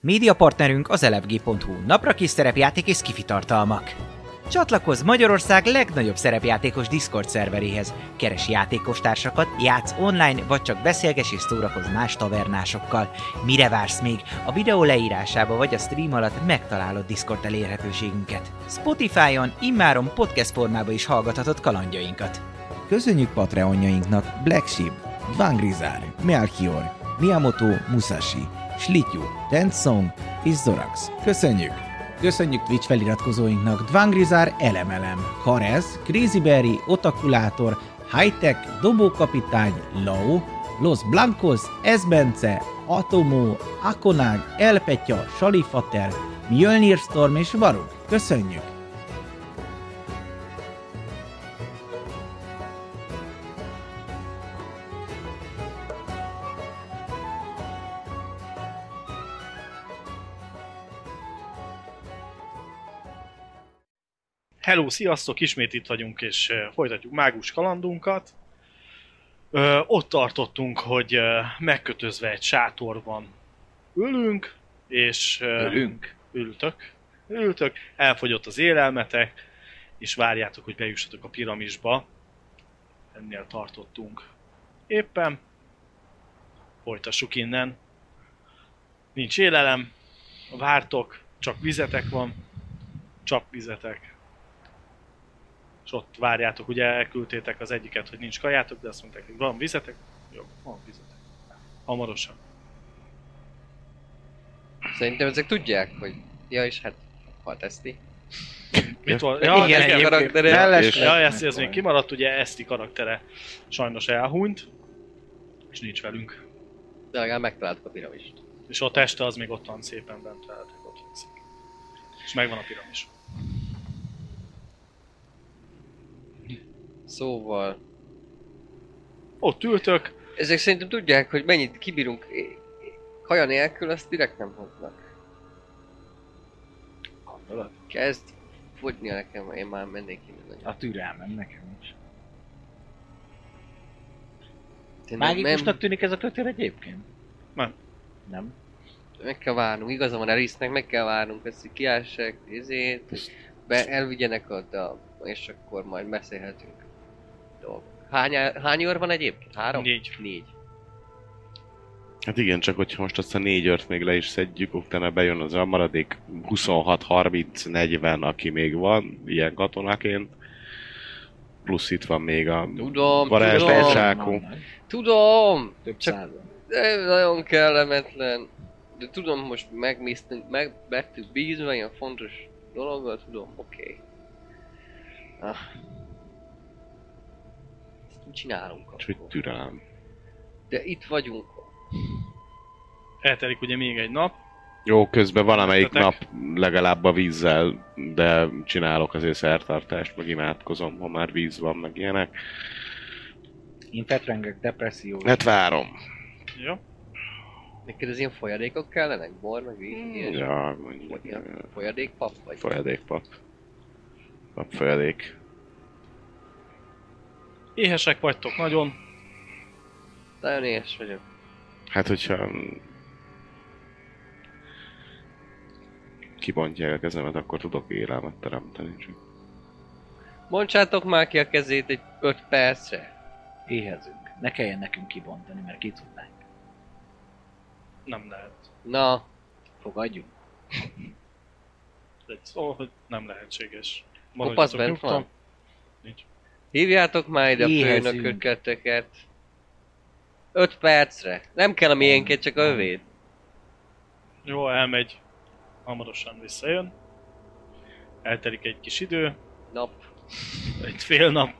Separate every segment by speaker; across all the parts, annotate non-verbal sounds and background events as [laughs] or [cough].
Speaker 1: Média partnerünk az elefg.hu, napra kis szerepjáték és kifitartalmak. Csatlakozz Magyarország legnagyobb szerepjátékos Discord szerveréhez. Keres játékostársakat, játsz online, vagy csak beszélges és szórakozz más tavernásokkal. Mire vársz még? A videó leírásába vagy a stream alatt megtalálod Discord elérhetőségünket. Spotify-on immáron podcast formában is hallgathatod kalandjainkat.
Speaker 2: Köszönjük Patreonjainknak Black Sheep, Dvangrizár, Melchior, Miyamoto Musashi, Slityu, Tensong és Zorax. Köszönjük! Köszönjük Twitch feliratkozóinknak Dvangrizár Elemelem, Karez, Crazy Berry, Otakulátor, Hightech, Dobókapitány, Lao, Los Blancos, Esbence, Atomó, Akonág, Elpetya, Salifater, Mjölnir Storm és Varug. Köszönjük!
Speaker 3: Hello, sziasztok! Ismét itt vagyunk, és ö, folytatjuk mágus kalandunkat. Ö, ott tartottunk, hogy ö, megkötözve egy sátorban ülünk, és... ö,
Speaker 2: Ülünk?
Speaker 3: Ültök. Ültök, elfogyott az élelmetek, és várjátok, hogy bejussatok a piramisba. Ennél tartottunk. Éppen. Folytassuk innen. Nincs élelem, vártok, csak vizetek van, csapvizetek, és ott várjátok, ugye elküldtétek az egyiket, hogy nincs kajátok, de azt mondták, hogy van vizetek, jó, van vizetek. Hamarosan.
Speaker 4: Szerintem ezek tudják, hogy... Ja, és hát... Ha teszti.
Speaker 3: Mit van?
Speaker 1: Igen, egyébként.
Speaker 4: karaktere-
Speaker 2: Jeles-
Speaker 3: Ja, ez, ez még kimaradt, ugye Eszti karaktere sajnos elhunyt, és nincs velünk.
Speaker 4: De legalább megtaláltuk a piramist.
Speaker 3: És a teste az még ott van szépen bent veletek, ott van szépen. És megvan a piramis.
Speaker 4: Szóval...
Speaker 3: Ott ültök,
Speaker 4: Ezek szerintem tudják, hogy mennyit kibírunk é- kaja nélkül, azt direkt nem hoznak.
Speaker 3: gondolod?
Speaker 4: Kezd fogynia nekem, én már mennék innen nagyon.
Speaker 2: A türelmem nekem is.
Speaker 4: Tényleg
Speaker 2: Mágikusnak
Speaker 4: nem,
Speaker 2: tűnik ez a kötél egyébként?
Speaker 3: Nem.
Speaker 2: Nem?
Speaker 4: meg kell várnunk, igaza van Erisnek, meg kell várnunk ezt, hogy kiássák, ezért, hogy be, elvigyenek oda, és akkor majd beszélhetünk. Dolg. Hány, hány őr van egyébként? Három?
Speaker 3: Négy.
Speaker 4: Négy.
Speaker 5: Hát igen, csak hogyha most azt a négy ört még le is szedjük, utána bejön az a maradék 26-30-40, aki még van, ilyen katonaként. Plusz itt van még a
Speaker 4: Tudom,
Speaker 5: varázslás
Speaker 4: tudom,
Speaker 5: zsákú.
Speaker 4: tudom!
Speaker 2: Több
Speaker 4: Csak-
Speaker 2: százan.
Speaker 4: De nagyon kellemetlen. De tudom, most megmisztünk, meg vettük bízva, ilyen fontos dologgal, tudom, oké. Okay. Ah. Ezt mit csinálunk
Speaker 5: Úgyhogy
Speaker 4: akkor?
Speaker 5: türelem.
Speaker 4: De itt vagyunk.
Speaker 3: Eltelik ugye még egy nap,
Speaker 5: Jó, közben valamelyik
Speaker 3: Tetek?
Speaker 5: nap legalább a vízzel, de csinálok azért szertartást, meg imádkozom, ha már víz van, meg ilyenek.
Speaker 2: Én fetrengek depresszió.
Speaker 5: Hát várom.
Speaker 3: jó?
Speaker 4: Neked az ilyen folyadékok kellenek? Bor, meg víz,
Speaker 5: Hmm.
Speaker 4: meg ilyen
Speaker 5: Ja,
Speaker 4: Vagy
Speaker 5: mondjuk,
Speaker 4: ilyen folyadékpap? Vagy
Speaker 5: folyadékpap. Pap folyadék.
Speaker 3: Éhesek vagytok nagyon,
Speaker 4: Nagyon éhes vagyok.
Speaker 5: Hát, hogyha... Kibontják a kezemet, akkor tudok élelmet teremteni. Csak.
Speaker 4: Bontsátok már ki a kezét egy 5 percre.
Speaker 2: Éhezünk. Ne kelljen nekünk kibontani, mert ki tudnánk.
Speaker 3: nem lehet.
Speaker 4: Na,
Speaker 2: Fogadjuk.
Speaker 3: Egy szó, hogy nem lehetséges.
Speaker 4: kopasz
Speaker 3: Maradjatok
Speaker 4: bent van.
Speaker 3: nyugton. Nincs.
Speaker 4: Hívjátok már ide a
Speaker 2: Éhezünk.
Speaker 4: főnökötöket. 5 percre. Nem kell a miénket, csak a övét.
Speaker 3: Jó, elmegy. Hamarosan visszajön. Eltelik egy kis idő,
Speaker 4: Nap.
Speaker 3: egy fél nap.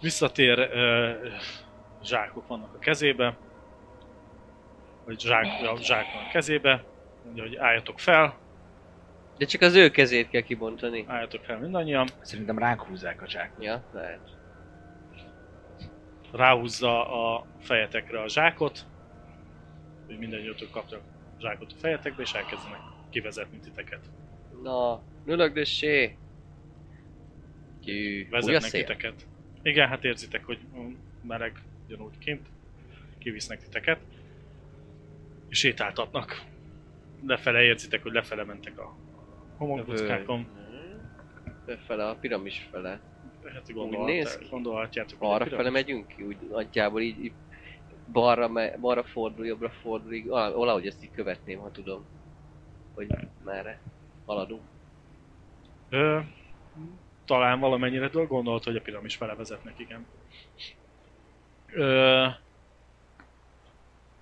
Speaker 3: Visszatér, ö, zsákok vannak a kezébe. Vagy zsák, ja, zsák van a kezébe. Mondja, hogy álljatok fel,
Speaker 4: De csak az ő kezét kell kibontani.
Speaker 3: álljatok fel mindannyian.
Speaker 2: Szerintem ránk húzzák a zsákot.
Speaker 4: Ja, lehet.
Speaker 3: Ráhúzza a fejetekre a zsákot. Hogy mindannyiótól kaptak zsákot a fejetekbe, és elkezdenek kivezetni titeket.
Speaker 4: Na, nülögdössé! Gyű, fúj a
Speaker 3: Vezetnek
Speaker 4: szél.
Speaker 3: titeket. Igen, hát érzitek, hogy mm, meleg gyanúgy kint. Kivisznek titeket. És sétáltatnak. lefele érzitek, hogy lefele mentek a homokbockákon.
Speaker 4: Fele a piramis fele.
Speaker 3: Hát
Speaker 4: néz ki.
Speaker 3: gondolhat, gondolhatjátok, hogy a
Speaker 4: Arra
Speaker 3: piramis-
Speaker 4: fele megyünk ki, úgy nagyjából így, így balra, me, balra fordul, jobbra fordul, így, vala- valahogy ezt így követném, ha tudom, hogy merre haladunk.
Speaker 3: Ö, talán valamennyire de gondolt, hogy a piramis fele vezetnek, igen. Ö,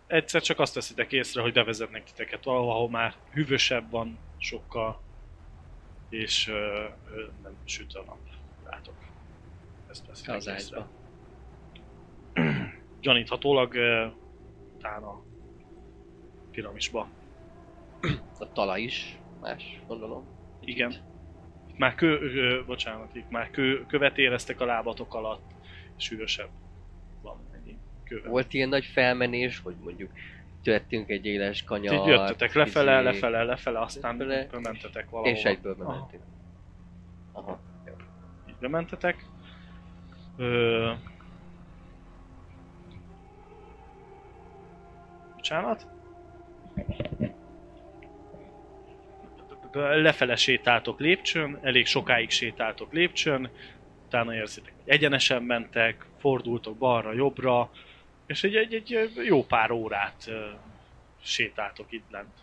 Speaker 3: egyszer csak azt veszitek észre, hogy bevezetnek titeket valahol, ahol már hűvösebb van sokkal, és ö, ö, nem süt a nap rátok. Ezt veszitek
Speaker 4: Az ágyba.
Speaker 3: Gyaníthatólag ö, talán a piramisba.
Speaker 4: A talaj is más, gondolom.
Speaker 3: Igen. Itt már kő, ö, bocsánat, itt már kő, követ éreztek a lábatok alatt, és hűvösebb van ennyi kővel.
Speaker 4: Volt ilyen nagy felmenés, hogy mondjuk tettünk egy éles
Speaker 3: Itt
Speaker 4: kanyart.
Speaker 3: így jöttetek lefele,
Speaker 4: izé,
Speaker 3: lefele, lefele, aztán
Speaker 4: lefele,
Speaker 3: lefele, mentetek valahova.
Speaker 4: És egyből
Speaker 3: Aha,
Speaker 4: bementünk. Aha.
Speaker 3: Így bementetek. Ö... Bocsánat. Lefele sétáltok lépcsőn, elég sokáig sétáltok lépcsőn, utána érzitek, hogy egyenesen mentek, fordultok balra, jobbra, és egy, egy, egy jó pár órát ö, sétáltok itt lent.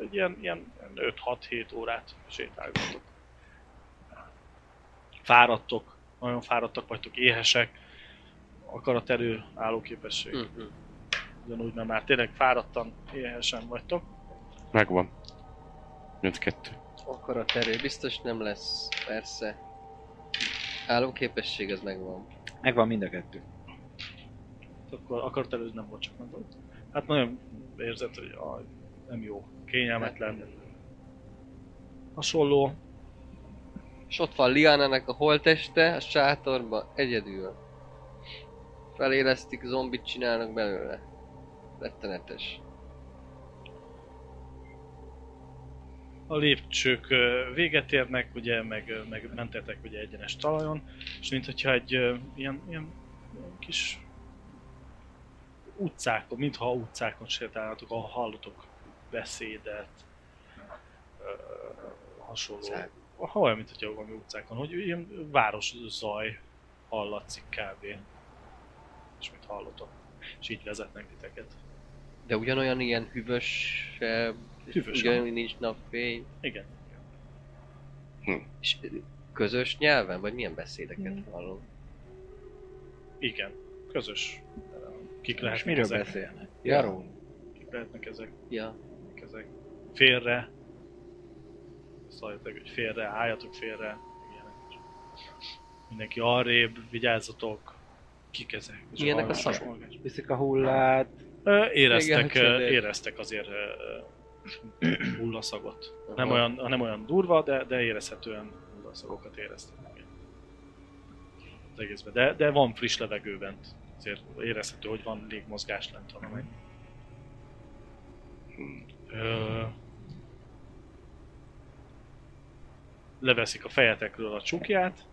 Speaker 3: Egy ilyen, ilyen 5-6-7 órát sétálgatok fáradtok, nagyon fáradtak vagytok, éhesek, akarat erő állóképesség. Mm.
Speaker 4: Mhm.
Speaker 3: Ugyanúgy, mert már tényleg fáradtan, éhesen vagytok.
Speaker 5: Megvan. 82.
Speaker 4: Akarat erő, biztos nem lesz, persze. Álomképesség, ez megvan.
Speaker 1: Megvan mind a kettő.
Speaker 3: Akkor akarat erő nem volt, csak nem volt. Hát nagyon érzed, hogy aj, nem jó, kényelmetlen. Hasonló,
Speaker 4: És ott van Lianának a holteste a sátorba, egyedül. Felélesztik, zombit csinálnak belőle. Rettenetes.
Speaker 3: a lépcsők ö, véget érnek, ugye, meg, ö, meg mentetek ugye egyenes talajon, és mint hogyha egy ö, ilyen, ilyen kis utcákon, mintha utcákon sétálnátok, ahol hallotok beszédet, ö, hasonló.
Speaker 4: Utcák.
Speaker 3: Ha olyan, mint hogyha valami utcákon, hogy ilyen város zaj hallatszik kb. És mit hallotok. És így vezetnek titeket.
Speaker 4: De ugyanolyan ilyen hűvös... eh,
Speaker 3: Hűvös,
Speaker 4: Ugyanúgy nincs napfény.
Speaker 3: Igen.
Speaker 4: És eh, közös nyelven? Vagy milyen beszédeket mm. hallunk?
Speaker 3: Igen. Közös. Kik
Speaker 1: És
Speaker 3: lehetnek
Speaker 1: miről
Speaker 3: ezek?
Speaker 1: beszélnek? Jarón.
Speaker 3: Kik lehetnek ezek?
Speaker 4: Ja.
Speaker 3: Mik ezek? Félre. Szóljatok, hogy félre, álljatok félre. Ilyenek. Mindenki arrébb, vigyázzatok. Kik ezek? És
Speaker 4: Milyenek a
Speaker 3: hallgass,
Speaker 4: szavak?
Speaker 3: hallgass.
Speaker 1: Viszik a hullát.
Speaker 4: Hát,
Speaker 3: Ö, Éreztek,
Speaker 4: Igen, hát
Speaker 3: ö,
Speaker 4: csodél.
Speaker 3: éreztek azért ö, ö, hullaszagot.
Speaker 4: Aha.
Speaker 3: Nem olyan, nem olyan durva, de, de érezhetően hullaszagokat éreztek. igen. Az egészben. De, de van friss levegő bent. Azért érezhető, hogy van légmozgás lent valamely. Ö, leveszik a fejetekről a csukját,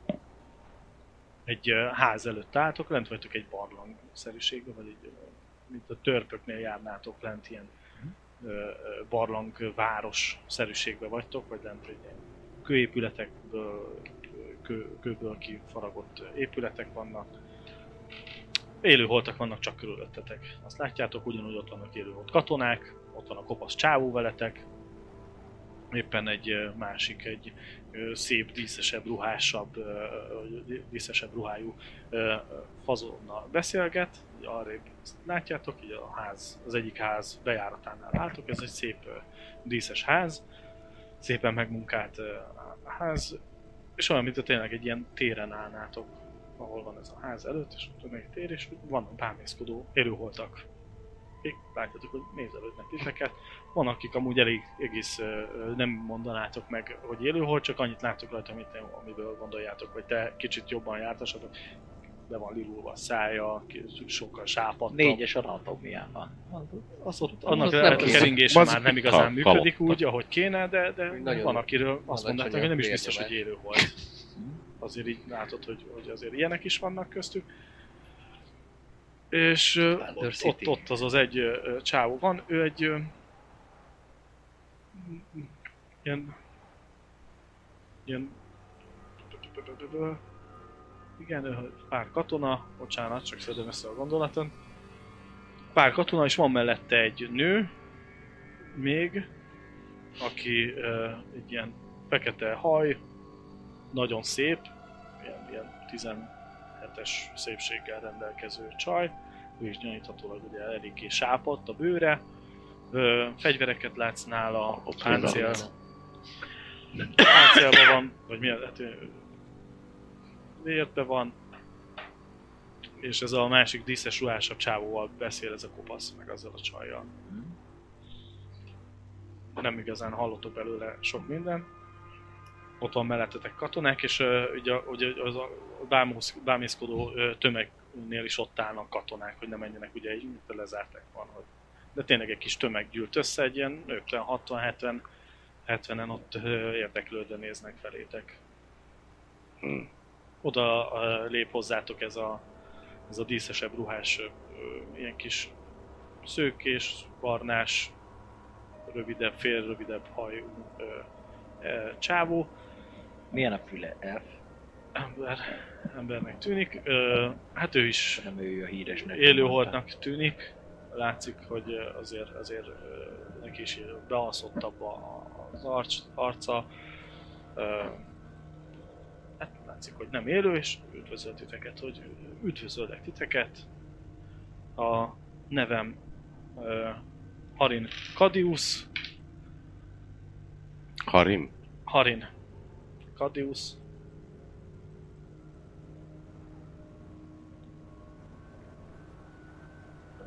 Speaker 3: egy ö, ház előtt álltok, lent vagytok egy barlangszerűségben, vagy egy, ö, mint a törpöknél járnátok lent ilyen ö, ö, barlang város szerűségbe vagytok, vagy lent egy ilyen kőépületekből, kő, kőből kifaragott épületek vannak. Élőholtak vannak csak körülöttetek. Azt látjátok, ugyanúgy ott vannak élőholt katonák, ott van a kopasz csávó veletek, éppen egy ö, másik, egy ö, szép, díszesebb, ruhásabb, ö, ö, díszesebb ruhájú ö, ö, fazonnal beszélget, így arrébb ezt látjátok, így a ház, az egyik ház bejáratánál látok, ez egy szép ö, díszes ház, szépen megmunkált ö, a ház, és olyan, mint a tényleg egy ilyen téren állnátok, ahol van ez a ház előtt, és ott van egy tér, és vannak bámészkodó élőholtak. Akik Látjátok, hogy nézelődnek titeket. Van, akik amúgy elég egész ö, ö, nem mondanátok meg, hogy élőhol, csak annyit láttok rajta, amit, amiből gondoljátok, hogy te kicsit jobban jártasatok, be van lilulva a szája, ki- sokkal sápadtabb.
Speaker 2: Négyes anatómián van.
Speaker 3: Az ott,
Speaker 4: az
Speaker 3: annak
Speaker 4: nem
Speaker 3: lehet, a
Speaker 4: hiszem.
Speaker 3: keringése már
Speaker 5: Bazd,
Speaker 3: nem igazán
Speaker 5: kal- kalapta.
Speaker 3: működik úgy, ahogy kéne, de, de
Speaker 4: Nagyon
Speaker 3: van, akiről azt
Speaker 4: alacsony
Speaker 3: mondták, hogy nem is
Speaker 4: a
Speaker 3: biztos, hogy
Speaker 4: vérnyomás.
Speaker 3: élő volt. Azért így látod, hogy, hogy azért ilyenek is vannak köztük. És ö,
Speaker 4: Thunder
Speaker 3: ott,
Speaker 4: City.
Speaker 3: ott, ott az az egy ö, ö, csávó van, ő egy ö, Ilyen... Ilyen... Igen, ö, pár katona, bocsánat, csak szedem össze a gondolaton. Pár katona, és van mellette egy nő, még, aki ö, egy ilyen fekete haj, nagyon szép, ilyen, ilyen 17-es szépséggel rendelkező csaj, ő is gyaníthatólag ugye eléggé sápadt a bőre, ö, fegyvereket látsz nála, a páncél, páncélban van, vagy mi az, hát, ö, érte van, és ez a másik díszes ruhásabb csávóval beszél ez a kopasz, meg azzal a csajjal. Nem igazán hallottok belőle sok minden. Ott van mellettetek katonák, és ö, ugye, a- ugye az a bámusz- bámészkodó ö, tömegnél is ott állnak katonák, hogy ne menjenek, ugye egy mint a lezárták van, hogy de tényleg egy kis tömeg gyűlt össze, egy ilyen 50-60-70 70-en ott ö, érdeklődve néznek felétek.
Speaker 5: Hm.
Speaker 3: Oda ö, lép hozzátok ez a, ez a díszesebb ruhás, ö, ö, ilyen kis szőkés, barnás, rövidebb, fél rövidebb hajú ö, ö, csávó,
Speaker 2: Milyen a füle? Elf?
Speaker 3: ember, embernek tűnik. Ö, hát ő is
Speaker 2: Nem ő a híres nevű.
Speaker 3: élőholtnak tűnik. Látszik, hogy ö, azért, azért ö, neki is bealszottabb a- a- az arc, arca. Ö, Hát látszik, hogy nem élő, és üdvözöl titeket, hogy üdvözöllek titeket. A nevem ö, Harin Kadius,
Speaker 5: Harim?
Speaker 3: Harin Kadius,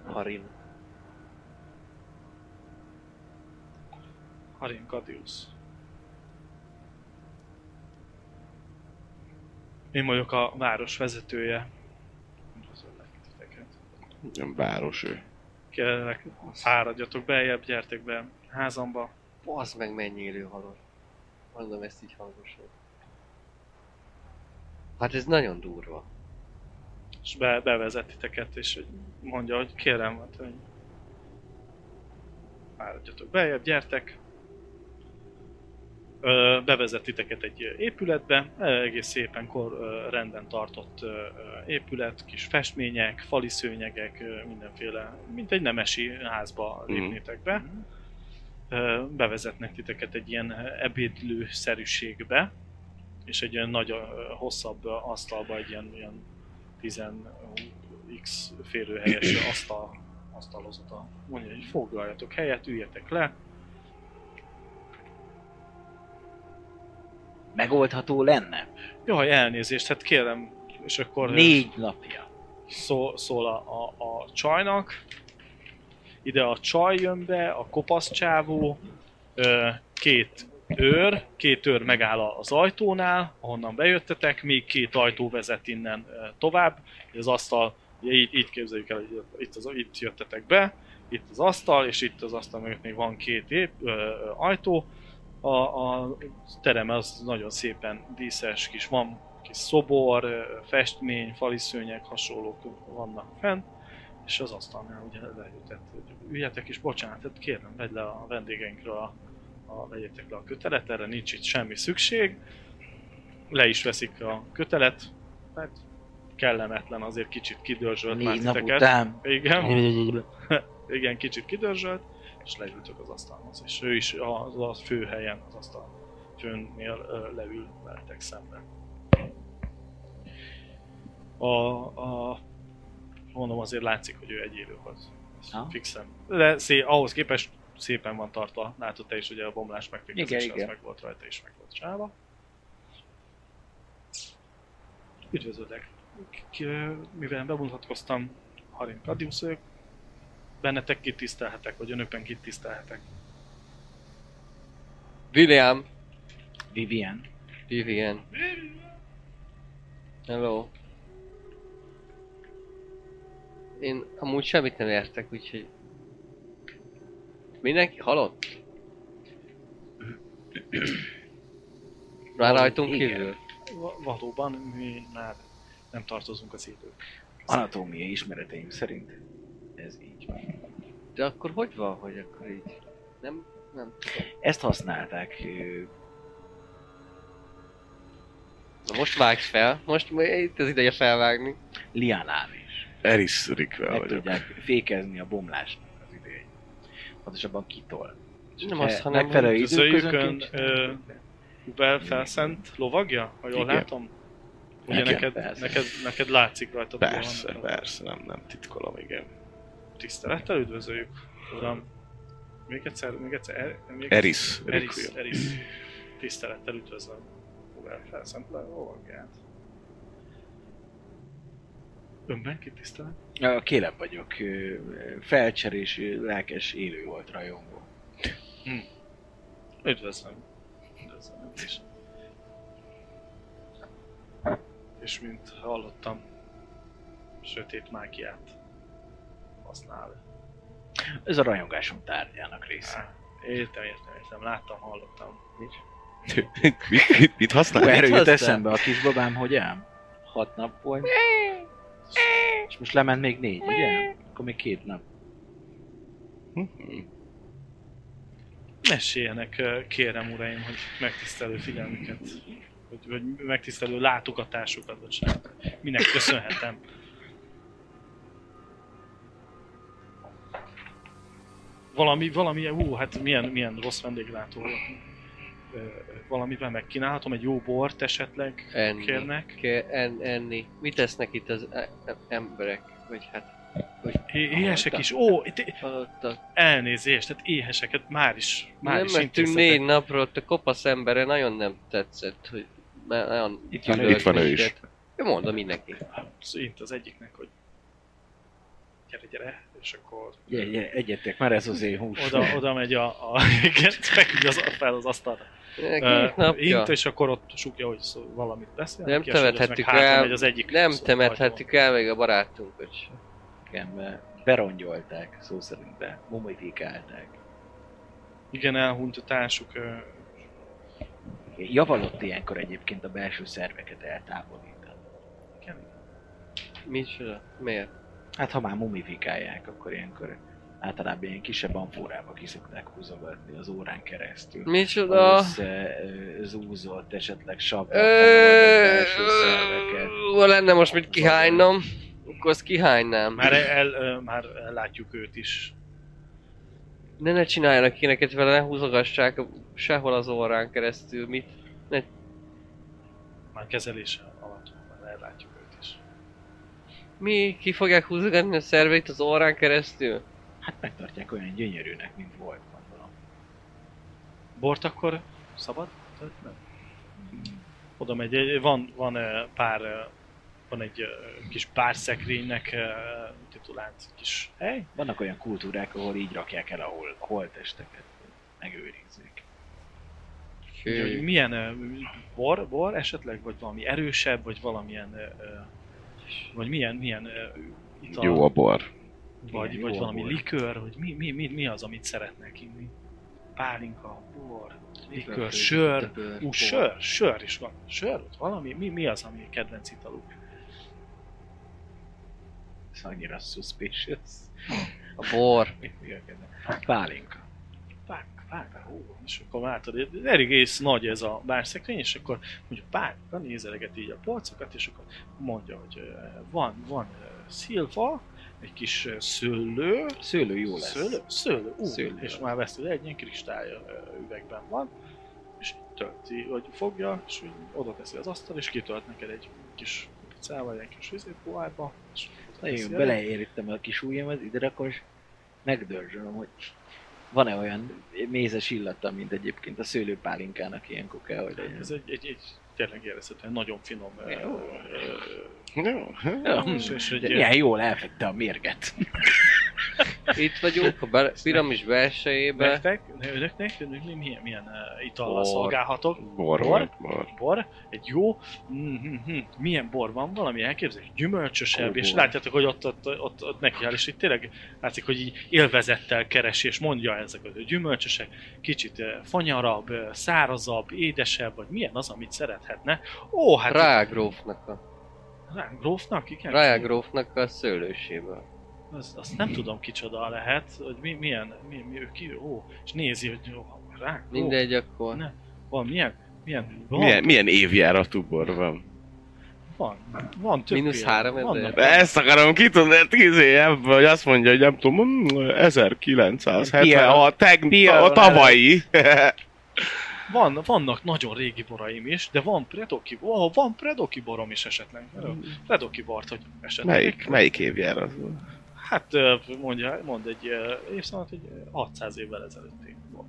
Speaker 4: Harin.
Speaker 3: Harin Kadius. Én vagyok a város vezetője. Üdvözöllek titeket.
Speaker 5: Nem város ő.
Speaker 3: Kérlek, áradjatok beljebb, gyertek be házamba.
Speaker 4: Basz meg mennyi élő halott. Mondom ezt így hangosan. Hát ez nagyon durva.
Speaker 3: És be, bevezet titeket, és hogy mondja, hogy kérem, hát, hogy áradjatok beljebb, gyertek. Ö, bevezet titeket egy épületbe, egész szépen kor, ö, rendben tartott ö, ö, épület, kis festmények, fali szőnyegek, ö, mindenféle, mint egy nemesi házba
Speaker 5: Mhm.
Speaker 3: lépnétek be. Ö, bevezetnek titeket egy ilyen ebédlőszerűségbe, és egy ilyen nagy, ö, hosszabb ö, asztalba, egy ilyen, ilyen 10x férőhelyes asztal, asztalozata. Mondja, hogy foglaljatok helyet, üljetek le,
Speaker 2: Megoldható lenne?
Speaker 3: Jaj, elnézést, hát kérem, és akkor
Speaker 2: Négy napja.
Speaker 3: szól, szól a, a, a csajnak. Ide a csaj jön be, a kopasz csávó, ö, két őr, két őr megáll az ajtónál, ahonnan bejöttetek, még két ajtó vezet innen ö, tovább. Az asztal, ugye így, így képzeljük el, hogy itt, az, itt jöttetek be, itt az asztal, és itt az asztal mögött még van két ép, ö, ö, ajtó. A, a terem az nagyon szépen díszes, kis van kis szobor, ö, festmény, faliszőnyek, hasonlók vannak fenn, és az asztalnál ugye leütett, hogy üljetek és bocsánat, hát kérem, vedd le a vendégeinkről a, a, vegyétek le a kötelet, erre nincs itt semmi szükség. Le is veszik a kötelet, hát kellemetlen, azért kicsit kidörzsölt már
Speaker 2: Négy nap
Speaker 3: titeket.
Speaker 2: után.
Speaker 3: Igen. Igen, kicsit kidörzsölt, és leültök az asztalhoz. És ő is az a fő helyen, az asztal főnél ö, leül veletek szemben. A, a, mondom, azért látszik, hogy ő egy élőhoz. Ez
Speaker 2: Ha.
Speaker 3: Fixen. De szé, ahhoz képest szépen van tartva. Látod te is, ugye a bomlás megfékezés,
Speaker 2: Igen,
Speaker 3: az
Speaker 2: igen.
Speaker 3: meg volt rajta és meg volt csáva. Üdvözöllek! K- ö, Mivel bemutatkoztam, Harim Kadius vagyok, bennetek kit tisztelhetek, vagy önökben kit tisztelhetek.
Speaker 4: William.
Speaker 2: Vivian.
Speaker 4: Vivian. Hello. Én amúgy semmit nem értek, úgyhogy... Mindenki halott? Már rajtunk
Speaker 2: Igen.
Speaker 4: kívül?
Speaker 3: Va- Valóban mi már nem tartozunk az idők.
Speaker 2: Anatómiai ismereteim szerint ez így van.
Speaker 4: De akkor hogy van, hogy akkor így? Nem Nem tudom.
Speaker 2: Ezt használták. ö,
Speaker 4: Na most vágj fel, most m- itt az ideje felvágni.
Speaker 2: Lianál is.
Speaker 5: Eris Rickvel
Speaker 2: Meg
Speaker 5: vagyok.
Speaker 2: tudják fékezni a bomlásnak az idején. Pontosabban kitol. És
Speaker 4: Nem
Speaker 2: hogyha
Speaker 4: azt, hanem
Speaker 2: e- megfelelő
Speaker 3: hogy
Speaker 2: időközönként
Speaker 3: közöljükön, ö,
Speaker 2: csinálják.
Speaker 3: Bel felszent lovagja, ha jól
Speaker 5: Igen.
Speaker 3: látom? Ugye
Speaker 5: Igen,
Speaker 3: neked,
Speaker 2: persze.
Speaker 3: neked, neked látszik rajta.
Speaker 5: Persze,
Speaker 3: Bólan.
Speaker 5: persze, nem, nem titkolom, igen. [laughs]
Speaker 3: Tisztelettel üdvözöljük, uram. Még egyszer, még egyszer, er, még
Speaker 5: Eris
Speaker 3: Eris,
Speaker 5: Requiem.
Speaker 3: Eris. Tisztelettel üdvözlöm. Bel felszent lovagját. Önben ki tisztelet?
Speaker 2: Ö, Kélem vagyok. ö, Felcserés, ö, lelkes, élő volt rajongó.
Speaker 3: Üdvözlöm. Üdvözlöm én is. És mint hallottam, sötét mágiát használ.
Speaker 2: Ez a rajongásom tárgyának része.
Speaker 3: Á, Értem, értem, értem. Láttam, hallottam.
Speaker 5: mit, mit, mit
Speaker 2: Hú,
Speaker 3: hát
Speaker 5: használ?
Speaker 2: erről jut
Speaker 4: hozzá?
Speaker 2: eszembe a kisbabám, hogy ám? Hat nap volt. És most lement még négy, ugye? Akkor még két nap.
Speaker 3: Meséljenek, ö, kérem uraim, hogy megtisztelő figyelmüket, vagy, vagy megtisztelő látogatásukat, bocsánat. Minek köszönhetem. Valami, valamilyen, hú, hát milyen, milyen rossz vendéglátó. vagyok. Ö, Valamivel megkínálhatom, egy jó bort esetleg
Speaker 4: Enni.
Speaker 3: kérnek.
Speaker 4: Ke- en- enni. Mit tesznek itt az e- e- emberek? Vagy hát... Hogy
Speaker 3: É- Éhesek
Speaker 4: hallottak-
Speaker 3: is, ó, itt-
Speaker 4: Hallottak.
Speaker 3: elnézést, tehát éheseket már is, már
Speaker 4: Már nem
Speaker 3: is
Speaker 4: mentünk
Speaker 3: intéztetek.
Speaker 4: négy napról, ott a kopasz embere nagyon nem tetszett, hogy... már Nagyon
Speaker 2: Itt van ő.
Speaker 4: gyűlölt
Speaker 5: Itt van ő is.
Speaker 4: minket. Én mondom mindenki.
Speaker 3: szint Szóval az egyiknek, hogy gyere, gyere, és akkor
Speaker 2: Ugye, ugye, egyetek, már ez az én hús.
Speaker 3: oda, oda megy a, a igen, feküdj az, fel az asztalra.
Speaker 4: Két
Speaker 3: Ö,
Speaker 4: napja.
Speaker 3: Int, és akkor ott sugja, hogy szó, valamit beszél.
Speaker 4: Nem
Speaker 3: neki, és hogy az
Speaker 4: temethettük
Speaker 3: meg hátra
Speaker 4: el,
Speaker 3: megy az egyik
Speaker 4: Nem
Speaker 3: szó-
Speaker 4: temethettük el még a barátunkat sem.
Speaker 2: Igen, mert berongyolták, szó szerint be, mumifikálták.
Speaker 3: ajtón. Igen, elhunyt a társuk. ö,
Speaker 2: Javalott ilyenkor egyébként a belső szerveket eltávolítani.
Speaker 3: Igen.
Speaker 4: Micsoda? Miért?
Speaker 2: Hát ha már mumifikálják, akkor ilyenkor általában ilyen kisebb amfórába kiszokták húzogatni az órán keresztül.
Speaker 4: Micsoda?
Speaker 2: összezúzott, esetleg sabra
Speaker 4: Ö, Ha lenne most mit kihánynom, akkor azt kihánynám.
Speaker 3: Már, el, el, már látjuk őt is.
Speaker 4: Ne, ne csináljanak ilyeneket vele, ne húzogassák sehol az órán keresztül, mit?
Speaker 3: Már kezelése alatt van, már ellátjuk őt is.
Speaker 4: Mi? Ki fogják húzogatni a szerveit az órán keresztül?
Speaker 2: Hát megtartják olyan gyönyörűnek, mint volt, gondolom.
Speaker 3: Bort akkor szabad? Tehát nem. Oda megy, egy- van, van ö, pár, ö, van egy ö, kis pár szekrénynek ö, titulált kis hely.
Speaker 2: Vannak olyan kultúrák, ahol így rakják el a, hol, a holtesteket, hogy megőrizzék.
Speaker 3: Ugye, hogy milyen ö, bor, bor esetleg, vagy valami erősebb, vagy valamilyen, ö, ö, vagy milyen, milyen ö, ital,
Speaker 5: Jó a bor.
Speaker 3: vagy,
Speaker 2: igen,
Speaker 3: vagy
Speaker 2: jó a
Speaker 3: valami
Speaker 2: bor.
Speaker 3: likőr, hogy mi, mi, mi, mi az, amit szeretnek inni. Pálinka, bor, likőr, sör, ú, sör, sör is van. Sör, ott valami, mi, mi az, ami a kedvenc italuk?
Speaker 2: Ez annyira suspicious.
Speaker 4: A bor.
Speaker 2: Pálinka.
Speaker 3: Pák, pák, hú, és akkor látod, elég ész nagy ez a bárszekrény, és akkor mondja párka, nézeleget így a polcokat, és akkor mondja, hogy ö, van, van ö, szilva, egy kis ö, szőlő,
Speaker 2: Szőlő jó lesz.
Speaker 3: szőlő, szőlő, ú,
Speaker 2: Szőlő.
Speaker 3: és már veszed egy ilyen kristály ö, üvegben van, és tölti, vagy fogja, és úgy oda teszi az asztal, és kitölt neked egy kis kupicával, egy kis vizépoárba, és oda
Speaker 2: Nagyon
Speaker 3: teszi
Speaker 2: jó,
Speaker 3: elé.
Speaker 2: beleérítem a kis ujjamat, ide rakom, és megdörzsölöm, hogy van-e olyan mézes illata, mint egyébként a szőlőpálinkának ilyenkor kell, hogy legyen.
Speaker 3: Ez egy, egy, egy tényleg érezhetően nagyon finom ö,
Speaker 2: Jó.
Speaker 3: ö,
Speaker 5: Jó.
Speaker 3: és- és egy-
Speaker 2: De milyen jól elfette a mérget.
Speaker 4: Itt vagyunk a be- piramis belsejébe.
Speaker 3: Nektek, önöknek, önök mi- milyen, milyen uh, itallal
Speaker 4: Bor.
Speaker 3: szolgálhatok?
Speaker 5: Bor,
Speaker 3: Bor?
Speaker 5: bor, bor.
Speaker 3: Bor, egy jó, mm-hmm. milyen bor van, valami elképzelés, gyümölcsösebb,
Speaker 2: Jó
Speaker 3: és
Speaker 2: bor.
Speaker 3: látjátok, hogy ott, ott, ott, ott neki áll, és itt tényleg látszik, hogy így élvezettel keresi, és mondja ezeket, hogy gyümölcsösek, kicsit uh, fanyarabb, uh, szárazabb, édesebb, vagy milyen az, amit szerethetne. Ó, hát...
Speaker 4: Rágrófnak a...
Speaker 3: Rá, grófnak, igen?
Speaker 4: Rágrófnak a szőlőséből.
Speaker 3: Azt, azt nem tudom kicsoda lehet, hogy mi, milyen, mi, mi ő ki, ó, és nézi, hogy ó, rák, ó,
Speaker 4: Mindegy, akkor.
Speaker 3: Ne. van, milyen, milyen, van,
Speaker 5: Milyen, milyen évjáratú bor van?
Speaker 3: van, van több
Speaker 4: Mínusz
Speaker 3: példa,
Speaker 4: három
Speaker 3: vannak-
Speaker 4: ezer.
Speaker 5: De ezt akarom kitudni, mert izé, ebből, hogy azt mondja, hogy nem tudom, mm, 1976, teg,
Speaker 1: Pia-
Speaker 5: a tavalyi.
Speaker 3: Van, vannak nagyon régi boraim is, de van predoki, ó, van predoki borom is esetleg.
Speaker 4: Mm.
Speaker 3: Predoki bort, hogy esetleg.
Speaker 5: Melyik, melyik évjárat?
Speaker 3: Hát ö, mondja, mond egy ö, évszámot, hogy ö, 600 évvel ezelőtti volt.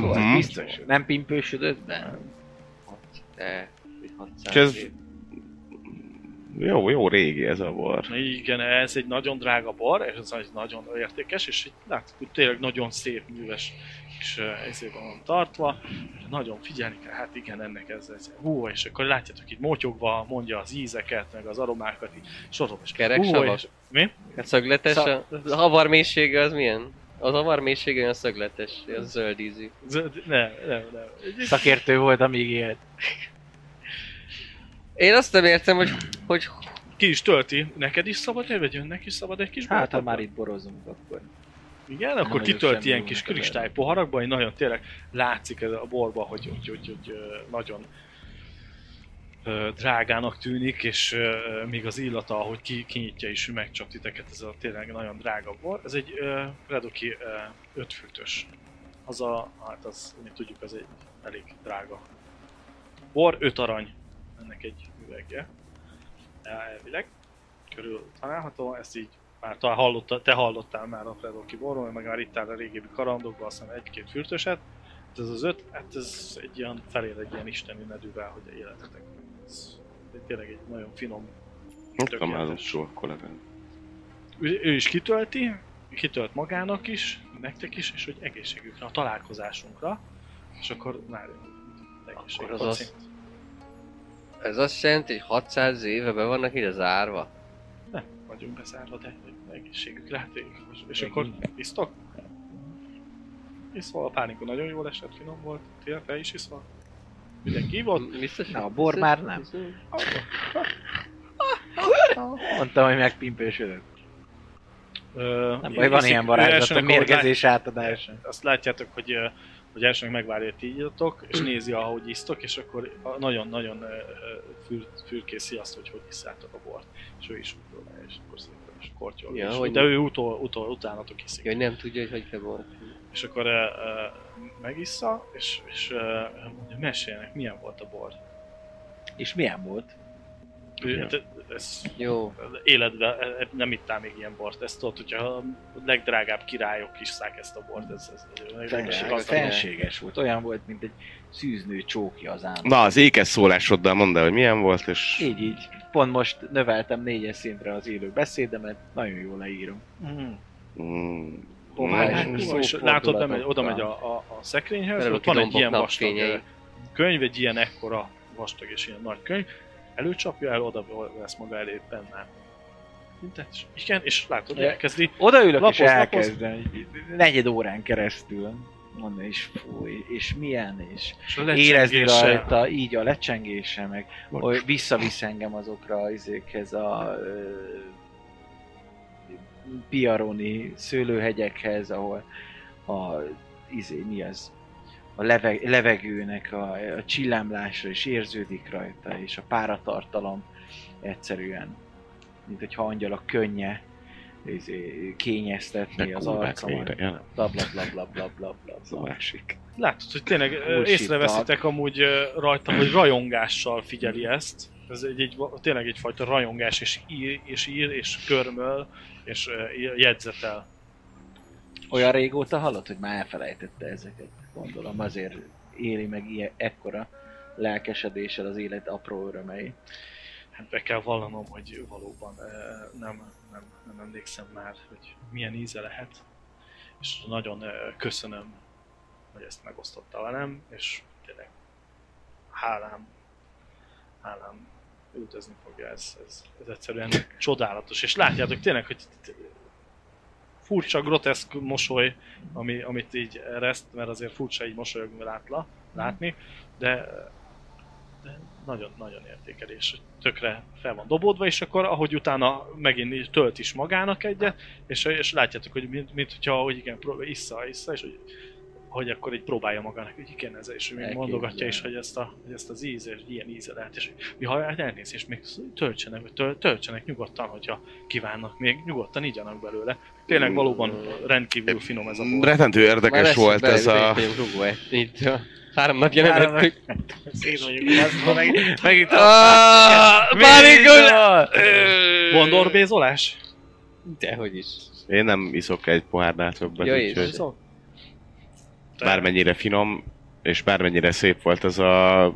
Speaker 2: Jó,
Speaker 5: Mhm.
Speaker 2: ez hát biztos. Nem pimpősödött be?
Speaker 4: Ne. mi
Speaker 5: És
Speaker 4: 600
Speaker 5: ez...
Speaker 4: év.
Speaker 5: Jó, jó régi ez a bor.
Speaker 3: Na Igen, ez egy nagyon drága bor, és ez egy nagyon értékes, és így látszik, hogy tényleg nagyon szép, műves és ö, ezért van tartva. Nagyon figyelni kell, hát igen, ennek ez, ez. Hú, és akkor látjátok, így motyogva mondja az ízeket, meg az aromákat, így sorom, és
Speaker 4: Kerek
Speaker 3: hú,
Speaker 4: savas?
Speaker 3: és, mi?
Speaker 4: A Hát szögletes, a, a havar mélysége az milyen? Az havar mélysége olyan szögletes, az zöld ízű.
Speaker 3: Zöld- Nem, nem, nem.
Speaker 2: Szakértő volt, amíg élt.
Speaker 4: Én azt nem értem, hogy, hogy
Speaker 3: Ki is tölti, neked is szabad el, vagy önnek is szabad egy kis
Speaker 2: Hát,
Speaker 3: boltba?
Speaker 2: ha már itt borozunk, akkor.
Speaker 3: Igen, akkor
Speaker 2: vagyok
Speaker 3: kitölt
Speaker 2: semmi
Speaker 3: ilyen
Speaker 2: jó
Speaker 3: kis
Speaker 2: neked
Speaker 3: kristály poharakba, hogy nagyon tényleg látszik ez a borba, hogy, hogy, hogy, hogy ö, nagyon ö, drágának tűnik, és ö, még az illata, ahogy ki, kinyitja is, megcsap titeket, ez a tényleg nagyon drága bor. Ez egy ö, Redoki ö, ötfűtős. Az a, hát az, mi tudjuk, az egy elég drága bor, öt arany ennek egy üvegje. Elvileg körül található, ezt így már talán hallotta, te hallottál már a Predoki borról, meg már itt áll a régebbi kalandokban, aztán egy-két fürtöset. Hát ez az öt, hát ez egy ilyen felér egy ilyen isteni nedűvel, hogy a életetek. Ez tényleg egy nagyon finom.
Speaker 5: Ott a
Speaker 3: tökéletes.
Speaker 5: mázom soha kollégám.
Speaker 3: Ő, ő is kitölti, kitölt magának is, nektek is, és hogy egészségükre, a találkozásunkra, és akkor már egészség.
Speaker 4: az az- ez azt jelenti, hogy 600 éve be vannak ide zárva.
Speaker 3: Nem vagyunk bezárva, de egészségükre hát én- és- És akkor isztok? Iszol, a pánikon nagyon jól esett, finom volt. Tényleg te is iszol? Mindenki ivott?
Speaker 4: M- Biztos?
Speaker 2: Na, a bor már nem. Mondtam, hogy megpimpősödött.
Speaker 3: Ö,
Speaker 2: Nem baj, van
Speaker 3: iszik-
Speaker 2: ilyen
Speaker 3: ő
Speaker 2: varázslat,
Speaker 3: elsőnek,
Speaker 2: a
Speaker 3: ahogy
Speaker 2: mérgezés
Speaker 3: lát-
Speaker 2: átadása.
Speaker 3: Azt látjátok, hogy, ö, hogy elsőnek megvárja, hogy ti ígyatok, és nézi, ahogy isztok, és akkor a- nagyon-nagyon ö, ö, für, fürkészi azt, hogy hogy iszálltok a bort. És ő is próbálja, és akkor szépen is kortyol.
Speaker 4: Ja,
Speaker 3: és,
Speaker 4: hogy-
Speaker 3: de ő utol, utol, utánatok iszik.
Speaker 4: Jaj, nem tudja, hogy hogy kell bor.
Speaker 3: És akkor ö, ö, megissza, és, és ö, mondja, meséljenek, milyen volt a bor.
Speaker 2: És milyen volt?
Speaker 3: Ő,
Speaker 5: Ja.
Speaker 3: hát ez,
Speaker 4: Jó.
Speaker 3: életben e- nem ittál még ilyen bort. Ezt tudod, hogyha a legdrágább királyok isszák ezt a bort, ez, ez, ez
Speaker 2: Fenség-
Speaker 3: azt
Speaker 4: fel-
Speaker 3: mondom,
Speaker 2: Fenséges volt, olyan volt, mint egy szűznő csókja az állam.
Speaker 5: Na, az ékes szólásoddal mondd el, hogy milyen volt, és
Speaker 2: Így, így. Pont most növeltem négyes szintre az élő beszédemet, nagyon jól leírom.
Speaker 3: Mm.
Speaker 5: mm,
Speaker 2: Pomány,
Speaker 5: Mm.
Speaker 3: És látod, nem, megy- oda megy a, a, a szekrényhez,
Speaker 4: Belül
Speaker 3: ott van egy ilyen
Speaker 4: kidombok
Speaker 3: vastag
Speaker 4: napfényei.
Speaker 3: ö, könyv, egy ilyen ekkora vastag és ilyen nagy könyv, előcsapja el, oda vesz maga elé benne. Mindent, és igen, és látod, hogy
Speaker 2: Ja.
Speaker 3: elkezdi
Speaker 2: Odaülök
Speaker 3: Lapoz,
Speaker 2: lapoz, és
Speaker 3: lapoz.
Speaker 2: elkezdem, így negyed órán keresztül mondani, és fúj, és milyen, és
Speaker 3: és a
Speaker 2: érezni
Speaker 3: lecsengéssel-
Speaker 2: rajta, így a lecsengése, meg hogy visszavisz engem azokra az izékhez a ö, piaroni szőlőhegyekhez, ahol a izé, mi az, a leveg, levegőnek a, a csillámlása is érződik rajta, és a páratartalom egyszerűen, mint hogyha angyalok könnye izé, kényeztetni
Speaker 5: de
Speaker 2: az
Speaker 5: kurvák
Speaker 2: arcomat.
Speaker 5: végre, ja nem,
Speaker 2: Bla bla bla bla bla bla bla.
Speaker 5: az a másik.
Speaker 3: Látod, hogy tényleg ö,
Speaker 2: Bullshit
Speaker 3: észreveszitek amúgy ö, rajta, hogy rajongással figyeli ezt. Ez egy, egy, tényleg egyfajta rajongás, és ír, és ír, és körmöl, és ö, jegyzetel.
Speaker 2: Olyan régóta hallott, hogy már elfelejtette ezeket. Gondolom azért éli meg ilyen, ekkora lelkesedéssel az élet apró örömei.
Speaker 3: Hát be kell vallanom, hogy valóban ö, nem, nem, nem emlékszem már, hogy milyen íze lehet. És nagyon ö, köszönöm, hogy ezt megosztotta velem, és tényleg hálám, hálám üldözni fogja ez, ez, ez egyszerűen csodálatos. És látjátok tényleg, hogy furcsa, groteszk mosoly, ami, amit így ereszt, mert azért furcsa így mosolyogni látla, látni, de, de nagyon-nagyon értékelés, hogy tökre fel van dobódva, és akkor ahogy utána megint így tölt is magának egyet, és, és látjátok, hogy mint, mint hogyha, hogy igen, próbál, issza, issza, és hogy, hogy akkor így próbálja magának, hogy igen, ez, és még
Speaker 2: Elképzelem.
Speaker 3: mondogatja is, hogy ezt, a, hogy ezt az íz, és ilyen íze lehet, és hogy mi ha elnéz, és még töltsenek, vagy töl- töltsenek nyugodtan, hogyha kívánnak, még nyugodtan igyanak belőle. Tényleg valóban rendkívül finom Mm, ez a bor.
Speaker 5: Rettentő érdekes volt ez a...
Speaker 4: Rugó itt a három napja nem vettük.
Speaker 2: Én vagyok, az van, meg, megint
Speaker 4: Ah, Pánikos!
Speaker 3: Gondorbézolás?
Speaker 4: Dehogy is.
Speaker 5: Én nem iszok egy pohárnál többet,
Speaker 4: Ja,
Speaker 5: ja,
Speaker 4: és-
Speaker 5: úgyhogy
Speaker 3: Viszont?
Speaker 5: bármennyire finom, és bármennyire szép volt ez a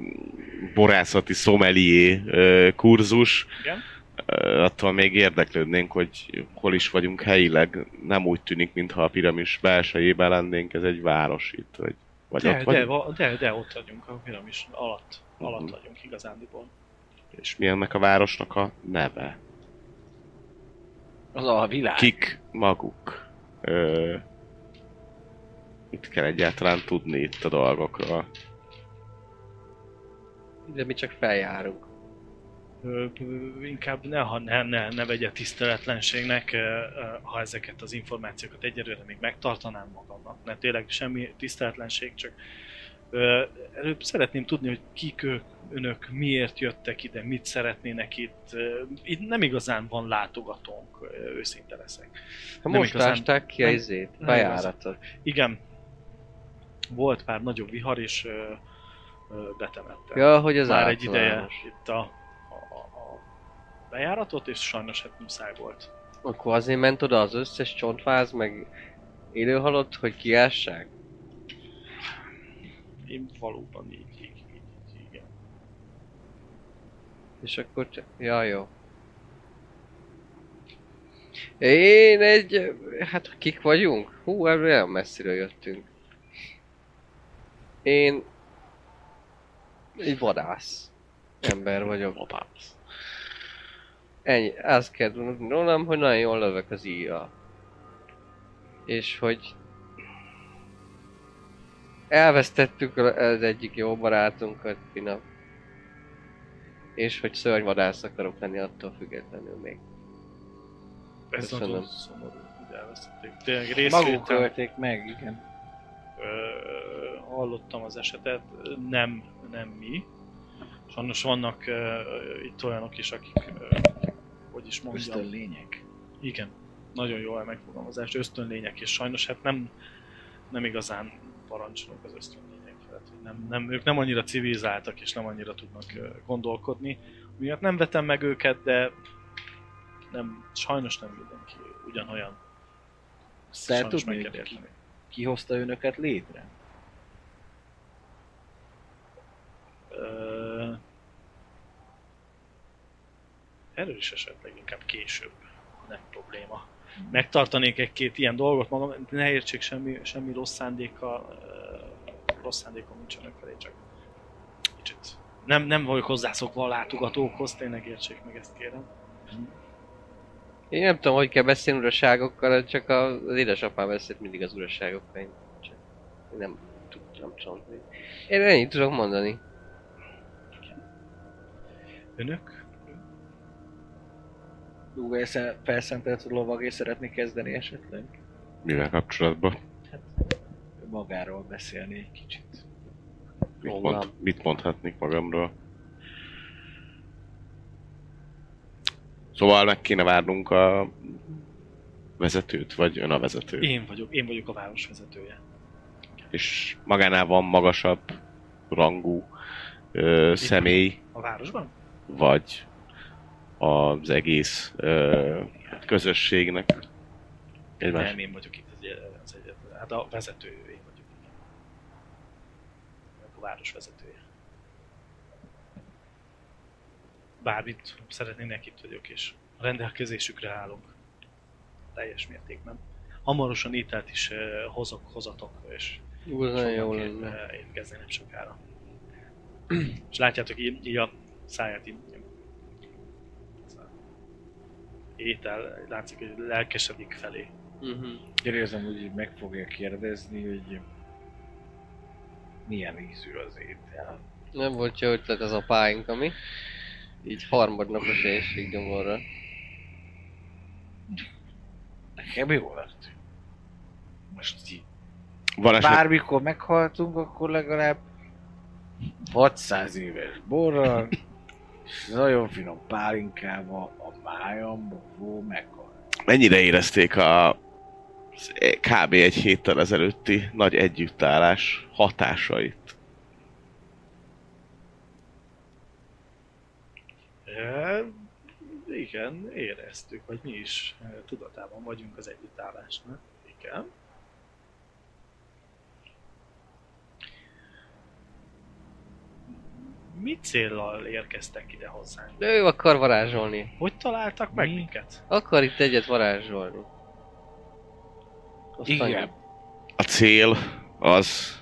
Speaker 5: borászati szomelié ö, kurzus,
Speaker 3: Igen.
Speaker 5: ö, attól még érdeklődnénk, hogy hol is vagyunk helyileg. Nem úgy tűnik, mintha a piramis belsejében lennénk, ez egy város itt, vagy, vagy
Speaker 3: De,
Speaker 5: ott
Speaker 3: de,
Speaker 5: vagyunk.
Speaker 3: va- de, de, ott vagyunk a piramis alatt. Alatt
Speaker 5: Mhm.
Speaker 3: vagyunk igazándiból.
Speaker 5: És mi ennek a városnak a neve?
Speaker 2: az a világ.
Speaker 5: Kik maguk? Ö, mit kell egyáltalán tudni itt a dolgokról?
Speaker 4: De mi csak feljárunk.
Speaker 3: Ö, ö, inkább ne, ha ne, ne, ne vegye tiszteletlenségnek, ö, ö, ha ezeket az információkat egyelőre még megtartanám magamnak, mert tényleg semmi tiszteletlenség, csak ö, előbb szeretném tudni, hogy kik ők, önök, miért jöttek ide, mit szeretnének itt. Ö, Itt nem igazán van látogatónk, ö, őszinte leszek.
Speaker 4: Ha
Speaker 3: Nem
Speaker 4: most
Speaker 3: igazán.
Speaker 4: ásták ki a
Speaker 3: Nem-
Speaker 4: izét,
Speaker 3: nem
Speaker 4: bejáratot.
Speaker 3: Igen, volt pár nagyobb vihar, és ö, ö, betemette.
Speaker 4: Ja, hogy az
Speaker 3: Már egy ideje
Speaker 4: általános.
Speaker 3: itt a, a, a- a bejáratot, és sajnos hát muszáj volt.
Speaker 4: Akkor azért ment oda az összes csontváz, meg élőhalott, hogy kiássák?
Speaker 3: Én valóban így, így, így, így igen.
Speaker 4: És akkor csak... Ja, jó. Én egy... Hát kik vagyunk? Hú, ebből olyan messziről jöttünk. Én... Egy vadász. Ember vagyok. Vadász. Ennyi, azt kell tudni rólam, hogy nagyon jól lövök az íja. És hogy... Elvesztettük az egyik jó barátunkat minap és hogy szörnyvadász akarok lenni attól függetlenül még.
Speaker 3: Ez
Speaker 4: Köszönöm.
Speaker 3: nagyon szomorú, hogy elvesztették. Tényleg részvétel-
Speaker 2: Maguk ölték meg, igen.
Speaker 3: ö, hallottam az esetet, nem, nem mi. Sajnos vannak ö, itt olyanok is, akik, ö, hogy is mondjam,
Speaker 2: Ösztön lények.
Speaker 3: Igen, nagyon jól megfogalmazás, ösztönlények, és sajnos hát nem, nem igazán parancsolunk az ösztönlények felett. hogy Nem, nem, ők nem annyira civilizáltak, és nem annyira tudnak ö, gondolkodni. Miatt nem vetem meg őket, de nem, sajnos nem mindenki ugyanolyan. Ezt
Speaker 2: Tehát
Speaker 3: sajnos
Speaker 2: tudni,
Speaker 3: meg kell
Speaker 2: hogy ki-
Speaker 3: érteni.
Speaker 2: Ki hozta önöket létre?
Speaker 3: Ö, Erről is esetleg inkább később, ha nem probléma. Megtartanék egy-két ilyen dolgot magam, ne értsék semmi, semmi rossz szándékkal, ö, rossz szándékom nincs önök felé, csak kicsit. Nem, nem vagyok hozzászokva a látogatókhoz, tényleg értsék meg ezt kérem.
Speaker 4: Én nem tudom, hogy kell beszélni uraságokkal, csak a- az édesapám beszélt mindig az uraságokkal. Én csak én nem tudtam csontni. Én ennyit tudok mondani.
Speaker 3: Önök?
Speaker 2: Dúga esze- felszentelt lovagé szeretni kezdeni esetleg?
Speaker 5: Mivel kapcsolatban?
Speaker 2: Magáról beszélni egy kicsit.
Speaker 5: Mit,
Speaker 4: Magam.
Speaker 5: mond, mit mondhatnék magamról? Szóval meg kéne várnunk a vezetőt, vagy ön a vezető.
Speaker 3: Én vagyok, én vagyok a város vezetője.
Speaker 5: És magánál van magasabb rangú ö, személy,
Speaker 3: A városban?
Speaker 5: vagy az egész ö, közösségnek. Egymás.
Speaker 3: Nem, én vagyok itt az, egy- az egyetlen. Hát a vezető, én vagyok. igen. Én vagyok A város vezetője. Bármit szeretnének, itt vagyok, és a rendelkezésükre állok. Teljes mértékben. Hamarosan ételt is eh, hozok, hozatok, és
Speaker 4: Ú, az nagyon jó
Speaker 3: fognak ér-
Speaker 4: lenne.
Speaker 3: eh, étkezni nem sokára. és látjátok így, így a száját így étel, látszik, hogy lelkesedik felé.
Speaker 4: Mhm.
Speaker 2: Érzem, hogy így meg fogja kérdezni, hogy milyen ízű az étel.
Speaker 4: Nem volt jó ötlet az apáink, ami. Így harmadnapos éjség gyomorra.
Speaker 2: Nekem jó lett. Most így.
Speaker 5: Van esetleg
Speaker 2: Bármikor meghaltunk, akkor legalább 600 éves borral, és nagyon finom pálinkával, a májamba, vó, meghal.
Speaker 5: mennyire érezték a az kb. egy héttel ezelőtti nagy együttállás hatásait.
Speaker 3: E, igen, éreztük, vagy mi is e, tudatában vagyunk az együttállásnak. Igen. Mi céllal érkeztek ide hozzánk?
Speaker 4: De ő akar varázsolni.
Speaker 3: Hogy találtak meg
Speaker 2: Mi?
Speaker 3: minket?
Speaker 4: Akar itt egyet varázsolni. Azt
Speaker 2: Igen.
Speaker 4: annyi.
Speaker 5: A cél az,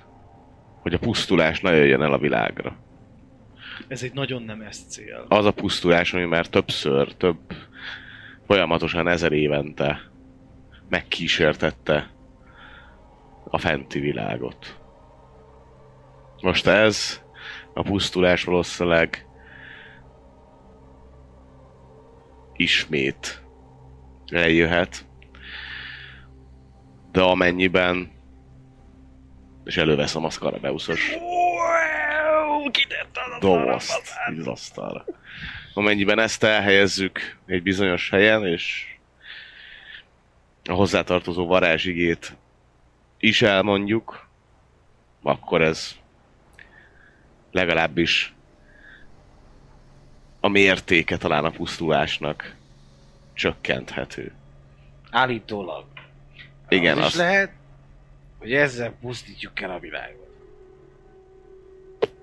Speaker 5: hogy a pusztulás ne jöjjön el a világra.
Speaker 3: Ez egy nagyon nemes cél.
Speaker 5: Az a pusztulás, ami már többször, több folyamatosan ezer évente megkísértette a fenti világot. Most ez a pusztulás valószínűleg ismét eljöhet, de amennyiben és előveszem a Skarabeuszos
Speaker 3: Wow, kitett az
Speaker 5: dobozt így az asztalra. Amennyiben ezt elhelyezzük egy bizonyos helyen, és a hozzátartozó varázsigét is elmondjuk, akkor ez legalábbis a mértéke talán a pusztulásnak csökkenthető.
Speaker 2: Állítólag.
Speaker 5: Igen,
Speaker 2: az, is
Speaker 5: azt-
Speaker 2: lehet, hogy ezzel pusztítjuk el a világot.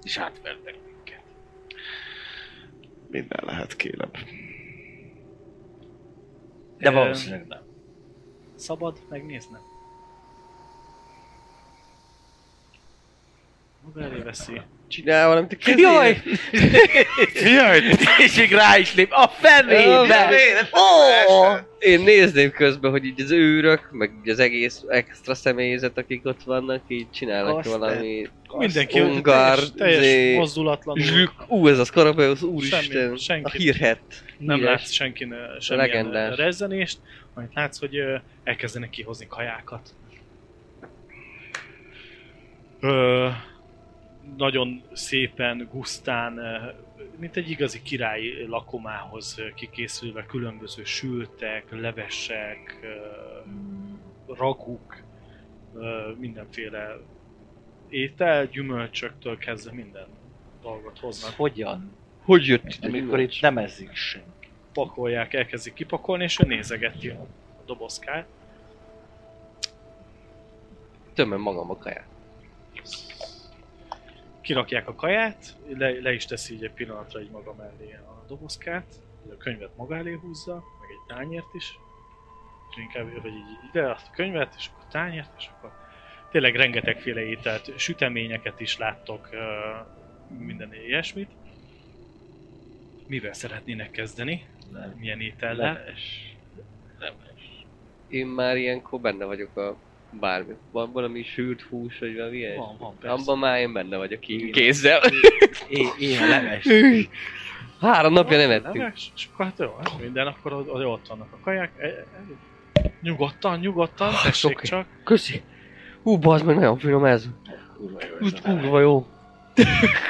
Speaker 2: És átvertek minket.
Speaker 5: Minden lehet, kérem.
Speaker 2: De
Speaker 3: Ö,
Speaker 2: valószínűleg nem.
Speaker 3: Szabad megnéznem? Maga elé veszi.
Speaker 4: Csinál valamit a kezébe.
Speaker 2: Jaj! Jaj! [laughs] És még rá is lép. A fenébe! Ó!
Speaker 4: Én nézném közben, hogy így az őrök, meg így az egész extra személyzet, akik ott vannak, így csinálnak
Speaker 2: Azt
Speaker 4: valami...
Speaker 3: Mindenki
Speaker 4: ungár,
Speaker 3: teljes, teljes
Speaker 4: izé,
Speaker 3: mozdulatlanul.
Speaker 4: Zsük, ú, ez a Skarabeusz, úristen,
Speaker 3: senki.
Speaker 4: a hírhet.
Speaker 3: nem
Speaker 4: Híres.
Speaker 3: látsz senkin ö, semmilyen
Speaker 4: Legendás.
Speaker 3: ö, rezzenést, amit látsz, hogy ö, elkezdenek kihozni kajákat. Ö, nagyon szépen, gusztán, ö, mint egy igazi király lakomához ö, kikészülve különböző sültek, levesek, ö, raguk, ö, mindenféle étel, gyümölcsöktől kezdve minden dolgot hoznak.
Speaker 2: Hogyan?
Speaker 4: Hogy jött ide?
Speaker 2: Amikor itt nem ezik senki.
Speaker 3: pakolják, elkezdik kipakolni, és ő nézegeti a dobozkát.
Speaker 4: Tömöm magam a kaját.
Speaker 3: Kirakják a kaját, le, le is teszi így egy pillanatra így maga mellé a dobozkát, a könyvet maga elé húzza, meg egy tányért is, és inkább, hogy így ide azt a könyvet, és akkor tányért, és akkor tényleg rengetegféle ételt, süteményeket is láttok, ö, minden ilyesmit. Mivel szeretnének kezdeni?
Speaker 2: Nem.
Speaker 3: Milyen étellel?
Speaker 4: Én már ilyenkor benne vagyok a bármi. Van valami sült hús, vagy valami ilyen?
Speaker 3: Van, van, persze.
Speaker 4: Abban már én benne vagyok így kézzel.
Speaker 2: Én, én a leves.
Speaker 4: Három napja nem
Speaker 3: Nem,
Speaker 4: ettünk.
Speaker 3: és és akkor hát jó, hát minden, akkor az, az ott vannak a kaják. E, e, nyugodtan, nyugodtan,
Speaker 4: Ah,
Speaker 3: tessék
Speaker 4: oké.
Speaker 3: csak.
Speaker 4: Köszi. Hú, bazd meg, nagyon finom ez.
Speaker 2: Kurva jó ez
Speaker 4: Úgy
Speaker 2: a leves.
Speaker 4: kurva jó.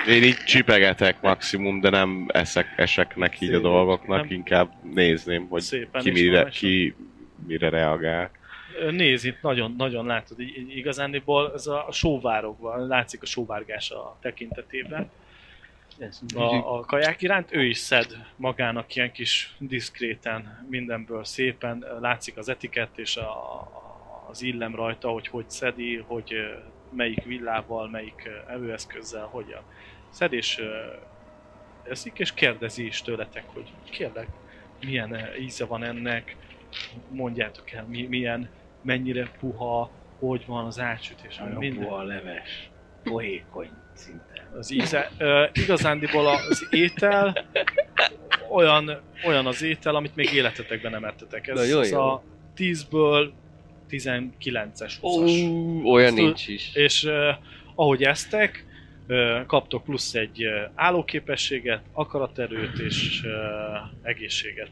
Speaker 5: Én így csipegetek maximum, de nem eszek, esek neki így a
Speaker 3: Szép.
Speaker 5: dolgoknak,
Speaker 3: Nem.
Speaker 5: inkább nézném, hogy
Speaker 3: Szépen
Speaker 5: ki
Speaker 3: és
Speaker 5: mire,
Speaker 3: normálisan.
Speaker 5: ki mire reagál.
Speaker 3: Ö, Nézd, itt nagyon, nagyon látod, így, így igazániból ez a, a sóvárogban, látszik a sóvárgás a tekintetében. A, a kaják iránt ő is szed magának ilyen kis diszkréten mindenből szépen, látszik az etikett és a, a- az illem rajta, hogy hogy szedi, hogy ö, melyik villával, melyik ö, evőeszközzel, hogyan szed és ö, eszik, és kérdezi is tőletek, hogy kérlek, milyen ö, íze van ennek, mondjátok el, mi, milyen, mennyire puha, hogy van az átsütés,
Speaker 2: Nagyon
Speaker 3: minden
Speaker 2: puha a leves. Poékony szinte.
Speaker 3: az íze. Ö, igazándiból az étel olyan, olyan az étel, amit még életetekben nem ettetek. Ez,
Speaker 4: Na, jó,
Speaker 3: ez
Speaker 4: jó.
Speaker 3: a 10-ből 19-es 20
Speaker 4: Ó, olyan
Speaker 3: Azt tud-
Speaker 4: nincs is.
Speaker 3: És ö, ahogy eztek, ö, Ö, Kaptok plusz egy ö, állóképességet, akaraterőt és ö, egészséget.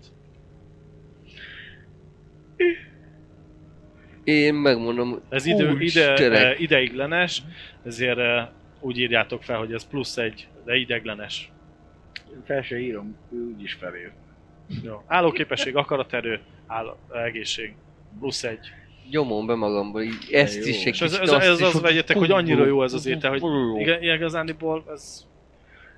Speaker 4: Én megmondom,
Speaker 3: Ez idő, ide,
Speaker 4: Úristenek.
Speaker 3: ö, ideiglenes, ezért ö, úgy írjátok fel, hogy ez plusz egy, de ideiglenes.
Speaker 2: Fel se írom, ő úgyis felír.
Speaker 3: Jó. Állóképesség, akaraterő, áll, egészség. Plusz egy.
Speaker 4: gyomom be magamból, így ezt
Speaker 2: jó.
Speaker 4: is egy
Speaker 3: És
Speaker 4: kicsit
Speaker 3: az, ez, ez, ez
Speaker 4: is,
Speaker 3: az vegyetek, hogy annyira jó ez az étel, hogy igen, igazániból ez...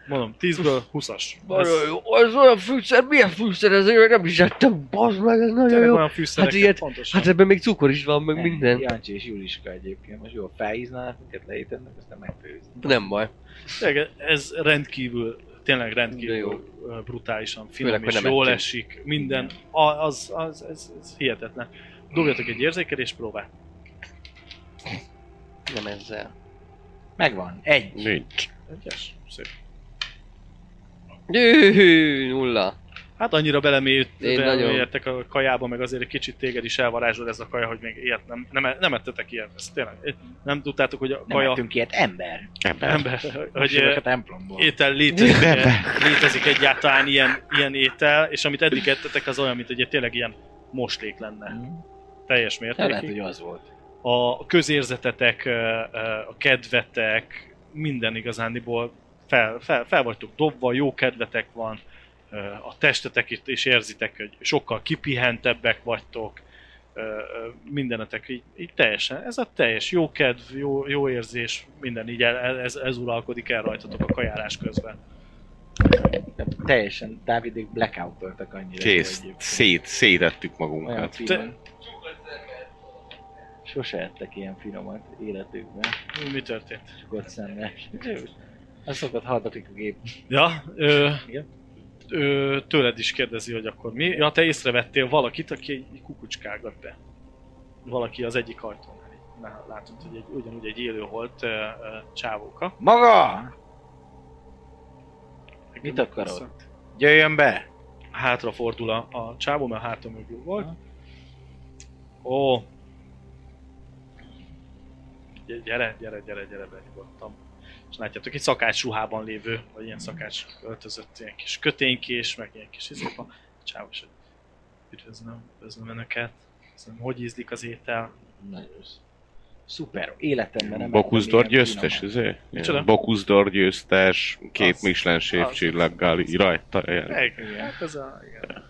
Speaker 3: Mondom, 10-ből 20-as.
Speaker 4: Nagyon jó. Az olyan fűszer, milyen fűszer ez, én nem is ettem, bazd meg, ez nagyon
Speaker 3: Tényleg
Speaker 4: jó.
Speaker 3: olyan fűszerek,
Speaker 4: Hát ilyet-
Speaker 3: pontosan.
Speaker 4: Hát ebben még cukor is van, meg minden.
Speaker 2: Jancsi és Juliska egyébként most jól felhíznának, minket leétennek, aztán megfőzni.
Speaker 4: Nem baj.
Speaker 3: Tényleg, ez rendkívül, tényleg rendkívül
Speaker 4: De jó.
Speaker 3: jó. brutálisan finom
Speaker 4: Főleg,
Speaker 3: Főleg,
Speaker 4: hogy
Speaker 3: és
Speaker 4: nem
Speaker 3: jól
Speaker 4: ettünk.
Speaker 3: esik. Minden, A- az, az, ez, ez hihetetlen. Dobjatok egy érzékelés próbát.
Speaker 4: Nem ezzel.
Speaker 2: Megvan, egy.
Speaker 5: Nincs.
Speaker 3: Egyes, szép.
Speaker 4: Jö, nulla.
Speaker 3: Hát annyira
Speaker 4: Én nagyon.
Speaker 3: belemélyedtek a kajába, meg azért egy kicsit téged is elvarázsol ez a kaja, hogy még ilyet nem, nem, nem ettetek ilyet. Ez tényleg, nem tudtátok, hogy a
Speaker 2: Nem
Speaker 3: kaja
Speaker 2: ettünk ilyet, ember.
Speaker 5: Ember.
Speaker 4: [laughs]
Speaker 3: ember,
Speaker 2: Hogy
Speaker 3: hogy
Speaker 2: jövök
Speaker 3: eh,
Speaker 2: a templomból.
Speaker 3: étel létezik, létezik egyáltalán ilyen, ilyen étel, és amit eddig ettetek, az olyan, mint hogy egy tényleg ilyen moslék lenne.
Speaker 2: Mhm.
Speaker 3: Teljes
Speaker 2: Nem lehet,
Speaker 3: mértékig.
Speaker 2: hogy az volt.
Speaker 3: A közérzetetek, ö, ö, a kedvetek, minden igazándiból fel, fel, fel vagytok dobva, jó kedvetek van, ö, a testetek itt is érzitek, hogy sokkal kipihentebbek vagytok, ö, ö, mindenetek így, így teljesen, ez a teljes jó kedv, jó, jó érzés, minden így el, el- ez, ez uralkodik el rajtatok a kajálás közben.
Speaker 2: Nem, teljesen Dávidék blackoutoltak annyira.
Speaker 5: Kész.
Speaker 2: hogy
Speaker 5: Szét, szétettük
Speaker 2: Olyan
Speaker 5: magunkat.
Speaker 2: finom. Sose ettek ilyen finomat életükben,
Speaker 3: Mi történt?
Speaker 2: csukott szemmel. Azokat hallgatik a gép.
Speaker 3: Ja, ö,
Speaker 2: Igen.
Speaker 3: ö, tőled is kérdezi, hogy akkor mi. Ja, te észrevettél valakit, aki egy kukucskágat be. Valaki az egyik ajtónál. így. Na, látod, hogy egy, ugyanúgy egy élő volt ö, ö, csávóka.
Speaker 2: Maga! Mit akarod? Jöjjön be!
Speaker 3: Hátra fordul a, a csávó, mert hátra mögül volt. Ó. Gy- Gyere, gyere, gyere, gyere, be nyugodtan. És látjátok, egy szakács ruhában lévő, vagy ilyen szakács öltözött, ilyen kis köténykés, meg ilyen kis izépa. Csávos, hogy üdvözlöm, üdvözlöm önöket. Üdvözlöm, hogy ízlik az étel?
Speaker 2: Nagyon sz- Szuper, életemben nem
Speaker 5: Bokuszdor
Speaker 2: ettem ilyen
Speaker 5: győztes,
Speaker 2: finomat.
Speaker 5: izé?
Speaker 3: Micsoda?
Speaker 5: Bokuszdor győztes, két
Speaker 3: Az-
Speaker 5: Michelin
Speaker 3: az-
Speaker 5: sévcsillaggal így rajta. ilyen.
Speaker 3: Meg, hát ez a... Igen.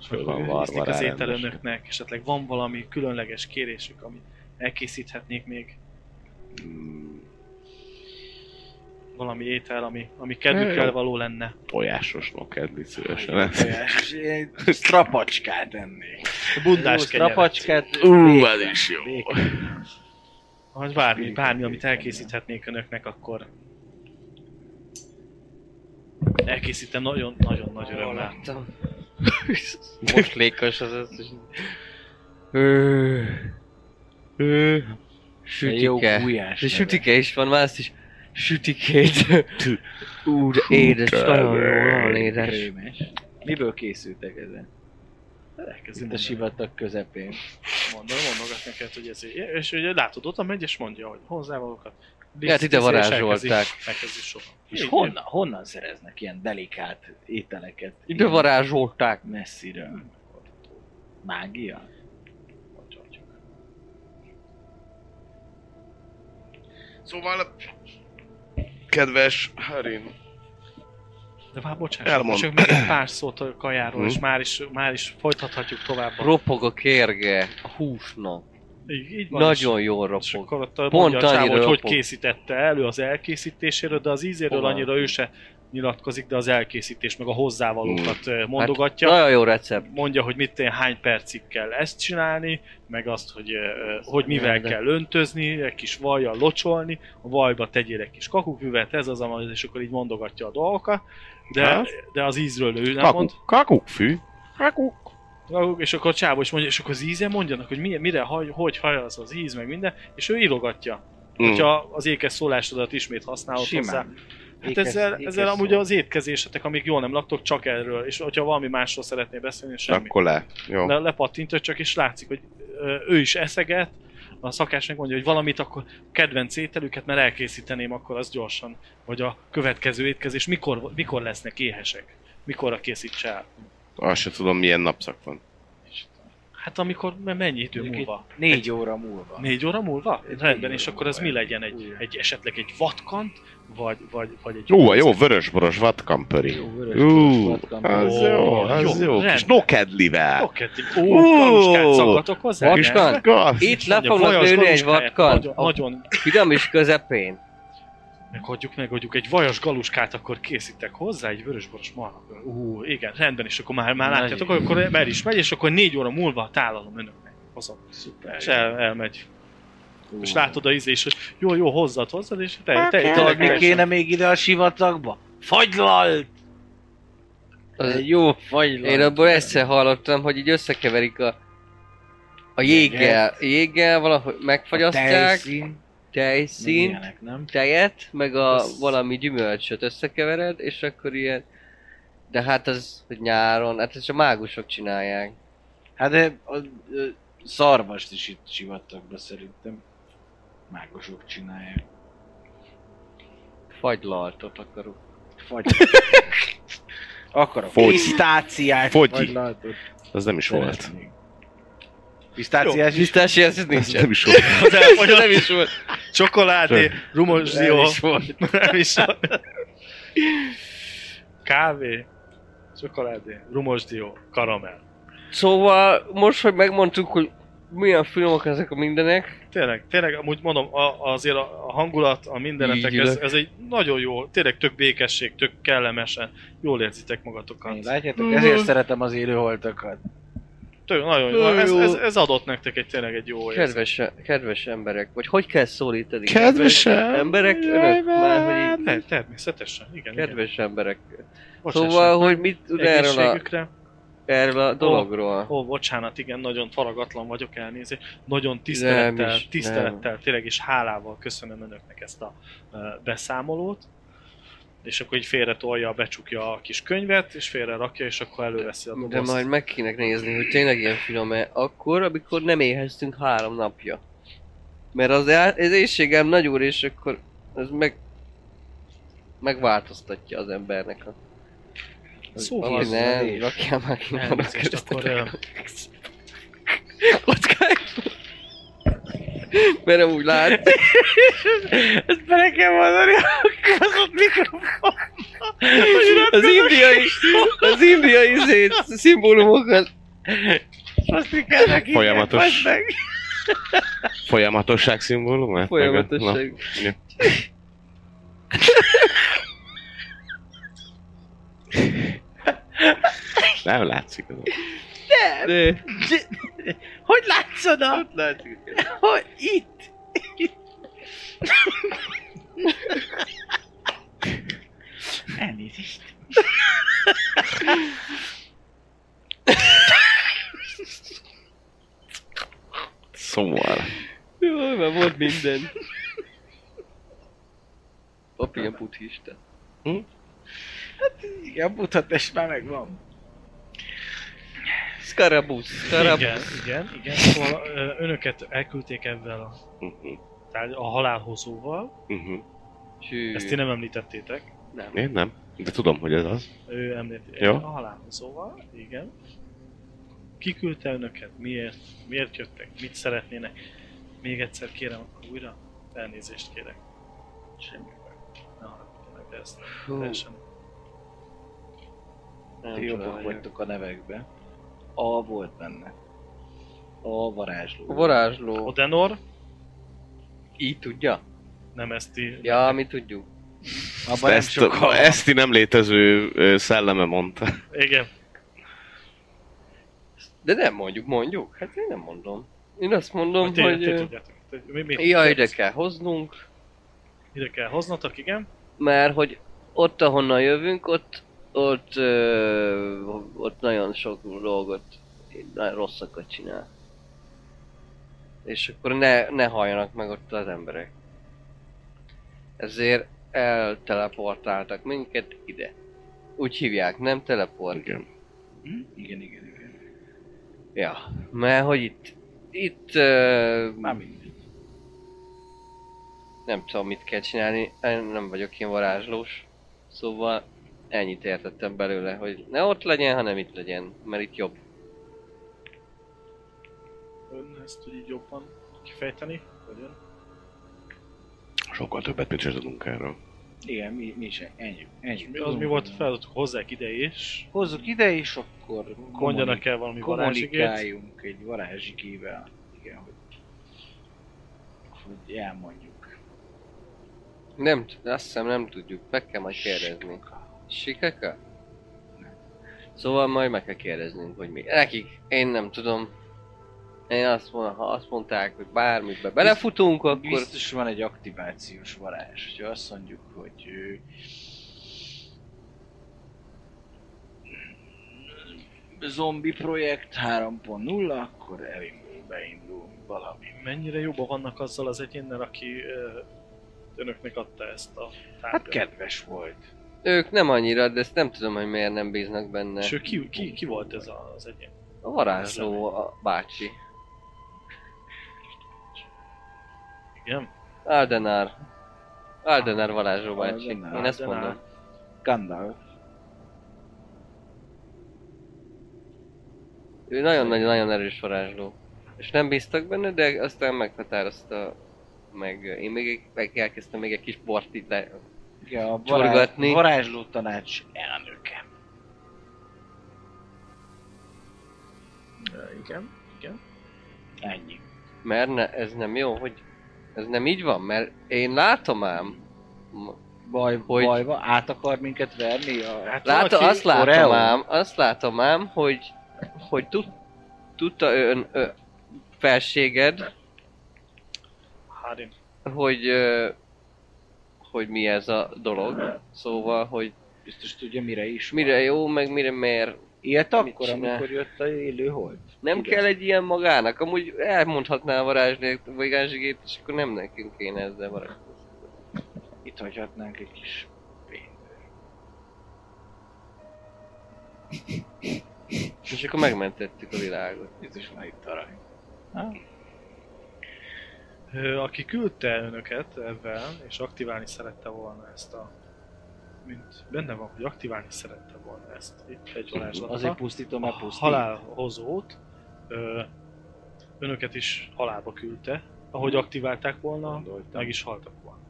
Speaker 3: És
Speaker 5: Föl
Speaker 3: hogy
Speaker 5: van
Speaker 3: hogy
Speaker 5: varva
Speaker 3: ízlik az
Speaker 5: rá
Speaker 3: étel
Speaker 5: rendesen.
Speaker 3: önöknek, esetleg van valami különleges kérésük, amit elkészíthetnék még?
Speaker 5: Mm,
Speaker 3: Valami étel, ami, ami kedvükkel való lenne?
Speaker 5: Tojásos nokedli szívesen.
Speaker 2: Igen,
Speaker 5: lesz.
Speaker 2: tojás, és én egy Strapacskát ennék.
Speaker 3: Bundás
Speaker 2: Jó
Speaker 3: kenyeret.
Speaker 2: Strapacskát.
Speaker 5: Ú, ez is jó.
Speaker 3: Ha bármi,
Speaker 2: Békén,
Speaker 3: bármi, amit
Speaker 2: békén,
Speaker 3: elkészíthetnék önöknek, akkor elkészítem nagyon-nagyon nagy örömmel.
Speaker 4: Láttam. [laughs] Most lékos az az. Ö, ö,
Speaker 2: Jó
Speaker 4: Sütike.
Speaker 2: gulyás.
Speaker 4: De
Speaker 2: neve.
Speaker 4: sütike is van, már azt is sütikét. Ú, de édes, nagyon jó, nagyon édes.
Speaker 2: Krémes. Miből készültek ezen?
Speaker 3: Elkezdem
Speaker 2: Itt a sivatag közepén.
Speaker 3: Mondom, mondogat neked, hogy ez így. És ugye látod, ott megy és mondja, hogy hozzávalókat.
Speaker 4: Hát ide varázsolták.
Speaker 3: Elkezdi sokan.
Speaker 2: És honnan, honnan szereznek ilyen delikát ételeket?
Speaker 4: Ide varázsolták.
Speaker 2: Messziről. Mágia?
Speaker 5: Szóval, kedves Harin,
Speaker 3: De már bocsáss,
Speaker 5: Elmond.
Speaker 3: Elmond. csak még egy pár szót a kajáról,
Speaker 5: Hm?
Speaker 3: és már is, már is folytathatjuk tovább. A...
Speaker 4: Ropog a kérge a húsnak.
Speaker 3: Így, így van, és-
Speaker 4: Nagyon jól
Speaker 3: És
Speaker 4: ropog.
Speaker 3: akkor ott Pont
Speaker 4: Pont
Speaker 3: mondja a csávó,
Speaker 4: annyira
Speaker 3: hogy hogy
Speaker 4: lopok.
Speaker 3: készítette elő az elkészítéséről, de az ízéről
Speaker 4: Fogalmam
Speaker 3: annyira ő se nyilatkozik, de az elkészítés meg a hozzávalókat ö, mondogatja.
Speaker 4: Hm. Hát, nagyon jó recept.
Speaker 3: mondja, hogy mit én hány percig kell ezt csinálni, meg azt, hogy, ö, hogy mivel
Speaker 4: Rendben.
Speaker 3: kell öntözni, egy kis vajjal locsolni, a vajba tegyél egy kis kakukküvet, ez az, amaz, és akkor így mondogatja a dolgokat, de,
Speaker 5: Hát?
Speaker 3: de az ízről ő nem mond.
Speaker 5: kakuk, kakukkfű, kakuk.
Speaker 3: Rakjuk, és akkor a csábó is mondja, és akkor az íze mondjanak, hogy mire, mire haj, hogy haj az az íz, meg minden, és ő írogatja. Mm. Hogyha az ékes szólásodat ismét használod hozzá.
Speaker 2: Hmm. Simán.
Speaker 3: Hát
Speaker 2: Ékes-
Speaker 3: ezzel,
Speaker 2: ékes
Speaker 3: ezzel
Speaker 2: szó.
Speaker 3: amúgy az étkezésetek, amíg jól nem laktok, csak erről. És hogyha valami másról szeretnél beszélni, semmi.
Speaker 5: Akkor le. Jó.
Speaker 3: Le, lepattintott csak, és látszik, hogy ö, ő is eszeget, a szakás megmondja, hogy valamit, akkor a kedvenc ételüket, mert elkészíteném akkor az gyorsan. Vagy a következő étkezés, mikor, mikor lesznek éhesek? Mikorra készítse el?
Speaker 5: Azt se tudom, milyen napszak van.
Speaker 3: Hát amikor me- mennyi idő
Speaker 2: Mondjuk
Speaker 3: múlva?
Speaker 2: Négy óra múlva.
Speaker 3: Négy óra múlva?
Speaker 2: Négy
Speaker 3: Rendben,
Speaker 2: óra
Speaker 3: és akkor az mi
Speaker 2: múlva,
Speaker 3: legyen? Egy,
Speaker 2: újra.
Speaker 3: egy esetleg egy vatkant? Vagy, vagy, vagy egy...
Speaker 5: Jó, jó, vörösboros vatkampöri.
Speaker 2: Jó, vörös
Speaker 5: Ú,
Speaker 2: boros vatkampöri.
Speaker 5: az jó, az
Speaker 3: Jó,
Speaker 5: jó. Kis
Speaker 3: rendben.
Speaker 5: nokedlivel.
Speaker 3: Okedli.
Speaker 5: Ó,
Speaker 3: Ó, kaluskát szaggatok hozzá?
Speaker 5: Kis
Speaker 4: Vacskán?
Speaker 3: nem?
Speaker 5: gaz.
Speaker 4: Itt le
Speaker 3: Mondja,
Speaker 4: fognak
Speaker 3: vajas
Speaker 4: lőni egy
Speaker 3: galuskáját,
Speaker 4: vatkan.
Speaker 3: Nagyon,
Speaker 4: A
Speaker 3: nagyon
Speaker 4: piramis közepén.
Speaker 3: Megadjuk, megadjuk. Egy vajas galuskát akkor készítek hozzá, egy vörösboros marha. Ú, igen, rendben, és akkor már, már
Speaker 2: Nagyon
Speaker 3: látjátok, akkor el is megy, és akkor négy óra múlva tálalom önöknek. Hozom. Szuper. És el, elmegy.
Speaker 2: Ú.
Speaker 3: És látod a íz, és hogy jó, jó, hozzad, hozzad, és te, te, te,
Speaker 2: Tudod, mi
Speaker 3: te
Speaker 2: kéne még ide a sivatagba? Fagylalt!
Speaker 4: Az-
Speaker 2: Egy jó fagylalt.
Speaker 4: Én abból egyszer hallottam, hogy így összekeverik a, a jéggel. Jéggel valahogy megfagyasztják,
Speaker 2: Tejszín.
Speaker 4: tejszínt,
Speaker 2: Ilyenek, nem?
Speaker 4: tejet, meg a
Speaker 2: Az-
Speaker 4: valami gyümölcsöt összekevered, és akkor ilyen... De hát az, hogy nyáron, hát ezt a mágusok csinálják.
Speaker 2: Hát de a, ö, szarvast is itt sivatagba szerintem. Mágosok csinálják.
Speaker 4: Fagylaltot akarok.
Speaker 2: Fagy. Akarok.
Speaker 5: Fogy.
Speaker 2: Pisztáciás
Speaker 5: Fogy.
Speaker 2: fagylaltot.
Speaker 5: Az nem is volt.
Speaker 2: Szeretnék. Pisztáciás is?
Speaker 4: Listási, ez [laughs]
Speaker 5: Ez
Speaker 4: nincs.
Speaker 5: nem is volt.
Speaker 3: az elfogyott
Speaker 4: Nem is volt.
Speaker 3: csokoládé, rumos
Speaker 4: Nem
Speaker 3: zió,
Speaker 4: is volt.
Speaker 3: [laughs] nem is kávé, csokoládé, rumos dió, karamell.
Speaker 4: Szóval most, hogy megmondtuk, hogy milyen filmek ezek a mindenek,
Speaker 3: Tényleg, tényleg, amúgy mondom, a, azért a, a hangulat, a mindenetek,
Speaker 4: Így
Speaker 3: ez,
Speaker 4: ülök.
Speaker 3: ez egy nagyon jó, tényleg tök békesség, tök kellemesen, jól érzitek magatokat.
Speaker 2: Látjátok, ezért szeretem az élőholtakat.
Speaker 3: Tök, nagyon jó.
Speaker 4: Nagyon
Speaker 3: Ez,
Speaker 4: jó.
Speaker 3: ez, ez, adott nektek egy tényleg egy jó érzést.
Speaker 4: kedves, kedves emberek, vagy hogy kell szólítani?
Speaker 5: Kedves
Speaker 4: emberek, önök már, hogy így,
Speaker 3: Nem, természetesen, igen.
Speaker 4: kedves emberek.
Speaker 3: igen.
Speaker 4: Szóval, hogy mit tud erről a,
Speaker 3: Egészségükre.
Speaker 4: erről a dologról?
Speaker 3: Ó, bocsánat, igen, nagyon faragatlan vagyok, elnézést. Nagyon tisztelettel,
Speaker 4: Nem is,
Speaker 3: tisztelettel, tényleg és hálával köszönöm önöknek ezt a ö, beszámolót. És akkor így félre tolja, becsukja a kis könyvet, és félre rakja, és akkor előveszi a
Speaker 4: De
Speaker 3: dobozt.
Speaker 4: majd meg kéne nézni, hogy tényleg ilyen finom-e akkor, amikor nem éheztünk három napja. Mert az, el- az éjségem nagy úr, és akkor ez meg megváltoztatja az embernek a...
Speaker 3: Szóval
Speaker 4: Valami
Speaker 3: az...
Speaker 4: nem, rakjál már ki maga
Speaker 3: [laughs] Elnézést, akkor... [laughs] ö,
Speaker 4: kockáját. [laughs] Mert amúgy lát,
Speaker 2: Ezt bele kell mondani a kaszott mikrofonba.
Speaker 4: az indiai, az indiai izét, szimbólumokat
Speaker 2: Azt kell neki.
Speaker 5: Folyamatos.
Speaker 2: Fasd meg.
Speaker 5: Folyamatosság szimbólum?
Speaker 4: folyamatosan.
Speaker 5: Nem látszik az.
Speaker 4: De,
Speaker 2: Hogy látszod a...
Speaker 4: látszik.
Speaker 2: Hogy itt? Elnézést.
Speaker 5: Szóval.
Speaker 4: Jaj, már volt minden. Apa ilyen buddhista.
Speaker 2: Igen, mutatás már megvan.
Speaker 4: Scarabusz,
Speaker 3: Igen,
Speaker 4: Scarabusz.
Speaker 3: igen, igen. Szóval ö, önöket elküldték ebben a,
Speaker 5: Mhm,
Speaker 3: tárgy- a halálhozóval.
Speaker 5: mhm.
Speaker 4: Hű.
Speaker 3: Ezt ti nem említettétek.
Speaker 4: nem.
Speaker 5: Én nem. De tudom, hogy ez az.
Speaker 3: Ő említi.
Speaker 5: Jó.
Speaker 3: A halálhozóval, igen. Kiküldte önöket, miért, miért jöttek, mit szeretnének. Még egyszer kérem, akkor újra elnézést kérek. Semmi baj. Ne haragudjanak, de ezt
Speaker 4: Hú,
Speaker 3: teljesen
Speaker 4: nem
Speaker 2: Ti jobbak
Speaker 4: csinálják.
Speaker 2: vagytok a nevekbe. A volt benne. A varázsló.
Speaker 4: A varázsló.
Speaker 3: Odenor,
Speaker 4: Így tudja?
Speaker 3: nem ezt ti...
Speaker 4: Ja, mi tudjuk.
Speaker 2: Abban nem
Speaker 5: Ezt,
Speaker 2: sokkal.
Speaker 5: ezt nem létező ö, szelleme mondta.
Speaker 3: Igen.
Speaker 4: De nem mondjuk, mondjuk. Hát én nem mondom. Én azt mondom,
Speaker 3: Tudom, ti, hogy...
Speaker 4: hogy...
Speaker 3: ti
Speaker 4: ö,
Speaker 3: tudjátok. Ti- Mi, mi,
Speaker 4: Ja, ide kell hoznunk,
Speaker 3: ide kell hoznatok, igen.
Speaker 4: mert hogy ott, ahonnan jövünk, ott, ott, ö, ott nagyon sok dolgot, nagyon rosszakat csinál. És akkor ne, ne halljanak meg ott az emberek. Ezért elteleportáltak minket ide. Úgy hívják, nem teleport.
Speaker 5: Igen.
Speaker 2: Hm? Igen, igen, igen.
Speaker 4: Ja, mert hogy itt, itt, ö,
Speaker 2: Már mindegy.
Speaker 4: nem tudom mit kell csinálni, én nem vagyok én varázslós. Szóval ennyit értettem belőle, hogy ne ott legyen, hanem itt legyen, mert itt jobb.
Speaker 3: Ön ezt tud így jobban kifejteni? Vagy ön?
Speaker 5: Sokkal többet mit sem tudunk erről.
Speaker 2: Igen, mi, mi is ennyi.
Speaker 3: És
Speaker 2: ennyi.
Speaker 3: mi- Az mi volt a feladatuk? Hozzák ide is.
Speaker 2: Hozzuk ide, és akkor
Speaker 3: Mondjanak el valami varázsigét.
Speaker 2: kommunikáljunk egy varázsigével. Igen, hogy, hogy elmondjuk.
Speaker 4: Nem, t- azt hiszem nem tudjuk, meg kell majd kérdezni. Sikeka? Szóval majd meg kell kérdeznünk, hogy mi. Nekik, én nem tudom. Én azt mondom, ha azt mondták, hogy bármibe belefutunk,
Speaker 2: Akkor...
Speaker 4: akkor...
Speaker 2: Biztos van egy aktivációs varázs, hogyha azt mondjuk, hogy ő... Zombi projekt 3.0, akkor elindul, beindul valami.
Speaker 3: Mennyire jobban vannak azzal az egyénnel, aki ö, önöknek adta ezt a
Speaker 2: Hát
Speaker 3: tárgyat?
Speaker 2: kedves volt.
Speaker 4: Ők nem annyira, de ezt nem tudom, hogy miért nem bíznak benne.
Speaker 3: Sőt, ki, ki, ki volt ez a- az egyén?
Speaker 4: A varázsló a bácsi.
Speaker 3: Igen?
Speaker 4: Aldenár. Aldenár varázsló bácsi.
Speaker 2: Aldenár,
Speaker 4: Én ezt
Speaker 3: Aldenár.
Speaker 4: mondom.
Speaker 2: Gandalf.
Speaker 4: Ő nagyon-nagyon-nagyon erős varázsló. És nem bíztak benne, de aztán meghatározta meg én még egy- meg elkezdtem még egy kis bort itt le...
Speaker 2: Igen, a varázs,
Speaker 4: Csorgatni.
Speaker 2: varázsló tanács elnöke.
Speaker 3: igen.
Speaker 2: Ennyi.
Speaker 4: Mert ne, ez nem jó, hogy ez nem így van, mert én látom ám. Ma-
Speaker 2: Baj,
Speaker 4: Hogy-
Speaker 2: hogy... baj van, át akar minket verni a...
Speaker 3: Hát
Speaker 4: Látom,
Speaker 3: valaki-
Speaker 4: azt látom
Speaker 2: Oreo.
Speaker 4: ám, azt látom ám, hogy, hogy tud, tudta ön, ö, felséged,
Speaker 3: Hárin.
Speaker 4: hogy, ö, hogy mi ez a dolog. Szóval, hogy
Speaker 2: Biztos tudja mire is. van.
Speaker 4: mire jó, meg mire miért.
Speaker 2: Élt
Speaker 4: Mit
Speaker 2: akkor,
Speaker 4: csinál?
Speaker 2: amikor jött a élő hold?
Speaker 4: Nem
Speaker 2: Igen.
Speaker 4: kell egy ilyen magának, amúgy elmondhatná a varázs nélkül, vagy varázsigét, és akkor nem nekünk kéne ezzel varázs.
Speaker 2: Itt hagyhatnánk egy kis pénzt.
Speaker 4: És akkor megmentettük a világot.
Speaker 2: Ez is már itt arany.
Speaker 3: Ö, Aki küldte önöket ebben, és aktiválni szerette volna ezt a... Mint benne van, hogy aktiválni szerette volna ezt itt egy varázslattal.
Speaker 2: Azért pusztítom,
Speaker 3: a
Speaker 2: mert pusztít.
Speaker 3: halálhozót ö, önöket is halálba küldte. Ahogy aktiválták volna,
Speaker 2: Gondoltam.
Speaker 3: meg is haltak volna.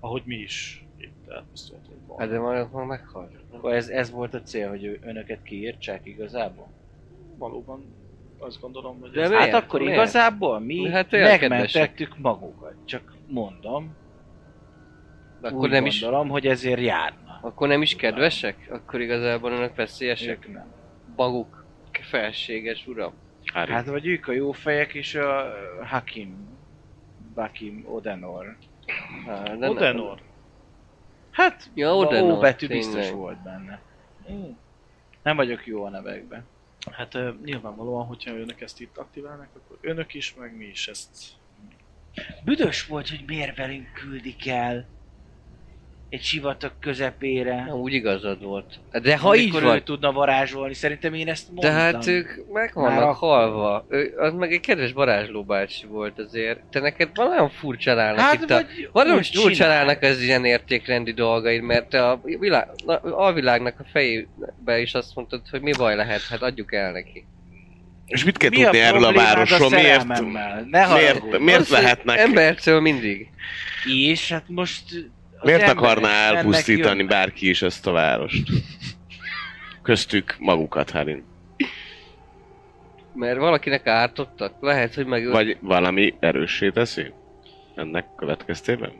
Speaker 3: Ahogy mi is itt elpusztultunk volna.
Speaker 4: Hát de majd, majd meghalt.
Speaker 2: Akkor ez, ez volt a cél, hogy ő- önöket kiírtsák igazából?
Speaker 3: valóban azt gondolom, hogy
Speaker 4: De
Speaker 3: ez...
Speaker 4: mi- Hát Miért?
Speaker 2: Hát akkor
Speaker 4: Miért?
Speaker 2: igazából mi
Speaker 4: Hát
Speaker 2: hát
Speaker 4: olyan
Speaker 2: megmentettük magukat. Csak mondom,
Speaker 4: De akkor
Speaker 2: úgy
Speaker 4: nem is,
Speaker 2: gondolom, hogy ezért járna.
Speaker 4: akkor nem is kedvesek? Akkor igazából önök veszélyesek?
Speaker 2: Ők nem.
Speaker 4: Maguk felséges uram.
Speaker 5: Hári,
Speaker 2: Hát vagy ők a jó fejek és a ö, Hakim, Bakim, Odenor.
Speaker 4: Há, de nem.
Speaker 3: Odenor,
Speaker 2: Hát,
Speaker 4: Ja,
Speaker 2: a
Speaker 4: Odenor,
Speaker 2: O betű
Speaker 4: tényleg.
Speaker 2: biztos volt benne. Hm. Nem vagyok jó a nevekben.
Speaker 3: hát ö, nyilvánvalóan, hogyha önök ezt itt aktiválnak, akkor önök is, meg mi is ezt
Speaker 2: Büdös volt, hogy miért velünk küldik el egy sivatag közepére.
Speaker 4: Nem, úgy igazad volt. De ha
Speaker 2: Amikor
Speaker 4: így van,
Speaker 2: ő tudna varázsolni, szerintem én ezt mondtam.
Speaker 4: de hát ők meg
Speaker 2: Már
Speaker 4: vannak
Speaker 2: akkor.
Speaker 4: halva. Ő, az meg egy kedves varázsló bácsi volt azért. Te neked van olyan furcsán állnak hát, itt a...
Speaker 2: vagy
Speaker 4: Valami
Speaker 2: úgy csinál.
Speaker 4: furcsán állnak az ilyen értékrendi dolgaid, mert te a, világ, na, a világnak a fejébe is azt mondtad, hogy mi baj lehet, hát adjuk el neki.
Speaker 5: És mit kell
Speaker 2: Mi
Speaker 5: tudni
Speaker 2: a
Speaker 5: erről a
Speaker 2: problémád
Speaker 5: városról? Miért,
Speaker 2: szerelmemmel? Ne
Speaker 5: miért,
Speaker 2: haragudj.
Speaker 5: miért
Speaker 4: Az, hogy
Speaker 5: lehetnek,
Speaker 4: Embertől mindig.
Speaker 2: És hát most... az
Speaker 5: miért
Speaker 2: emberek
Speaker 5: akarná
Speaker 2: mennek,
Speaker 5: elpusztítani
Speaker 2: jönnek.
Speaker 5: bárki is ezt a várost? Köztük magukat, Hárin.
Speaker 4: Mert valakinek ártottak, lehet, hogy meg...
Speaker 5: Vagy valami erőssé teszi? Ennek következtében?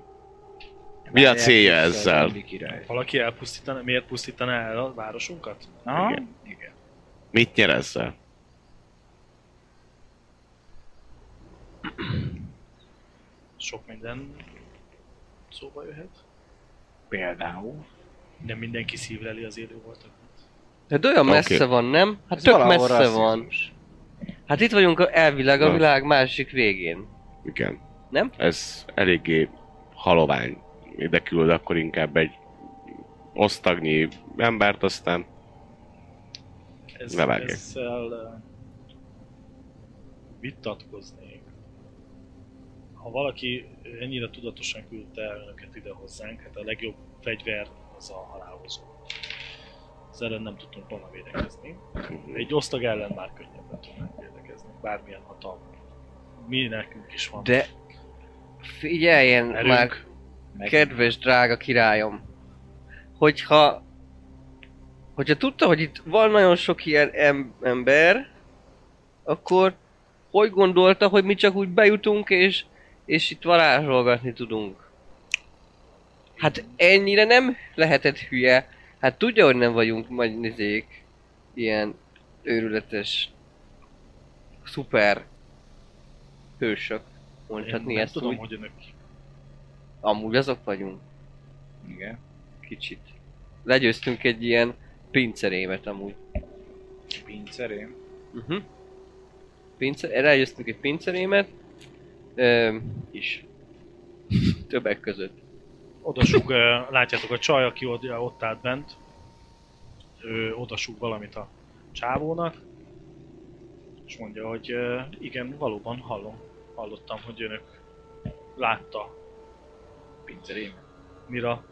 Speaker 5: Mi a célja
Speaker 2: Várják,
Speaker 5: ezzel?
Speaker 2: a Zombi király.
Speaker 3: valaki elpusztítaná, miért pusztítaná el a városunkat?
Speaker 2: Aha.
Speaker 5: Igen. Mit nyer ezzel?
Speaker 3: Sok minden szóba jöhet.
Speaker 2: Például.
Speaker 3: Nem mindenki szívleli az élő voltakat.
Speaker 4: Hát olyan
Speaker 5: Oké.
Speaker 4: messze van, nem? Hát tök
Speaker 2: valahol
Speaker 4: messze
Speaker 2: rasszizmus.
Speaker 4: van. Hát itt vagyunk a- elvileg a
Speaker 5: Na.
Speaker 4: világ másik végén.
Speaker 5: Igen.
Speaker 4: Nem?
Speaker 5: Ez eléggé halovány. Ide küld akkor inkább egy osztagnyi embert, aztán
Speaker 3: Ez,
Speaker 5: Levágják.
Speaker 3: ezzel uh, vitatkoznék. Ha ha valaki ennyire tudatosan küldte önöket ide hozzánk, hát a legjobb fegyver az a halálhozó. Az ellen nem tudtunk volna védekezni. Egy osztag ellen már könnyebben tudnánk védekezni, bármilyen hatalma. Mi nekünk is van.
Speaker 4: De figyeljen
Speaker 3: erőnk.
Speaker 4: már, kedves drága királyom, hogyha, hogyha tudta, hogy itt van nagyon sok ilyen em- ember, akkor hogy gondolta, hogy mi csak úgy bejutunk és, és itt varázsolgatni tudunk? Hát ennyire nem lehetett hülye. Hát tudja, hogy nem vagyunk majd nézék ilyen őrületes, szuper hősök.
Speaker 3: Én
Speaker 4: Mondhatni
Speaker 3: nem
Speaker 4: ezt
Speaker 3: tudom,
Speaker 4: úgy.
Speaker 3: hogy önök
Speaker 4: Amúgy azok vagyunk.
Speaker 2: Igen.
Speaker 4: Kicsit. Legyőztünk egy ilyen pincerémet amúgy.
Speaker 2: Pincerém.
Speaker 3: Mhm.
Speaker 4: Uh-huh. Pincer, legyőztünk egy pincerémet. Ö, is. Többek között.
Speaker 3: odasúg, ö, látjátok a csaj, aki ott, ott állt bent, ő odasúg valamit a csávónak, és mondja, hogy ö, igen, valóban hallom, hallottam, hogy önök látta
Speaker 2: Pincerém.
Speaker 3: Mira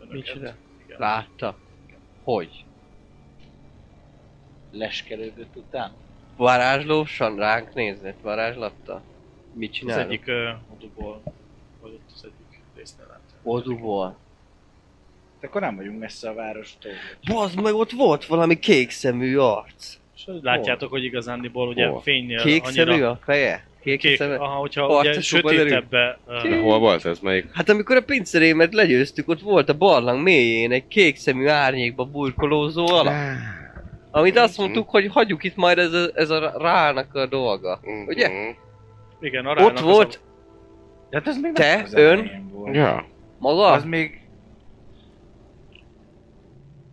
Speaker 3: önöket.
Speaker 4: Micsoda?
Speaker 3: Igen.
Speaker 4: Látta. Hogy?
Speaker 2: Leskelődött után.
Speaker 4: Varázslósan ránk nézett, varázslatta. Mit
Speaker 3: Az
Speaker 4: csinálunk?
Speaker 3: egyik ö, oduból, vagy ott az egyik résznél látta.
Speaker 4: Oduból.
Speaker 2: De akkor nem vagyunk messze a várostól.
Speaker 4: Bazd meg, ott volt valami kék szemű arc.
Speaker 3: És látjátok, hogy igazándiból ugye
Speaker 5: Hol?
Speaker 3: fénynél
Speaker 4: Kék szemű
Speaker 3: annyira...
Speaker 4: a feje?
Speaker 3: Kék,
Speaker 4: Kék, kék szeme?
Speaker 3: aha, hogyha
Speaker 4: Arca
Speaker 3: ugye
Speaker 4: sokban derül.
Speaker 3: sötétebbe... ö,
Speaker 5: De hol volt ez? Melyik?
Speaker 4: Hát amikor a pincerémet legyőztük, ott volt a barlang mélyén egy kék szemű árnyékba burkolózó alak. Amit azt mondtuk, hogy hagyjuk itt majd ez a, ez a rának a dolga. Ugye?
Speaker 5: Mhm.
Speaker 3: Igen, a rának
Speaker 4: Ott
Speaker 3: az a-
Speaker 4: volt
Speaker 2: De hát ez még
Speaker 4: Te,
Speaker 2: nem az elején Volt.
Speaker 5: Ja.
Speaker 4: maga?
Speaker 2: Az még...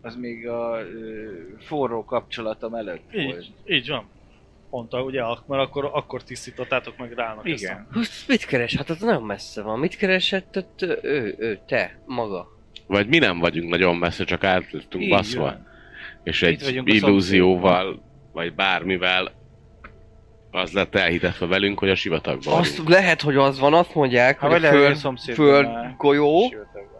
Speaker 2: Az még a ö, forró kapcsolatom előtt volt.
Speaker 3: Így, így van. Pont, ugye, ak- mert akkor, akkor tisztítottátok meg rának ezt a...
Speaker 2: Igen.
Speaker 4: Húsz, mit keres? Hát az nagyon messze van. Mit keresett ott ö, ő, ő, te, maga?
Speaker 5: Vagy mi nem vagyunk nagyon messze, csak át lettünk
Speaker 2: Így
Speaker 5: baszva.
Speaker 2: van.
Speaker 5: És
Speaker 2: Itt
Speaker 5: egy
Speaker 2: vagyunk a
Speaker 5: illúzióval, vagy bármivel az lett elhitetve velünk, hogy a sivatagban
Speaker 4: Azt
Speaker 5: vagyunk.
Speaker 4: lehet, hogy az van, azt mondják,
Speaker 2: Hát
Speaker 4: hogy
Speaker 2: vagy
Speaker 4: a
Speaker 2: lehet, hogy a
Speaker 4: föld,
Speaker 2: szomszédban
Speaker 4: föld
Speaker 2: már
Speaker 4: golyó
Speaker 2: sivatagban.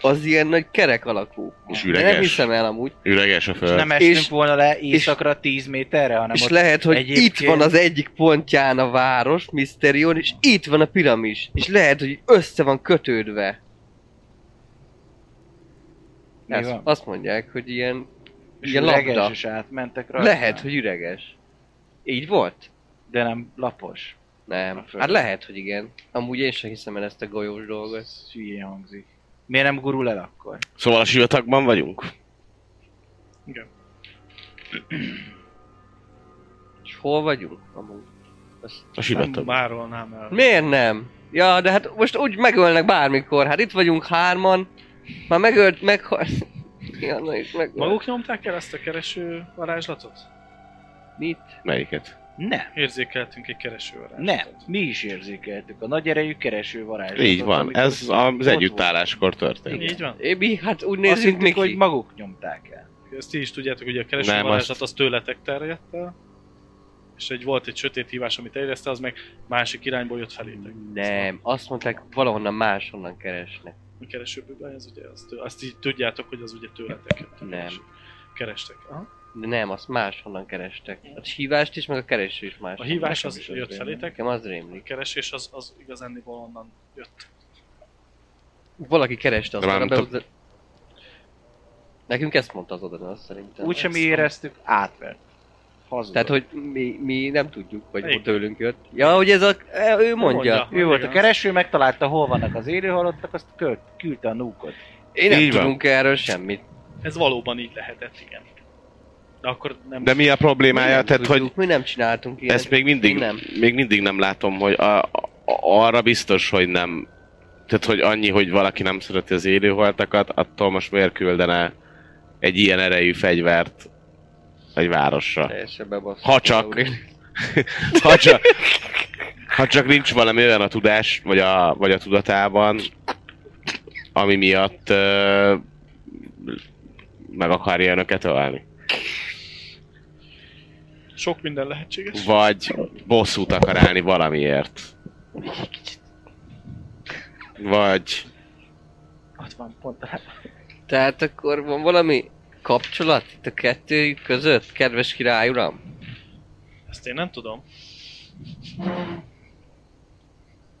Speaker 4: az ilyen nagy kerek alakú.
Speaker 5: És
Speaker 4: De nem
Speaker 5: üreges.
Speaker 4: hiszem el amúgy.
Speaker 5: Üreges a
Speaker 2: És
Speaker 5: föld.
Speaker 2: nem estünk
Speaker 4: És-
Speaker 2: volna le éjszakra 10 méterre, hanem
Speaker 4: És
Speaker 2: ott
Speaker 4: lehet, hogy
Speaker 2: egyébként-
Speaker 4: itt van az egyik pontján a város, Misterion, és itt van a piramis. És lehet, hogy össze van kötődve.
Speaker 2: Mi
Speaker 4: Ezt,
Speaker 2: van?
Speaker 4: azt mondják, hogy ilyen,
Speaker 2: és
Speaker 4: ilyen
Speaker 2: üreges,
Speaker 4: labda.
Speaker 2: és átmentek rajta.
Speaker 4: Lehet, hogy üreges. Így volt?
Speaker 2: De nem lapos. A
Speaker 4: Nem.
Speaker 2: föld.
Speaker 4: Hát lehet, hogy igen. Amúgy én sem hiszem el ezt a golyós dolgot.
Speaker 2: Ez hülyén hangzik. Miért nem gurul el akkor?
Speaker 5: Szóval a sivatagban vagyunk?
Speaker 3: Igen.
Speaker 4: És hol vagyunk amúgy? Azt...
Speaker 5: A
Speaker 3: Nem
Speaker 5: sivatagban.
Speaker 3: várolnám el.
Speaker 4: Miért nem? Ja, de hát most úgy megölnek bármikor. Hát itt vagyunk hárman. Már megölt, meg... [laughs] Ja, na is megölt.
Speaker 3: Maguk nyomták el ezt a kereső varázslatot?
Speaker 4: Mit?
Speaker 5: Melyiket?
Speaker 2: Nem.
Speaker 3: Érzékeltünk egy kereső
Speaker 2: Nem.
Speaker 3: varázslatot.
Speaker 2: Mi is érzékeltük. A nagy erejű kereső varázslatot.
Speaker 5: Így van,
Speaker 2: amikor
Speaker 5: ez
Speaker 2: ott volt.
Speaker 5: az együttálláskor történt.
Speaker 3: Így van.
Speaker 4: Ébi, hát úgy
Speaker 2: Azt
Speaker 4: nézzünk
Speaker 2: hittük,
Speaker 4: még
Speaker 2: hogy
Speaker 4: hogy
Speaker 2: maguk nyomták el.
Speaker 3: Ezt ti is tudjátok, hogy a kereső
Speaker 5: Nem,
Speaker 3: nem, varázslat az tőletek terjedt el. És egy volt egy sötét hívás, amit érezte, az meg másik irányból jött felétek.
Speaker 4: Nem, azt mondták, valahonnan máshonnan keresnek.
Speaker 3: A kereső bűbány, az ugye az tő... azt így tudjátok, hogy az ugye tőletek jött.
Speaker 4: Nem.
Speaker 3: Kerestek. Aha.
Speaker 4: De nem, azt máshonnan kerestek. A hívást is, meg a kereső is
Speaker 3: A
Speaker 4: máshonnan.
Speaker 3: hívás az
Speaker 2: is az
Speaker 3: jött
Speaker 2: rémlik.
Speaker 3: felétek,
Speaker 4: Nekem az
Speaker 3: a
Speaker 4: rémlik.
Speaker 3: keresés az, az igazándiból onnan jött.
Speaker 4: Valaki kereste azt,
Speaker 5: De már
Speaker 4: arra
Speaker 5: nem
Speaker 4: behozott- Nekünk ezt mondta az oda, az szerintem.
Speaker 2: Úgyse mi éreztük, átvert. Hazudott.
Speaker 4: Tehát, hogy mi, mi nem tudjuk, hogy
Speaker 3: Melyik?
Speaker 4: Melyik? tőlünk jött. Ja, hogy ez a... e, Ő mondja.
Speaker 3: mondja.
Speaker 4: mondja.
Speaker 2: Ő volt a
Speaker 3: Igen.
Speaker 2: kereső, megtalálta, hol vannak az élőhalottak, azt költ, küldte a núkot.
Speaker 4: Én nem
Speaker 5: Így van.
Speaker 4: tudunk erről semmit.
Speaker 3: Ez valóban így lehetett, igen. De akkor nem...
Speaker 5: De mi a
Speaker 4: mi
Speaker 5: problémája?
Speaker 4: nem
Speaker 5: Tehát, hogy
Speaker 4: tudjuk, mi nem csináltunk ilyet.
Speaker 5: ezt még mindig,
Speaker 4: Én nem.
Speaker 5: még mindig nem látom, hogy a, a, arra biztos, hogy nem. Tehát, hogy annyi, hogy valaki nem szereti az élőholtakat, attól most miért küldene egy ilyen erejű fegyvert egy városra?
Speaker 4: Teljesen bebaszott.
Speaker 5: Ha csak. [laughs] Ha csak, ha csak nincs valami olyan a tudás, vagy a, vagy a tudatában, ami miatt ö, meg akarja önöket ölni.
Speaker 3: Sok minden lehetséges.
Speaker 5: Vagy bosszút akar állni valamiért.
Speaker 2: Még egy kicsit.
Speaker 5: Vagy...
Speaker 2: Ott van pont hát a
Speaker 4: Tehát akkor van valami kapcsolat itt a kettőjük között, kedves király uram?
Speaker 3: Ezt én nem tudom.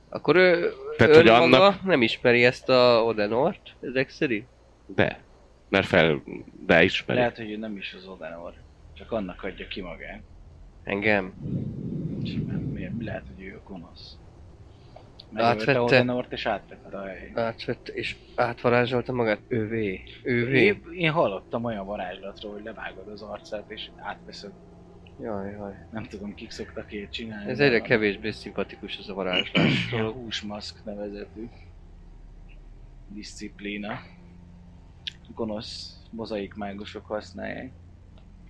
Speaker 4: Akkor ő,
Speaker 5: Tehát,
Speaker 4: Tehát,
Speaker 5: hogy
Speaker 4: ön maga
Speaker 5: annak-
Speaker 4: nem ismeri ezt a Odenort, ezek szerint?
Speaker 5: De. Mert fel... De ismeri.
Speaker 2: Lehet, hogy ő nem is az Odenor. Csak annak adja ki magát.
Speaker 4: Engem.
Speaker 2: És miért? mi lehet, hogy ő a gonosz.
Speaker 4: Átvette.
Speaker 2: Megölte Odenort és átvette a helyét.
Speaker 4: Átvett és átvarázsolta magát. Ővé. Ővé.
Speaker 2: Én, én hallottam olyan varázslatról, hogy levágod az arcát és átveszed.
Speaker 4: Jaj, jaj.
Speaker 2: Nem tudom, kik szoktak ilyet csinálni.
Speaker 4: Ez
Speaker 2: de
Speaker 4: egyre
Speaker 2: van
Speaker 4: kevésbé szimpatikus ez a varázslás.
Speaker 2: ilyen Húsmaszk nevezetű disziplína. Gonosz mozaikmágosok használják.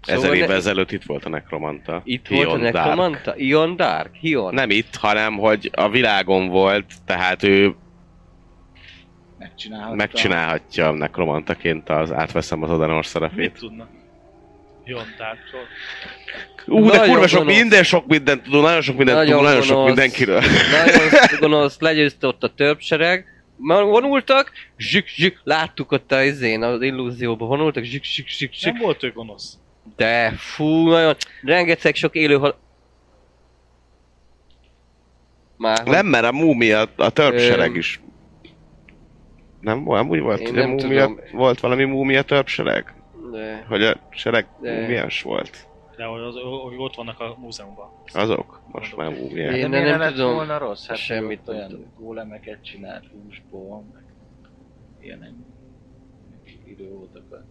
Speaker 5: Ezer
Speaker 4: Szóval
Speaker 5: évvel
Speaker 4: ne-
Speaker 5: ezelőtt itt volt a nekromanta.
Speaker 4: Itt
Speaker 5: Hion
Speaker 4: volt a
Speaker 5: Dark.
Speaker 4: nekromanta? Ion Dark? Hion?
Speaker 5: Nem itt, hanem hogy a világon volt, tehát ő
Speaker 2: Megcsinálhatta.
Speaker 5: megcsinálhatja nekromantaként az átveszem az Odenor szerepét.
Speaker 3: Mit tudna? Jontártól.
Speaker 5: Ú, de
Speaker 4: Nagyon
Speaker 5: kurva sok
Speaker 4: gonosz.
Speaker 5: minden, sok mindent tudunk, nagyon sok mindent
Speaker 4: Nagyon
Speaker 5: tudunk, nagyon sok
Speaker 4: gonosz.
Speaker 5: mindenkiről.
Speaker 4: Nagyon gonosz, legyőzte ott a többsereg. Már vonultak, zsik, zsik, láttuk ott a izén, az illúzióban vonultak, zsik, zsik, zsik, zsik.
Speaker 3: Nem volt ő gonosz.
Speaker 4: De fú, nagyon, rengeteg sok élő hal... Már
Speaker 5: Nem, mert a múmia, a törpsereg
Speaker 4: Öm.
Speaker 5: is. Nem, olyan úgy volt,
Speaker 4: Én
Speaker 5: hogy a
Speaker 4: nem
Speaker 5: múmia,
Speaker 4: tudom.
Speaker 5: volt valami múmia törpsereg?
Speaker 4: De,
Speaker 5: Hogy a sereg
Speaker 4: De-
Speaker 5: múmiás volt?
Speaker 3: De hogy, az, hogy ott vannak a múzeumban.
Speaker 5: Azok? Most már múmiák.
Speaker 4: Én
Speaker 2: De miért
Speaker 4: nem
Speaker 2: lett
Speaker 4: tudom.
Speaker 2: volna rossz? Hát
Speaker 4: Semmit
Speaker 2: semmit
Speaker 4: nem
Speaker 2: olyan
Speaker 4: tudom.
Speaker 2: gólemeket csinált húsból, meg ilyen időótokat.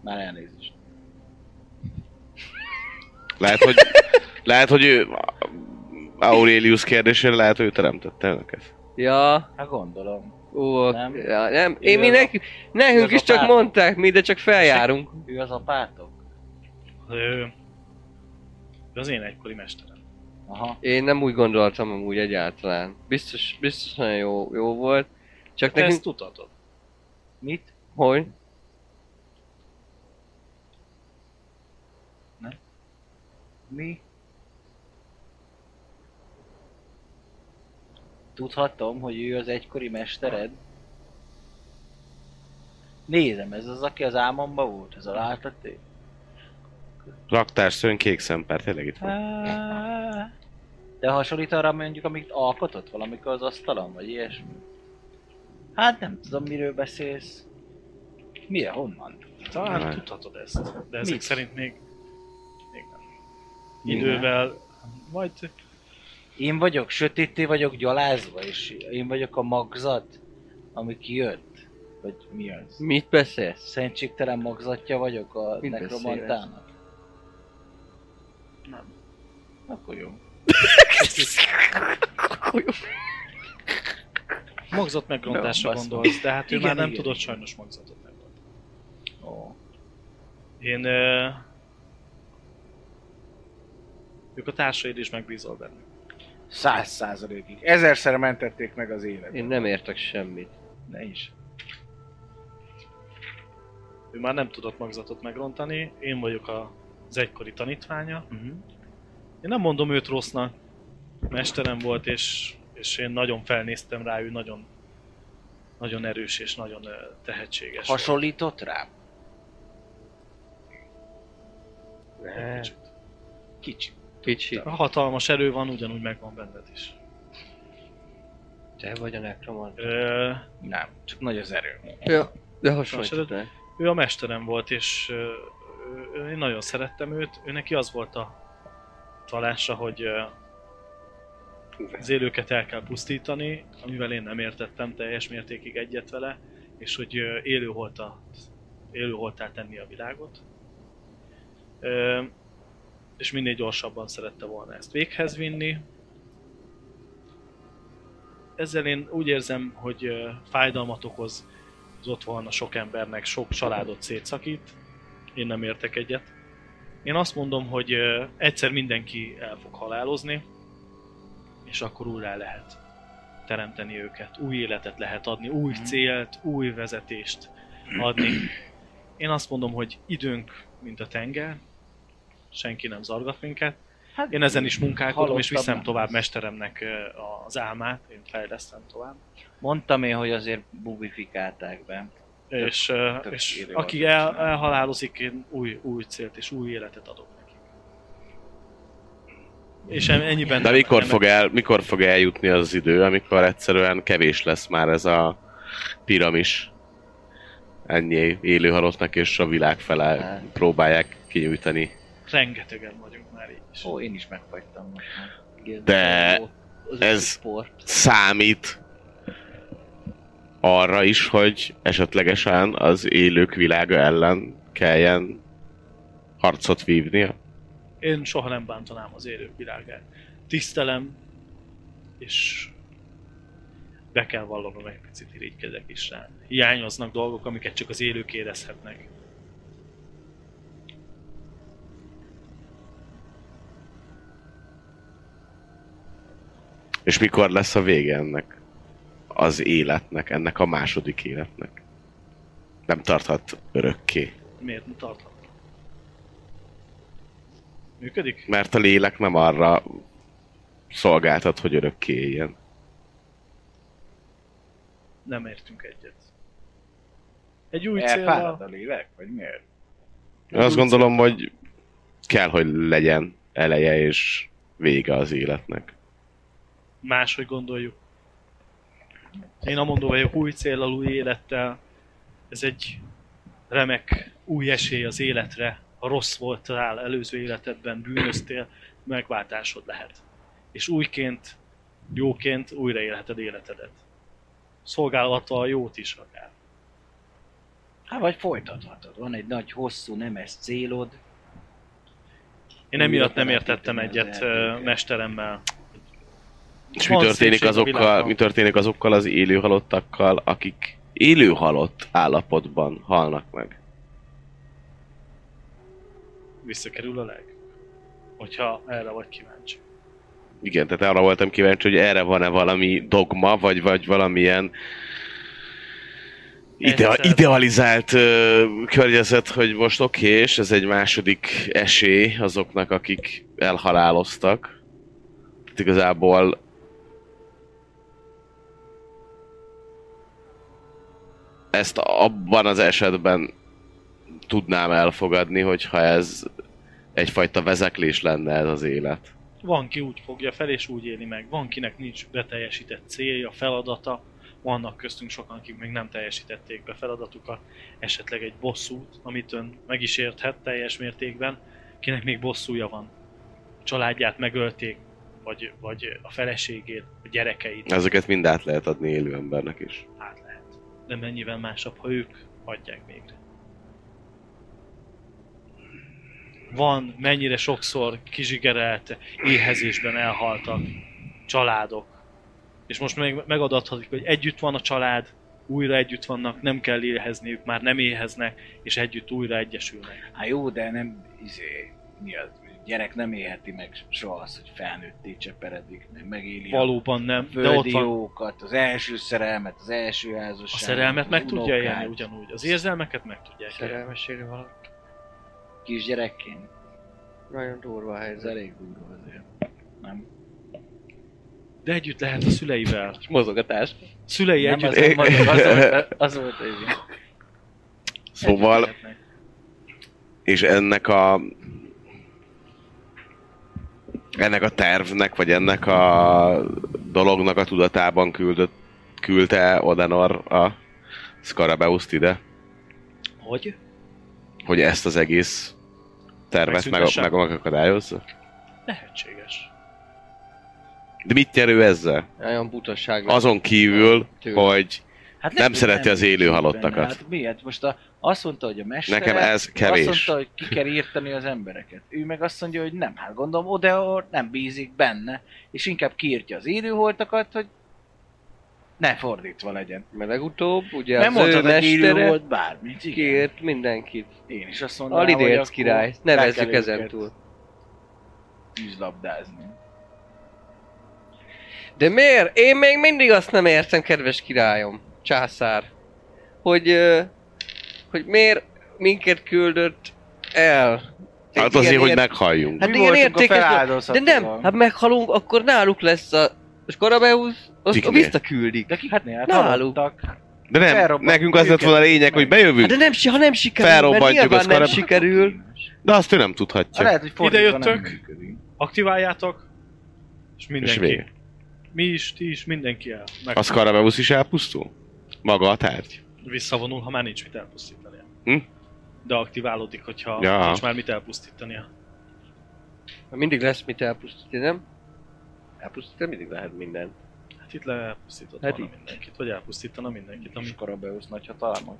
Speaker 2: Már elnézést.
Speaker 5: Lehet,
Speaker 4: [laughs]
Speaker 5: hogy, lehet, hogy ő... Aurelius kérdésére lehet, hogy ő teremtette önöket.
Speaker 4: ja,
Speaker 2: Hát gondolom.
Speaker 4: ó,
Speaker 2: Nem?
Speaker 4: nem. Ja, nem.
Speaker 2: Ő
Speaker 4: Én mi
Speaker 2: a-
Speaker 4: nekünk, nekünk
Speaker 2: ő az
Speaker 4: is
Speaker 2: a
Speaker 4: csak
Speaker 2: pár.
Speaker 4: mondták, mi, de csak feljárunk.
Speaker 2: Ő az apátok?
Speaker 3: Ő, ő az én egykori mesterem.
Speaker 2: Aha.
Speaker 4: Én nem úgy gondoltam amúgy egyáltalán. Biztos, biztos nagyon jó, jó volt. Csak
Speaker 3: Te
Speaker 4: nekünk...
Speaker 3: ezt tudhatod.
Speaker 2: Mit?
Speaker 4: Hogy?
Speaker 2: Mi? Tudhatom, hogy ő az egykori mestered? Nézem, ez az, aki az álmomba volt, ez a látati?
Speaker 5: Raktárszőn kék szempár, tényleg itt van.
Speaker 2: Á, De hasonlít arra mondjuk, amit alkotott valamikor az asztalon, vagy ilyesmi? Hát nem tudom, miről beszélsz. Milyen, honnan?
Speaker 3: Talán
Speaker 5: Nem.
Speaker 3: tudhatod ezt. De ezek
Speaker 2: Mit?
Speaker 3: szerint még... Még nem.
Speaker 5: Még
Speaker 3: Idővel... Majd...
Speaker 2: Én vagyok, sötétté vagyok gyalázva, és én vagyok a magzat, ami kijött. Vagy mi az?
Speaker 4: Mit beszélsz?
Speaker 2: Szentségtelen magzatja vagyok a
Speaker 4: Mit
Speaker 2: nekromantának. Nem. Akkor jó.
Speaker 3: Magzat megrontásra
Speaker 2: Na, basz
Speaker 3: gondolsz, de hát ő
Speaker 2: Igen,
Speaker 3: már nem
Speaker 2: igen,
Speaker 3: tudott
Speaker 2: igen.
Speaker 3: sajnos magzatot megrontani.
Speaker 2: Ó.
Speaker 3: Én... Ö... Ők a társaid is megbízol benne.
Speaker 2: Száz százalékig. Ezerszer mentették meg az élet.
Speaker 4: Én nem értek semmit.
Speaker 2: Ne is.
Speaker 3: Ő már nem tudott magzatot megrontani, én vagyok a, az egykori tanítványa.
Speaker 1: Mhm.
Speaker 2: Uh-huh.
Speaker 3: Én nem mondom őt rossznak, mesterem volt, és, és én nagyon felnéztem rá, ő nagyon, nagyon erős és nagyon ö, tehetséges.
Speaker 2: Hasonlított rám?
Speaker 3: volt egy kicsit.
Speaker 2: Kicsi.
Speaker 4: Kicsit.
Speaker 3: Ha hatalmas erő van, ugyanúgy megvan benned is.
Speaker 4: Te vagy a nekromant.
Speaker 3: Ö,
Speaker 2: Nem, csak nagy az erő.
Speaker 4: Ja, de hasonlították.
Speaker 3: ő a mesterem volt, és ö, ö, én nagyon szerettem őt. Ő neki az volt a talása, hogy ö, az élőket el kell pusztítani, amivel én nem értettem teljes mértékig egyet vele, és hogy ö, élőholtat, élőholtá tenni a világot. Ö, és minél gyorsabban szerette volna ezt véghez vinni. Ezzel én úgy érzem, hogy ö, fájdalmat okoz az otthon a sok embernek sok családot szétszakít. Én nem értek egyet. Én azt mondom, hogy ö, egyszer mindenki el fog halálozni, és akkor újra lehet teremteni őket. Új életet lehet adni, új célt, új vezetést adni. Én azt mondom, hogy időnk, mint a tenger, senki nem zargat minket,
Speaker 2: Hát,
Speaker 3: Én ezen is munkálkodom, és
Speaker 2: Hallottam
Speaker 3: viszem
Speaker 2: már.
Speaker 3: tovább mesteremnek ö, az álmát, én fejlesztem tovább.
Speaker 2: Mondtam én, hogy azért bubifikálták be.
Speaker 3: És, ö,
Speaker 2: tök
Speaker 3: és
Speaker 2: élő
Speaker 3: aki
Speaker 2: alkalmat
Speaker 3: el,
Speaker 2: csinálni.
Speaker 3: elhalálozik, én új, új célt és új életet adok neki. És en- ennyiben...
Speaker 5: De mikor
Speaker 3: nem-
Speaker 5: fog, el, mikor fog eljutni az idő, amikor egyszerűen kevés lesz már ez a piramis? Ennyi élő halottnak, és a világ fele próbálják kinyújtani.
Speaker 3: Rengetegen vagyunk már így is.
Speaker 2: Ó, én is megfagytam most már.
Speaker 5: De
Speaker 4: az
Speaker 5: ez-
Speaker 4: ez... Sport.
Speaker 5: Számít arra is, hogy esetlegesen az élők világa ellen kelljen harcot vívnia.
Speaker 3: Én soha nem bántanám az élők világát. Tisztelem, és be kell vallanom, egy picit irigykedek is rá. Hiányoznak dolgok, amiket csak az élők érezhetnek.
Speaker 5: És mikor lesz a vége ennek az életnek, ennek a második életnek? Nem tarthat örökké.
Speaker 3: Miért nem tarthat? Működik?
Speaker 5: Mert a lélek nem arra szolgáltat, hogy örökké éljen.
Speaker 3: Nem értünk egyet. Egy új
Speaker 2: Elfárad
Speaker 3: célra,
Speaker 2: a lélek, vagy miért?
Speaker 5: Én azt gondolom, hogy kell, hogy legyen eleje és vége az életnek.
Speaker 3: máshogy gondoljuk. Én amondó vagyok új célral, új élettel. Ez egy remek új esély az életre. Ha rossz voltál előző életedben, bűnöztél, megváltásod lehet. És újként, jóként újra élheted életedet. Szolgálata a jót is akár.
Speaker 2: Hát vagy folytathatod. Van egy nagy, hosszú, nemes célod.
Speaker 3: Én emiatt
Speaker 5: hát
Speaker 3: nem értettem egyet ö, mesteremmel.
Speaker 5: És mi
Speaker 3: Van
Speaker 5: történik,
Speaker 3: szépség a
Speaker 5: azokkal,
Speaker 3: világban.
Speaker 5: mi történik azokkal az élő halottakkal, akik élő halott állapotban halnak meg?
Speaker 3: Visszakerül a leg. Hogyha erre vagy kíváncsi.
Speaker 5: Igen, tehát arra voltam kíváncsi, hogy erre van-e valami dogma, vagy, vagy valamilyen ide-
Speaker 3: Egyszer.
Speaker 5: idealizált ö, környezet, hogy most oké, okay, és ez egy második esély azoknak, akik elhaláloztak. Tehát igazából ezt abban az esetben tudnám elfogadni, hogyha ez egyfajta vezeklés lenne ez az élet.
Speaker 3: Van, ki úgy fogja fel, és úgy éli meg. Van, kinek nincs beteljesített célja, feladata. Vannak köztünk sokan, akik még nem teljesítették be feladatukat. Esetleg egy bosszút, amit ön meg is érthet teljes mértékben. Kinek még bosszúja van. Családját megölték, vagy, vagy a feleségét, a gyerekeit.
Speaker 5: Ezeket mind át lehet adni élő embernek is.
Speaker 3: Hát lehet. De mennyivel másabb, ha ők adják végre. Van mennyire sokszor kizsigerelt éhezésben elhaltak családok. És most meg, megadathatjuk, hogy együtt van a család, újra együtt vannak, nem kell éhezniük, már nem éheznek, és együtt újra egyesülnek.
Speaker 2: Hát jó, de nem, izé, mi az, gyerek nem élheti meg soha azt, hogy felnőtté cseperedik, meg megéli a
Speaker 3: Valóban nem, de ott
Speaker 2: földi
Speaker 3: van.
Speaker 2: jókat, az első szerelmet, az első
Speaker 3: A
Speaker 2: házasságot,
Speaker 3: szerelmet
Speaker 2: az
Speaker 3: meg tudja
Speaker 2: unokát,
Speaker 3: élni ugyanúgy, az érzelmeket meg tudják élni.
Speaker 4: Szerelmesélő halott.
Speaker 2: Kisgyerekként,
Speaker 4: Nagyon durva a
Speaker 2: ez
Speaker 4: helyzet.
Speaker 2: elég durva azért. Nem?
Speaker 3: De együtt lehet a szüleivel.
Speaker 4: Mozogatás.
Speaker 3: Szülei
Speaker 2: nem
Speaker 3: együtt
Speaker 2: az,
Speaker 5: é-
Speaker 2: volt, az, volt, az volt, hogy
Speaker 5: Szóval,
Speaker 3: lehetnek.
Speaker 5: és ennek a ennek a tervnek, vagy ennek a dolognak a tudatában küldött, küldte Odenor a Scarabeust ide,
Speaker 3: Hogy?
Speaker 5: hogy ezt az egész tervet meg,
Speaker 3: Megszüntesse?
Speaker 5: meg, megakadályozza?
Speaker 3: Lehetséges.
Speaker 5: De mit nyer ő ezzel?
Speaker 4: Nagyon butaság. Az...
Speaker 5: Azon kívül,
Speaker 4: Tőle.
Speaker 5: hogy
Speaker 2: Hát
Speaker 5: Nem
Speaker 2: lehet, hogy
Speaker 5: szereti az élő
Speaker 2: nincs
Speaker 5: halottakat.
Speaker 2: benne. Hát miért? Most a, azt mondta, hogy a mester
Speaker 5: nekem ez
Speaker 2: azt
Speaker 5: kevés.
Speaker 2: mondta, hogy ki kell írtani az embereket. Ő meg azt mondja, hogy nem, hát gondolom Odeor nem bízik benne, és inkább kiírtja az élőholtakat, hogy ne fordítva legyen.
Speaker 4: Mert legutóbb, ugye
Speaker 2: Ja, nem
Speaker 4: nem az ő
Speaker 2: mondtad, hogy
Speaker 4: mestere
Speaker 2: élőholt bármit, igen.
Speaker 4: kért mindenkit.
Speaker 2: Én is azt mondanám,
Speaker 4: A Lidérc
Speaker 2: akkor
Speaker 4: király.
Speaker 2: le kell
Speaker 4: Nevezzük ezen
Speaker 2: őket
Speaker 4: túl.
Speaker 2: Tűzlabdázni.
Speaker 4: De miért? Én még mindig azt nem értem, kedves királyom, császár, hogy, ö, hogy miért minket küldött el
Speaker 5: Hát azért, hogy meghalljunk.
Speaker 4: Hát
Speaker 2: Mi
Speaker 4: igen,
Speaker 2: voltunk a
Speaker 4: értékes, de, de
Speaker 2: feláldozhatóak.
Speaker 4: nem, hát meghalunk, akkor náluk lesz a Skarabeusz, azt
Speaker 5: Kiknél?
Speaker 4: visszaküldik.
Speaker 2: De kiknél? Hát
Speaker 4: náluk.
Speaker 2: halottak.
Speaker 5: De nem,
Speaker 2: felrobbant
Speaker 5: nekünk az lett
Speaker 2: őket.
Speaker 5: volna a lényeg, hogy bejövünk,
Speaker 4: Hát de nem, si- ha nem sikerül, mert
Speaker 5: Felrobbantjuk
Speaker 4: nyilván
Speaker 5: az
Speaker 4: nem
Speaker 5: Skarab-
Speaker 4: sikerül.
Speaker 5: de azt ő nem
Speaker 4: Hát
Speaker 5: tudhatja.
Speaker 2: Lehet, hogy fordítva nem
Speaker 3: jöttök?
Speaker 2: működik.
Speaker 3: Aktiváljátok, és
Speaker 5: És
Speaker 3: mindenki.
Speaker 5: vége.
Speaker 3: mi is, ti is, mindenki el. Meg
Speaker 5: A Skarabeusz is elpusztul? Maga a tárgy?
Speaker 3: visszavonul, ha már nincs mit elpusztítania.
Speaker 5: Hm?
Speaker 3: De aktiválódik, hogyha
Speaker 5: Ja.
Speaker 3: nincs már mit elpusztítania.
Speaker 4: Mindig lesz mit elpusztítani, nem? Elpusztítani mindig lehet mindent.
Speaker 3: Hát itt lepusztított
Speaker 4: Hát
Speaker 3: hát volna
Speaker 4: itt.
Speaker 3: mindenkit, vagy elpusztítana mindenkit, ami
Speaker 2: És Karabeusz nagy hatalmak.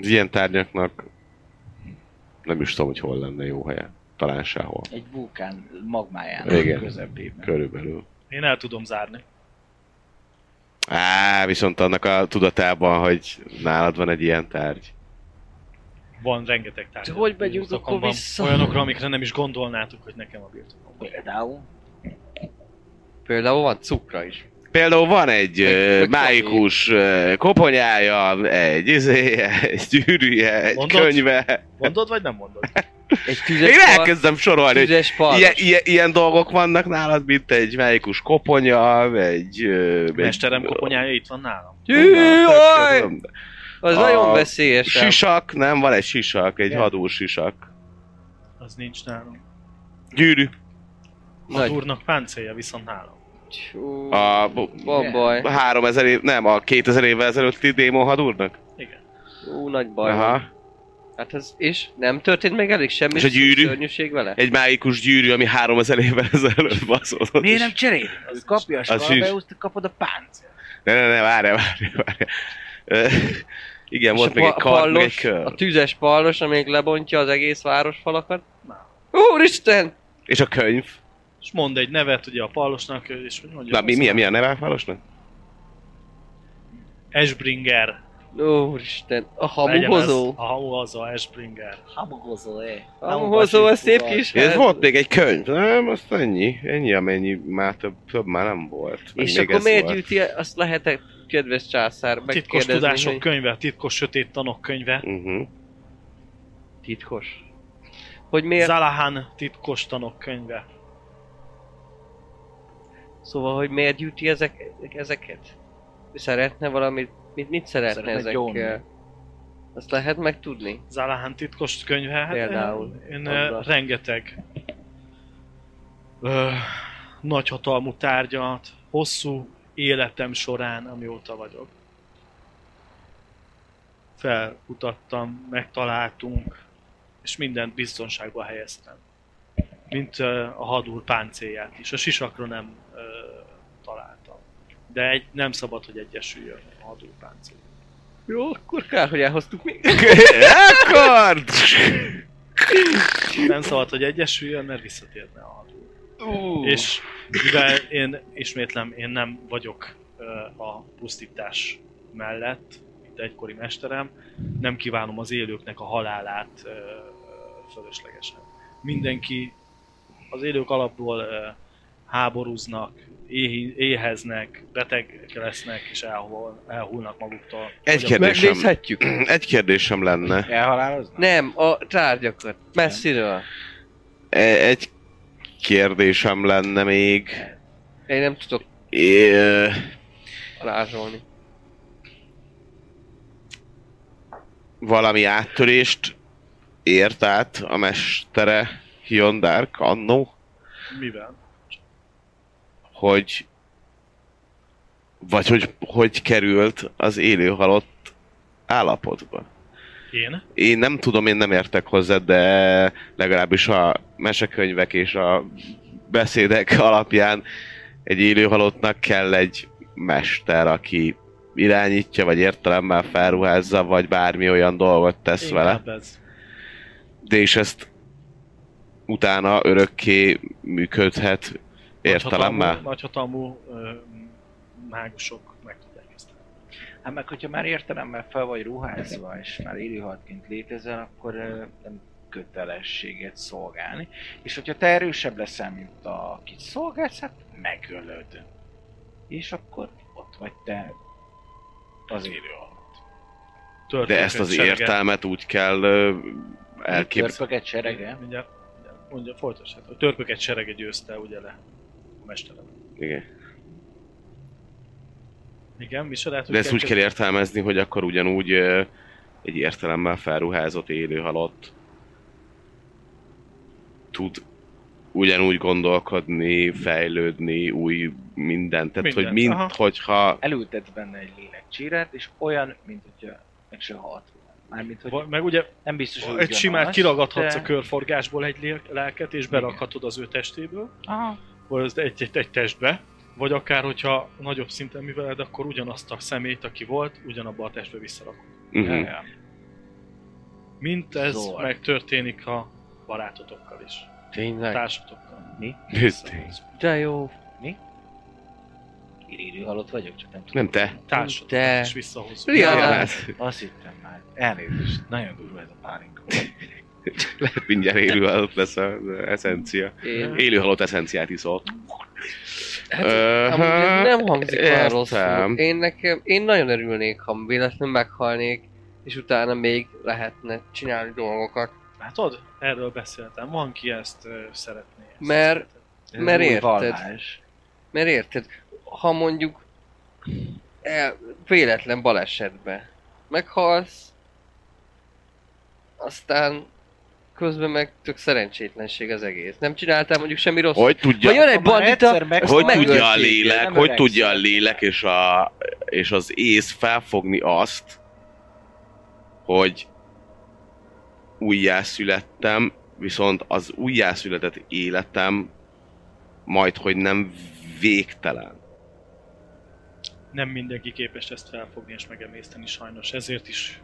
Speaker 5: Az ilyen tárgyaknak nem is tudom, hogy hol lenne jó helye. Talán sehol.
Speaker 2: Egy vulkán magmáján
Speaker 5: Igen.
Speaker 2: közepében.
Speaker 5: Körülbelül.
Speaker 3: én el tudom zárni.
Speaker 5: Á, viszont annak a tudatában, hogy nálad van egy ilyen tárgy.
Speaker 3: Van rengeteg tárgy.
Speaker 4: De hogy megyünk
Speaker 3: Birtokon
Speaker 4: akkor
Speaker 3: van
Speaker 4: vissza?
Speaker 3: Olyanokra, amikre nem is gondolnátok, hogy nekem a birtokom.
Speaker 4: [laughs]
Speaker 3: van.
Speaker 2: Például
Speaker 4: Például van cukra is.
Speaker 5: Például van
Speaker 4: Egy-
Speaker 5: egy ö,
Speaker 4: egy
Speaker 5: máikus ö, koponyája, egy izéje, egy gyűrűje, egy
Speaker 3: Mondod?
Speaker 5: könyve.
Speaker 3: Mondod, vagy nem mondod?
Speaker 4: Egy
Speaker 5: Én
Speaker 4: tüzes, pal-
Speaker 5: elkezdem sorolni, hogy
Speaker 4: tüzes palos.
Speaker 5: ilyen, ilyen, ilyen dolgok vannak nálad, mint egy máikus koponya, egy... ö, egy-
Speaker 3: Mesterem koponyája itt van nálam.
Speaker 4: Jaj!
Speaker 5: Tudom,
Speaker 4: Az
Speaker 5: A-
Speaker 4: nagyon veszélyes. ám.
Speaker 5: Sisak, nem, van egy sisak, egy
Speaker 3: Igen.
Speaker 5: hadúr sisak.
Speaker 3: Az nincs nálam.
Speaker 5: Gyűrű.
Speaker 3: A
Speaker 4: Nagy.
Speaker 3: durnak páncélja viszont nálam.
Speaker 4: Csú,
Speaker 5: A-
Speaker 4: Van baj.
Speaker 5: 3000 év, nem, a 2000 évvel ezelőtti démon hadúrnak.
Speaker 3: Igen.
Speaker 4: Ú, nagy baj. van.
Speaker 5: Aha.
Speaker 4: Hát ez, és nem történt meg elég semmi
Speaker 5: És a gyűrű?
Speaker 4: szörnyűség vele?
Speaker 5: Egy mágikus gyűrű, ami 3000 évvel ezelőtt baszott.
Speaker 2: Miért nem cserélünk? Az kapja a
Speaker 5: sincs.
Speaker 2: Skarabeuszt, te kapod a páncél.
Speaker 5: Ne, ne, ne, várj, várj, várj. Ö, Igen,
Speaker 4: És
Speaker 5: volt
Speaker 4: a
Speaker 5: még egy
Speaker 4: pa-
Speaker 5: kard, meg
Speaker 4: pallos,
Speaker 5: egy kör.
Speaker 4: A tüzes pallos, amelyik lebontja az egész város falakat? Úristen!
Speaker 5: És a könyv.
Speaker 3: És mond egy nevet ugye a pallosnak, és hogy mondja.
Speaker 5: Na, mi,
Speaker 3: azt
Speaker 5: mi,
Speaker 3: már-
Speaker 5: mi a neve a falosnak?
Speaker 3: Esbringer.
Speaker 4: Úristen, a
Speaker 3: Legyen ez.
Speaker 4: hamuhozó.
Speaker 3: A hamuhozó, Esbringer.
Speaker 2: Habogozó, eh?
Speaker 4: A hamuhozó, a szép kis
Speaker 5: Ez
Speaker 4: ház.
Speaker 5: volt még egy könyv, nem, azt ennyi, ennyi amennyi, már több, több már nem volt. Meg
Speaker 4: És
Speaker 5: még
Speaker 4: akkor
Speaker 5: ez
Speaker 4: miért
Speaker 5: volt.
Speaker 4: gyűjti, azt lehet kedves császár
Speaker 3: Titkos
Speaker 4: megkérdezni,
Speaker 3: tudások
Speaker 4: hogy-
Speaker 3: könyve, titkos sötét tanok könyve.
Speaker 5: Uh-huh.
Speaker 4: Titkos. Hogy miért?
Speaker 3: Zalahan titkos tanok könyve.
Speaker 4: Szóval, hogy miért gyűjti ezek, ezeket? Szeretne valamit? Mit, mit szeretne,
Speaker 2: Szeretne
Speaker 4: ezekkel?
Speaker 2: gyónni.
Speaker 4: Azt lehet megtudni?
Speaker 3: Zalahan titkos könyve. Hát
Speaker 4: Például.
Speaker 3: Én, én
Speaker 4: Azzal.
Speaker 3: ö, rengeteg ö, nagyhatalmú tárgyat, hosszú életem során, amióta vagyok. Felkutattam, megtaláltunk, és mindent biztonságba helyeztem. Mint ö, a hadúr páncélját is. A sisakra nem ö, találtam. De egy, nem szabad, hogy egyesüljön a hadúr páncél.
Speaker 4: Jó, akkor kár, hogy elhoztuk mi.
Speaker 5: Kard!
Speaker 3: Nem szabad, hogy egyesüljön, mert visszatérne a hadúr. És mivel én ismétlem, én nem vagyok ö, a pusztítás mellett, mint egykori mesterem, nem kívánom az élőknek a halálát ö, ö, fölöslegesen. Mindenki, az élők alapból ö, háborúznak, éhi- éheznek, beteg lesznek és elhol, elhullnak maguktól.
Speaker 5: Egy
Speaker 3: Vagy a-
Speaker 5: kérdés. Kérdésem.
Speaker 4: Megnézhetjük.
Speaker 5: Egy kérdésem lenne.
Speaker 2: Elhaláloznak?
Speaker 4: Nem, a tárgyakat. Messziről.
Speaker 5: E- Egy kérdésem lenne még.
Speaker 4: Én nem tudok
Speaker 5: É, ö,
Speaker 4: rázsolni.
Speaker 5: valami áttörést ért át a mestere Hion Dark annó,
Speaker 3: Mivel?
Speaker 5: hogy vagy hogy, hogy került az élő halott állapotba.
Speaker 3: Én?
Speaker 5: Én nem tudom, én nem értek hozzá, de legalábbis a mesekönyvek és a beszédek [laughs] alapján egy élő halottnak kell egy mester, aki irányítja, vagy értelemmel felruházza, vagy bármi olyan dolgot tesz vele.
Speaker 3: Inkább ez.
Speaker 5: De és ezt utána örökké működhet értelemmel.
Speaker 3: Nagyhatalmú, nagyhatalmú ö, mágusok meg tudják ezt.
Speaker 2: Hát meg hogyha már értelemmel fel vagy ruházva, és már élőhatként létezel, akkor ö, nem kötelességet szolgálni. És hogyha te erősebb leszel, mint a kit szolgálsz, hát megölöd. És akkor ott vagy te az élő alatt.
Speaker 5: De ezt az értelmet úgy kell ö, elképzelni.
Speaker 2: Törpöket serege.
Speaker 3: Mindjárt, mindjárt mondja, folytassát. A törpöket serege győzte ugye le a mesterem.
Speaker 5: Igen.
Speaker 3: Igen, hát, mi sorát,
Speaker 5: De ezt úgy kell értelmezni, hogy akkor ugyanúgy ö, egy értelemmel felruházott élő halott tud ugyanúgy gondolkodni, fejlődni, új mindent. Tehát,
Speaker 3: Mindent,
Speaker 5: hogy mint,
Speaker 3: aha.
Speaker 5: hogyha...
Speaker 2: Elültet benne egy lélek csírát, és olyan, mint hogyha meg se halt volna. Mármint, hogy
Speaker 3: Meg ugye
Speaker 2: nem biztos, hogy
Speaker 3: egy
Speaker 2: ugyanaz,
Speaker 3: simán kiragadhatsz
Speaker 2: de-
Speaker 3: a körforgásból egy lél- lelket, és berakhatod az ő testéből,
Speaker 2: Aha.
Speaker 3: vagy az egy, egy, egy testbe, vagy akár, hogyha nagyobb szinten műveled, akkor ugyanazt a szemét, aki volt, ugyanabba a testbe visszarakod.
Speaker 5: Uh-huh.
Speaker 2: Ja, ja.
Speaker 3: Mint ez
Speaker 2: Zord.
Speaker 3: megtörténik a barátotokkal is,
Speaker 4: Tényleg.
Speaker 3: társatokkal.
Speaker 2: Mi?
Speaker 4: De jó.
Speaker 2: Kirírű halott vagyok, csak nem tudom.
Speaker 5: Nem te.
Speaker 3: Társatokat
Speaker 4: De-
Speaker 3: is visszahozod.
Speaker 4: Rihanna.
Speaker 5: Ja,
Speaker 4: Ja.
Speaker 5: hát,
Speaker 2: Azt hittem már. Elnézést. Nagyon durva ez a pálinka.
Speaker 5: lehet mindjárt élő halott lesz az eszencia.
Speaker 4: Én...
Speaker 5: Élő halott eszenciát iszol.
Speaker 4: Hát,
Speaker 5: Ö,
Speaker 4: Amúgy ez nem hangzik olyan
Speaker 5: értem.
Speaker 4: rosszul. Én, nekem, én nagyon örülnék, ha véletlenül meghalnék, és utána még lehetne csinálni dolgokat.
Speaker 3: Látod? Erről beszéltem. Van, ki ezt ö, szeretné. Ezt
Speaker 4: Mert-
Speaker 3: szeretné.
Speaker 2: Ez
Speaker 4: Mert
Speaker 2: új
Speaker 4: érted.
Speaker 2: vallás.
Speaker 4: Mert érted, ha mondjuk el, véletlen balesetbe meghalsz, aztán közben meg tök szerencsétlenség az egész. Nem csináltál mondjuk semmi rossz.
Speaker 5: Hogy tudja,
Speaker 4: Ha jön egy
Speaker 2: Ha már egyszer
Speaker 4: bandita,
Speaker 2: meg-
Speaker 4: azt
Speaker 5: hogy
Speaker 2: megölték,
Speaker 5: tudja a
Speaker 2: nem
Speaker 5: lélek, hogy
Speaker 2: öregszik.
Speaker 5: tudja a lélek és, a, és az ész felfogni azt, hogy újjászülettem, viszont az újjászületett életem majd, hogy nem végtelen.
Speaker 3: Nem mindenki képes ezt felfogni és megemészteni sajnos. Ezért is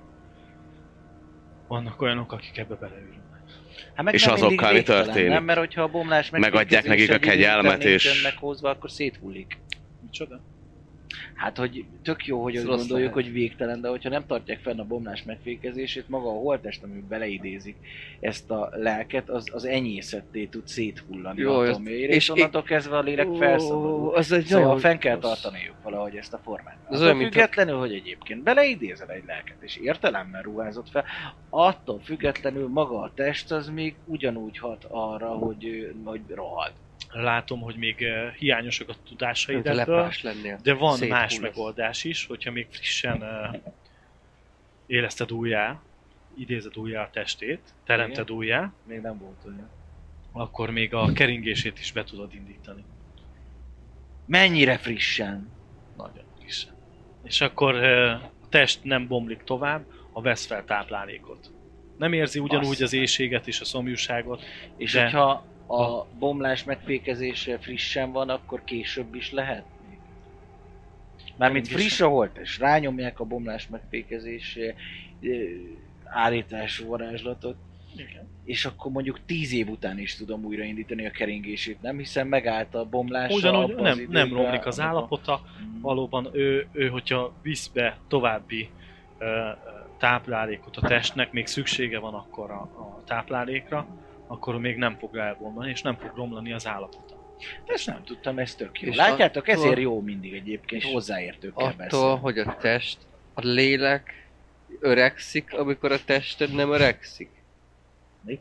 Speaker 3: vannak olyanok, akik ebbe beleülnek.
Speaker 2: Hát meg
Speaker 5: És
Speaker 2: nem
Speaker 5: azokkal
Speaker 2: mindig
Speaker 5: mi
Speaker 2: végtelen,
Speaker 5: történik?
Speaker 2: Nem, mert hogyha a bomlás
Speaker 5: Megadják
Speaker 2: megérkezik,
Speaker 5: nekik a
Speaker 2: és egy idő után
Speaker 5: kegyelmet,
Speaker 2: nincs
Speaker 5: és-
Speaker 2: meghozva, akkor széthullik.
Speaker 3: Micsoda?
Speaker 2: Hát, hogy tök jó, hogy
Speaker 4: Ez
Speaker 2: azt
Speaker 4: rossz
Speaker 2: gondoljuk,
Speaker 4: lehet.
Speaker 2: hogy végtelen, de hogyha nem tartják fenn a bomlás megfékezését, maga a holtest, ami beleidézik ezt a lelket, az, az enyészetté tud széthullani
Speaker 4: Jó,
Speaker 2: jó,
Speaker 4: ezt-
Speaker 2: atomjaira, és
Speaker 4: és
Speaker 2: onnantól kezdve a lélek felszabadul.
Speaker 4: az egy
Speaker 2: Szóval
Speaker 4: nagyon
Speaker 2: fenn kell
Speaker 4: rossz.
Speaker 2: tartaniuk valahogy ezt a formát.
Speaker 4: Ez
Speaker 2: Az
Speaker 4: olyan, mint
Speaker 2: függetlenül, hogy egyébként beleidézel egy lelket, és értelemmel ruházott fel, attól függetlenül maga a test az még ugyanúgy hat arra, hogy, ő- hogy rohad.
Speaker 3: Látom, hogy még ö, hiányosak a tudásaid
Speaker 4: Mint a
Speaker 3: ebből,
Speaker 4: lepás lennél.
Speaker 3: de van
Speaker 4: Szép
Speaker 3: más
Speaker 4: hullasz.
Speaker 3: megoldás is, hogyha még frissen ö, éleszted újjá, idézed újjá a testét, teremted újjá,
Speaker 2: Még nem volt olyan.
Speaker 3: akkor még a keringését is be tudod indítani.
Speaker 2: Mennyire frissen?
Speaker 3: Nagyon frissen. És akkor ö, a test nem bomlik tovább, ha vesz fel táplálékot. Nem érzi ugyanúgy
Speaker 2: Azt.
Speaker 3: az éjséget és a szomjúságot.
Speaker 2: És
Speaker 3: De-
Speaker 2: hogyha a bomlás megfékezése frissen van, akkor később is lehet? még? Mármint
Speaker 3: Mégis.
Speaker 2: friss a holtes, rányomják a bomlás megfékezés ö, állítású varázslatot,
Speaker 3: Igen.
Speaker 2: és akkor mondjuk tíz év után is tudom újraindítani a keringését, nem? Hiszen megállt a bomlás.
Speaker 3: Ugyanúgy nem, nem romlik az állapota,
Speaker 2: Mm.
Speaker 3: valóban ő, ő hogyha visz be további ö, ö, táplálékot a testnek, még szüksége van akkor a, a táplálékra, akkor még nem fog elbomlani, és nem fog romlani az állapota.
Speaker 2: Ezt nem tudtam, ez tök jó.
Speaker 4: És
Speaker 2: Látjátok,
Speaker 4: attól-
Speaker 2: ezért jó mindig egyébként
Speaker 4: és
Speaker 2: hozzáértőkkel
Speaker 4: Attól,
Speaker 2: beszélni.
Speaker 4: hogy a test, a lélek öregszik, amikor a tested nem öregszik.
Speaker 2: Mi?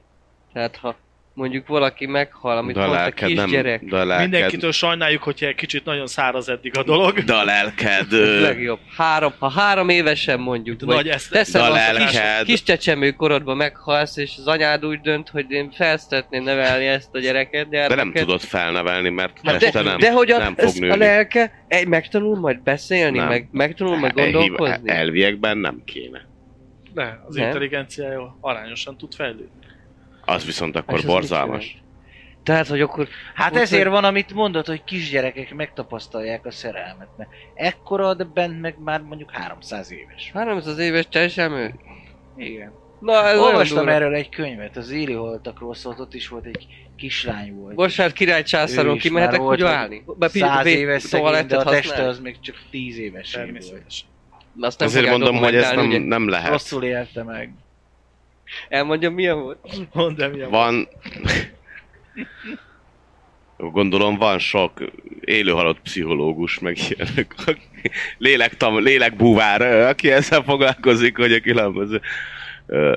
Speaker 4: Tehát ha mondjuk valaki meghal, amit
Speaker 5: de a
Speaker 4: mondta
Speaker 5: lelked
Speaker 4: kisgyerek,
Speaker 5: nem... De a lelked,
Speaker 3: Mindenkitől sajnáljuk, hogyha egy kicsit nagyon száraz eddig a dolog.
Speaker 5: De a
Speaker 4: [laughs]
Speaker 5: lelked...
Speaker 4: Ez
Speaker 5: ö,
Speaker 4: legjobb. Három, ha három évesen mondjuk, vagy
Speaker 3: Nagy ezt,
Speaker 4: teszem
Speaker 5: de a
Speaker 4: azt, kis,
Speaker 5: lelked-
Speaker 4: kis csecsemő korodban meghalsz, és az anyád úgy dönt, hogy én fel szeretném nevelni ezt a gyereket,
Speaker 5: De nem
Speaker 4: gyermeket.
Speaker 5: tudod felnevelni, mert
Speaker 3: Nem,
Speaker 5: teste
Speaker 4: de,
Speaker 5: nem.
Speaker 4: de hogy a,
Speaker 5: nem fog
Speaker 4: ez a
Speaker 5: nőni.
Speaker 4: lelke, egy, megtanul majd beszélni,
Speaker 5: Nem.
Speaker 4: meg, megtanul majd gondolkozni. Hát
Speaker 5: Elviekben nem kéne.
Speaker 3: Ne, az
Speaker 4: Nem.
Speaker 3: intelligenciája arányosan tud fejlődni.
Speaker 5: Az viszont
Speaker 4: És
Speaker 5: akkor
Speaker 4: az mit
Speaker 5: borzalmas.
Speaker 4: jelent? Tehát, hogy akkor
Speaker 2: Hát
Speaker 4: Úgyhogy-
Speaker 2: ezért van, amit mondod, hogy kisgyerekek megtapasztalják a szerelmet, mert ekkora, de bent meg már mondjuk 300 éves.
Speaker 4: 300 éves csecsemő?
Speaker 2: Igen.
Speaker 4: Na, ez
Speaker 2: Olvastam
Speaker 4: olyan durva.
Speaker 2: erről egy könyvet, az éli holtakról szólt, ott is volt egy kislány volt.
Speaker 4: Bocsánat, király
Speaker 2: Ő
Speaker 4: császáron
Speaker 2: is
Speaker 4: kimehetek
Speaker 2: már volt,
Speaker 4: kutyálni?
Speaker 2: Száz éves szegény, de a teste az még csak 10 éves volt.
Speaker 3: Természetesen.
Speaker 4: Azt nem
Speaker 5: Ezért
Speaker 4: fogják
Speaker 5: mondom, hogy ez nem,
Speaker 4: dokumentálni, ugye?
Speaker 5: nem lehet.
Speaker 2: Rosszul élte meg.
Speaker 4: Elmondjam, milyen volt?
Speaker 3: Mondd, de mi a
Speaker 5: Van... Gondolom van sok élőhalott pszichológus, meg ilyenek, aki- lélektam, lélekbúvár, ö, aki ezzel foglalkozik, hogy a különböző ö,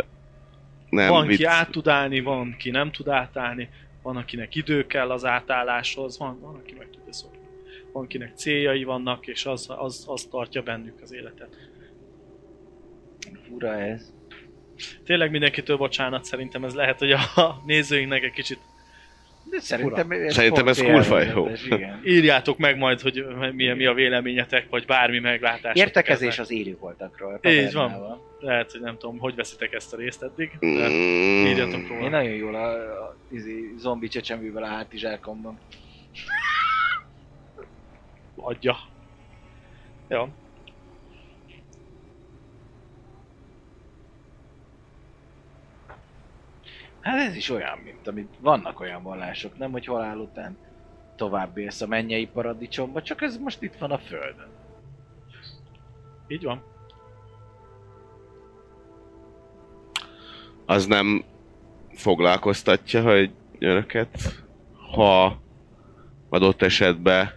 Speaker 5: nem
Speaker 3: van
Speaker 5: vicc.
Speaker 3: ki át tud állni, van ki nem tud átállni, van akinek idő kell az átálláshoz, van, van aki meg tudja szokni. Van kinek céljai vannak, és az, az, az tartja bennük az életet.
Speaker 2: Fura ez.
Speaker 3: Tényleg mindenkitől bocsánat, szerintem ez lehet, hogy a [laughs] nézőinknek egy kicsit
Speaker 2: De szerintem ez,
Speaker 5: Szerintem
Speaker 2: pont
Speaker 5: ez kurva
Speaker 2: élvezetes,
Speaker 5: jó. [laughs]
Speaker 2: igen.
Speaker 3: írjátok meg majd, hogy mi, mi a véleményetek, vagy bármi meglátás.
Speaker 2: Értekezés az élő voltakról.
Speaker 3: Így van. Lehet, hogy nem tudom, hogy veszitek ezt a részt eddig. De
Speaker 5: Mm.
Speaker 3: írjatok róla.
Speaker 2: Én nagyon jól a, a izé, zombi csecsemővel a hátizsákomban.
Speaker 3: adja. Ja.
Speaker 2: Hát ez is olyan, mint amit vannak olyan vallások, nem, hogy halál után tovább élsz a mennyei paradicsomba, csak ez most itt van a földön.
Speaker 3: Így van.
Speaker 5: az nem foglalkoztatja, hogy önöket, ha adott esetben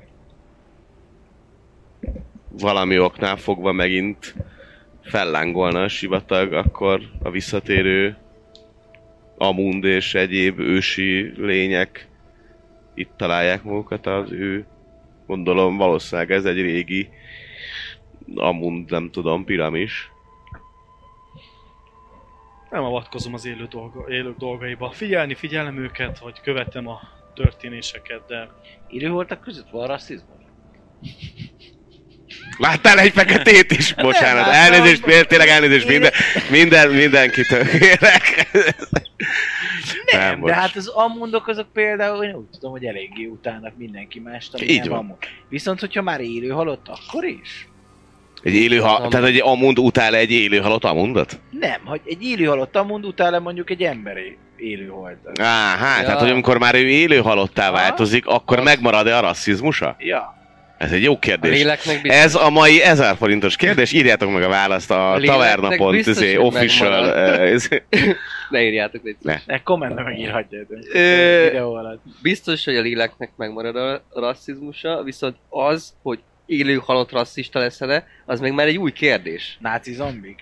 Speaker 5: valami oknál fogva megint fellángolna a sivatag, akkor a visszatérő Amund és egyéb ősi lények itt találják magukat az ő, gondolom valószínűleg ez egy régi Amund, nem tudom, piramis.
Speaker 3: Nem avatkozom az élő dolga, élők dolgaiba. Figyelni, figyelem őket, vagy követem a történéseket, de
Speaker 2: Élőholtak között van rasszizmus?
Speaker 5: Láttál egy feketét is? Bocsánat, elnézést, miért tényleg elnézést, minden, minden, mindenkitől kérek.
Speaker 2: Nem,
Speaker 5: Nem,
Speaker 2: nem de
Speaker 5: bocs.
Speaker 2: hát az ammondok azok például, én úgy tudom, hogy eléggé utálnak mindenki mást, ami
Speaker 5: Így
Speaker 2: nem
Speaker 5: van.
Speaker 2: ammond. Viszont, hogyha már élő halott, akkor is?
Speaker 5: Egy élő, ha, tehát egy amund utál egy élő halott amundot?
Speaker 2: Nem, hogy egy élő halott ammond utál mondjuk egy emberi élő holtat.
Speaker 5: Á, hát,
Speaker 4: Ja.
Speaker 5: tehát hogy amikor már ő élő halottá változik, akkor
Speaker 4: Az.
Speaker 5: megmarad-e a rasszizmusa?
Speaker 2: Ja,
Speaker 5: Ez egy jó
Speaker 4: A
Speaker 5: kérdés.
Speaker 4: léleknek biztos.
Speaker 5: Ez a mai 1000 forintos kérdés, írjátok meg a választ a
Speaker 4: A léleknek
Speaker 5: taverna.pont,
Speaker 4: biztos,
Speaker 5: izé,
Speaker 4: hogy
Speaker 5: official, [laughs]
Speaker 4: megmarad.
Speaker 5: eh, izé.
Speaker 4: Ne írjátok, légy szíves.
Speaker 2: ne kommentben megírhatja őt.
Speaker 5: Ö,
Speaker 2: Videó alatt.
Speaker 4: Biztos, hogy a léleknek megmarad a rasszizmusa, viszont az, hogy élő halott rasszista lesz-e, az még már egy új kérdés. [laughs]
Speaker 2: Náci zombik?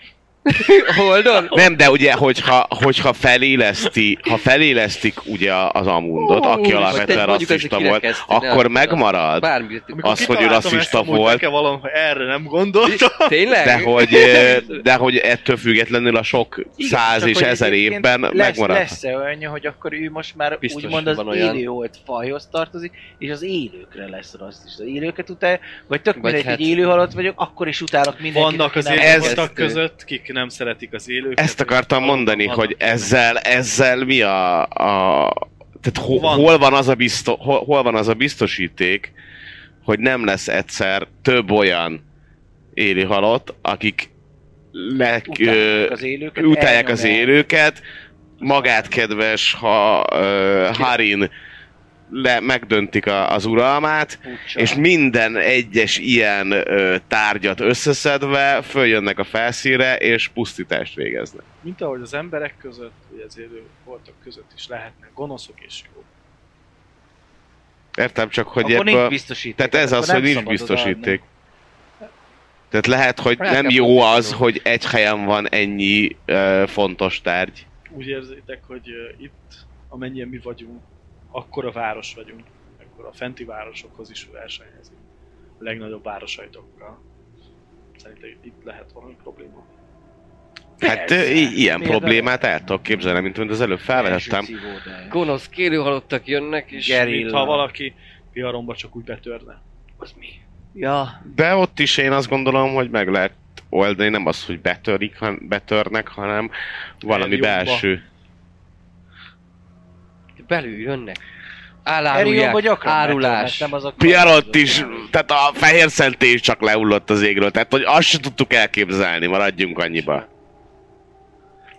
Speaker 4: Holdon?
Speaker 5: Nem, de ugye, hogyha, hogyha feléleszti, ha felélesztik ugye az amundot, aki
Speaker 4: Ó,
Speaker 5: alapvetően
Speaker 4: vagy mondjuk ez
Speaker 5: rasszista
Speaker 4: egy
Speaker 5: volt,
Speaker 4: kirekesztő, ne
Speaker 5: akkor
Speaker 4: add oda.
Speaker 5: megmarad.
Speaker 4: Bármi.
Speaker 5: Az, hogy ő
Speaker 3: kitaláltam
Speaker 5: rasszista
Speaker 3: ezt, amúgy
Speaker 5: volt.
Speaker 3: Nekem valami erre nem gondoltam.
Speaker 4: Tényleg?
Speaker 5: De
Speaker 2: [laughs]
Speaker 5: hogy, ö, de hogy ettől függetlenül a sok száz
Speaker 2: csak
Speaker 5: és
Speaker 2: hogy
Speaker 5: ezer
Speaker 2: egyébként
Speaker 5: évben
Speaker 2: lesz,
Speaker 5: megmarad.
Speaker 2: Lesz-e olyan, hogy akkor ő most már
Speaker 4: Biztos
Speaker 2: úgymond az
Speaker 4: van olyan.
Speaker 2: élőholt fajhoz tartozik, és az élőkre lesz rasszista. Az élőket utál, vagy tök
Speaker 4: Vagy
Speaker 2: mindegy,
Speaker 4: hát-
Speaker 2: hát... egy élő halott vagyok, akkor is utálok mindenkit.
Speaker 3: Vannak az
Speaker 2: aki nem-
Speaker 3: élők
Speaker 5: Ez-
Speaker 3: voltak között, kik nem szeretik az élőket.
Speaker 5: Ezt akartam mondani,
Speaker 3: Vannak
Speaker 5: hogy e-
Speaker 3: ilyenek.
Speaker 5: ezzel, ezzel mi a, a tehát ho,
Speaker 3: Van.
Speaker 5: hol, van az a bizto, hol, hol van az a biztosíték, hogy nem lesz egyszer több olyan éli halott, akik le,
Speaker 2: utálják
Speaker 5: ö,
Speaker 2: az élőket.
Speaker 5: utálják az
Speaker 2: elnyomják.
Speaker 5: élőket, magát kedves, ha uh, Harin le, megdöntik a, az uralmát,
Speaker 2: Pucsa.
Speaker 5: és minden egyes ilyen ö, tárgyat összeszedve följönnek a felszínre, és pusztítást végeznek.
Speaker 3: Mint ahogy az emberek között, vagy az élő voltak között is lehetnek gonoszok és jók.
Speaker 5: Értem csak, hogy
Speaker 2: akkor nincs
Speaker 5: ebből...
Speaker 2: biztosíték.
Speaker 5: Tehát ez
Speaker 2: akkor
Speaker 5: az,
Speaker 2: nem
Speaker 5: hogy nincs
Speaker 2: szabad
Speaker 5: biztosíték.
Speaker 2: odaadni.
Speaker 5: Tehát lehet, hogy
Speaker 4: Lehet,
Speaker 5: nem
Speaker 4: nem
Speaker 5: jó
Speaker 4: fontos
Speaker 5: az,
Speaker 4: dolog.
Speaker 5: hogy egy helyen van ennyi ö, fontos tárgy.
Speaker 3: Úgy érzitek, hogy ö, itt, amennyien mi vagyunk, akkor a város vagyunk, akkor a fenti városokhoz is versenyezünk. A legnagyobb városaitokkal. Szerintem itt lehet valami probléma.
Speaker 5: Hát ö,
Speaker 2: Persze.
Speaker 5: i- ilyen
Speaker 2: Például-
Speaker 5: problémát el tudok képzelni, mint amit az előbb felvetettem.
Speaker 2: Első szívódáj.
Speaker 4: Gonosz kérő halottak jönnek, és...
Speaker 2: Gerilla.
Speaker 3: Mintha valaki piaromba csak úgy betörne.
Speaker 2: Az mi?
Speaker 4: Ja,
Speaker 5: De ott is én azt gondolom, hogy meg lehet oldani, nem az, hogy betörik, han- betörnek, hanem valami
Speaker 3: Eljobba.
Speaker 5: belső.
Speaker 4: belül jönnek.
Speaker 2: Erről jobb,
Speaker 4: Állárulják,
Speaker 2: hogy gyakran
Speaker 4: árulás.
Speaker 2: megtörnek, Hát nem azok
Speaker 5: Piarott is, tehát a fehér szentély is csak leullott az égről, tehát hogy azt se tudtuk elképzelni, maradjunk annyiba.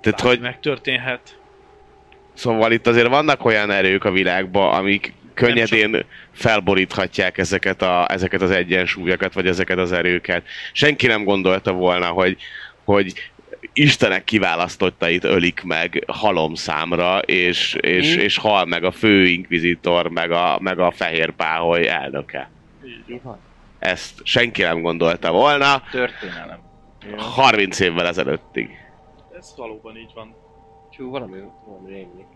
Speaker 5: Tehát,
Speaker 3: Bármi
Speaker 5: hogy
Speaker 3: megtörténhet.
Speaker 5: Szóval itt azért vannak olyan erők a világban, amik könnyedén felboríthatják ezeket, a, ezeket az egyensúlyokat, vagy ezeket az erőket. Senki nem gondolta volna, hogy, hogy Istenek kiválasztottait ölik meg halomszámra, és, és,
Speaker 4: Mi?
Speaker 5: és hal meg a fő inkvizitor, meg a, meg a fehér páholy elnöke.
Speaker 3: Így.
Speaker 5: Ezt senki nem gondolta volna
Speaker 2: Történelem.
Speaker 5: 30 évvel ezelőttig.
Speaker 3: Ez valóban így van.
Speaker 4: Csú, valami, valami rémlik.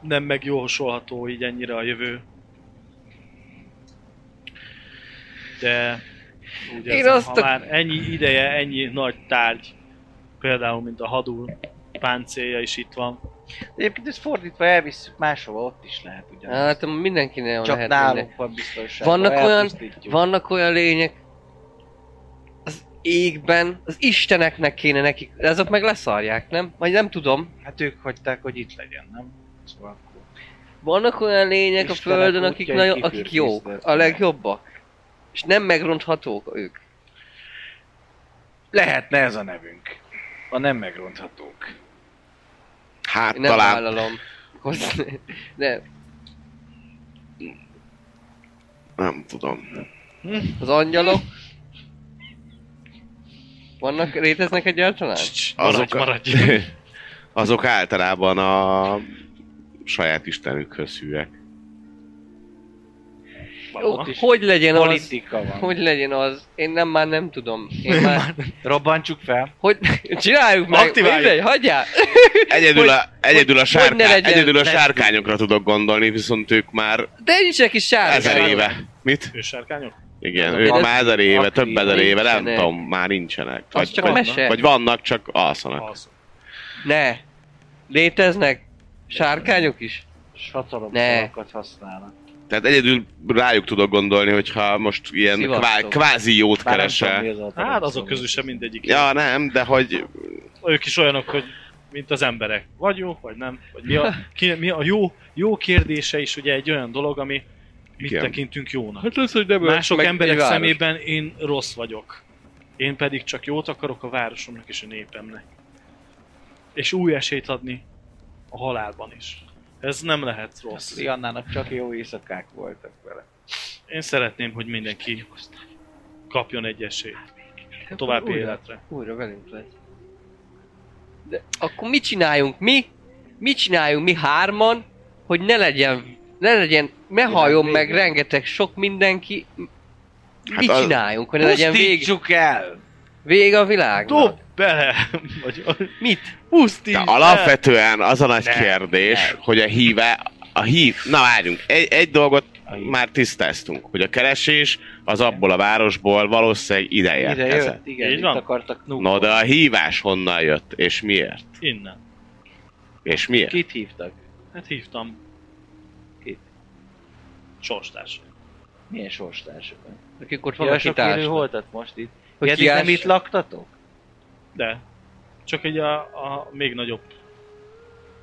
Speaker 3: nem megjósolható így ennyire a jövő. De úgy
Speaker 4: Én
Speaker 3: érzem,
Speaker 4: azt
Speaker 3: ha
Speaker 4: a-
Speaker 3: már ennyi ideje, ennyi nagy tárgy, például mint a hadú páncélja is itt van,
Speaker 2: Egyébként ezt fordítva elvisszük máshova, ott is lehet ugyan.
Speaker 4: Hát mindenkinél
Speaker 2: Csak
Speaker 4: lehet
Speaker 2: nálunk
Speaker 4: minden.
Speaker 2: van biztonságban.
Speaker 4: Vannak olyan-
Speaker 2: elpusztítjuk.
Speaker 4: Vannak olyan lények az égben, az isteneknek kéne nekik, de azok meg leszarják, nem? Vagy nem tudom.
Speaker 2: Hát ők hagyták, hogy itt legyen, nem? Szóval akkor...
Speaker 4: Vannak olyan lények
Speaker 2: Istenek
Speaker 4: a földön, akik,
Speaker 2: útjai
Speaker 4: nagyon, akik jók,
Speaker 2: kifürkésztetnek.
Speaker 4: a legjobbak. És nem megronthatók ők.
Speaker 2: Lehetne ez a nevünk. A nem megronthatók.
Speaker 5: Hát
Speaker 4: Én nem
Speaker 5: talán.
Speaker 4: vállalom. Hozni- De
Speaker 5: Nem tudom.
Speaker 4: az angyalok... Vannak, léteznek egyáltalán?
Speaker 3: maradj,
Speaker 5: Azok-
Speaker 3: maradj.
Speaker 5: Azok általában a saját
Speaker 4: [laughs]
Speaker 5: istenükhöz hűek.
Speaker 4: Jó,
Speaker 2: is
Speaker 4: hogy legyen az?
Speaker 2: Politika van.
Speaker 4: Hogy legyen az? Én nem már nem tudom. Én már...
Speaker 2: Robbantsuk fel.
Speaker 4: Hogy csináljuk meg,
Speaker 3: Aktiváljuk.
Speaker 4: mindegy, hagyjál!
Speaker 5: Egyedül a, egyedül a,
Speaker 4: hogy- hogy ne
Speaker 5: sárká,
Speaker 4: legyen-
Speaker 5: egyedül a
Speaker 4: ne-
Speaker 5: sárkányokra tudok gondolni, viszont ők már
Speaker 4: De nincs is sárga.
Speaker 5: ezer éve. Mit?
Speaker 3: Ősárkányok?
Speaker 5: Igen,
Speaker 4: Azok
Speaker 5: ők
Speaker 4: az-
Speaker 5: már ezer éve,
Speaker 2: aktív
Speaker 5: több ezer éve, nem
Speaker 4: Hát, nincsenek.
Speaker 5: tudom, már nincsenek.
Speaker 4: Az
Speaker 5: Vagy,
Speaker 4: csak
Speaker 5: vagy,
Speaker 4: mese.
Speaker 5: vagy vannak, csak alszanak.
Speaker 3: Alszom.
Speaker 4: Ne. Léteznek sárkányok is?
Speaker 2: Satalomszalakat használnak.
Speaker 5: Tehát egyedül rájuk tudok gondolni, hogyha most ilyen kvá,
Speaker 4: Szivattok.
Speaker 5: kvázi jót
Speaker 2: Bár nem tudom, mi
Speaker 5: keresel.
Speaker 2: az a
Speaker 3: Hát azok
Speaker 2: talomszalom.
Speaker 3: közül sem mindegyik.
Speaker 5: Ja, nem, de hogy
Speaker 3: Ők is olyanok, hogy mint az emberek. Vagy jó, vagy nem. Vagy mi a, ki, mi a jó, jó kérdése is ugye egy olyan dolog, ami mit
Speaker 5: Igen.
Speaker 3: tekintünk jónak.
Speaker 4: Hát az, hogy nem
Speaker 3: Mások emberek szemében én rossz vagyok. Én pedig csak jót akarok a városomnak és a népemnek. És új esélyt adni a halálban is. Ez nem lehet rossz.
Speaker 2: Riannának csak jó éjszakák voltak vele.
Speaker 3: Én szeretném, hogy mindenki kapjon egy esélyt a további életre.
Speaker 4: Hát Újra velünk lesz. De akkor mit csináljunk mi? Mit csináljunk mi hárman, hogy ne legyen, ne legyen, ne halljon
Speaker 2: vége.
Speaker 4: meg rengeteg sok mindenki.
Speaker 5: Hát
Speaker 4: mit
Speaker 5: az-
Speaker 4: csináljunk, hogy ne legyen vég,
Speaker 2: Pusztítsuk el!
Speaker 4: vég a világnak?
Speaker 3: Dob bele! [laughs] Vagy
Speaker 4: Mit?
Speaker 3: pusztíts!
Speaker 5: de
Speaker 3: el!
Speaker 5: alapvetően az a nagy
Speaker 3: Ne.
Speaker 5: kérdés, hogy a híve, a hív, na várjunk, egy, egy dolgot már tisztáztunk, hogy a keresés az abból a városból valószínűleg ide
Speaker 2: Ide
Speaker 5: érkezett.
Speaker 2: jött, igen,
Speaker 3: Így
Speaker 2: itt
Speaker 3: van.
Speaker 2: akartak nukkolni.
Speaker 5: No, de a hívás honnan jött, és miért?
Speaker 3: Innen.
Speaker 5: És miért?
Speaker 2: Kit hívtak?
Speaker 3: Hát hívtam.
Speaker 2: Kit?
Speaker 3: Sorstárs.
Speaker 2: Milyen sorstársakat?
Speaker 4: Akik ott
Speaker 2: Ja,
Speaker 4: vannak
Speaker 2: sok
Speaker 4: kitálásnak.
Speaker 2: élő holtat most itt. Hogy
Speaker 4: Hogy
Speaker 2: eddig nem
Speaker 4: kiáss-
Speaker 2: itt laktatok?
Speaker 3: De. Csak egy a, a még nagyobb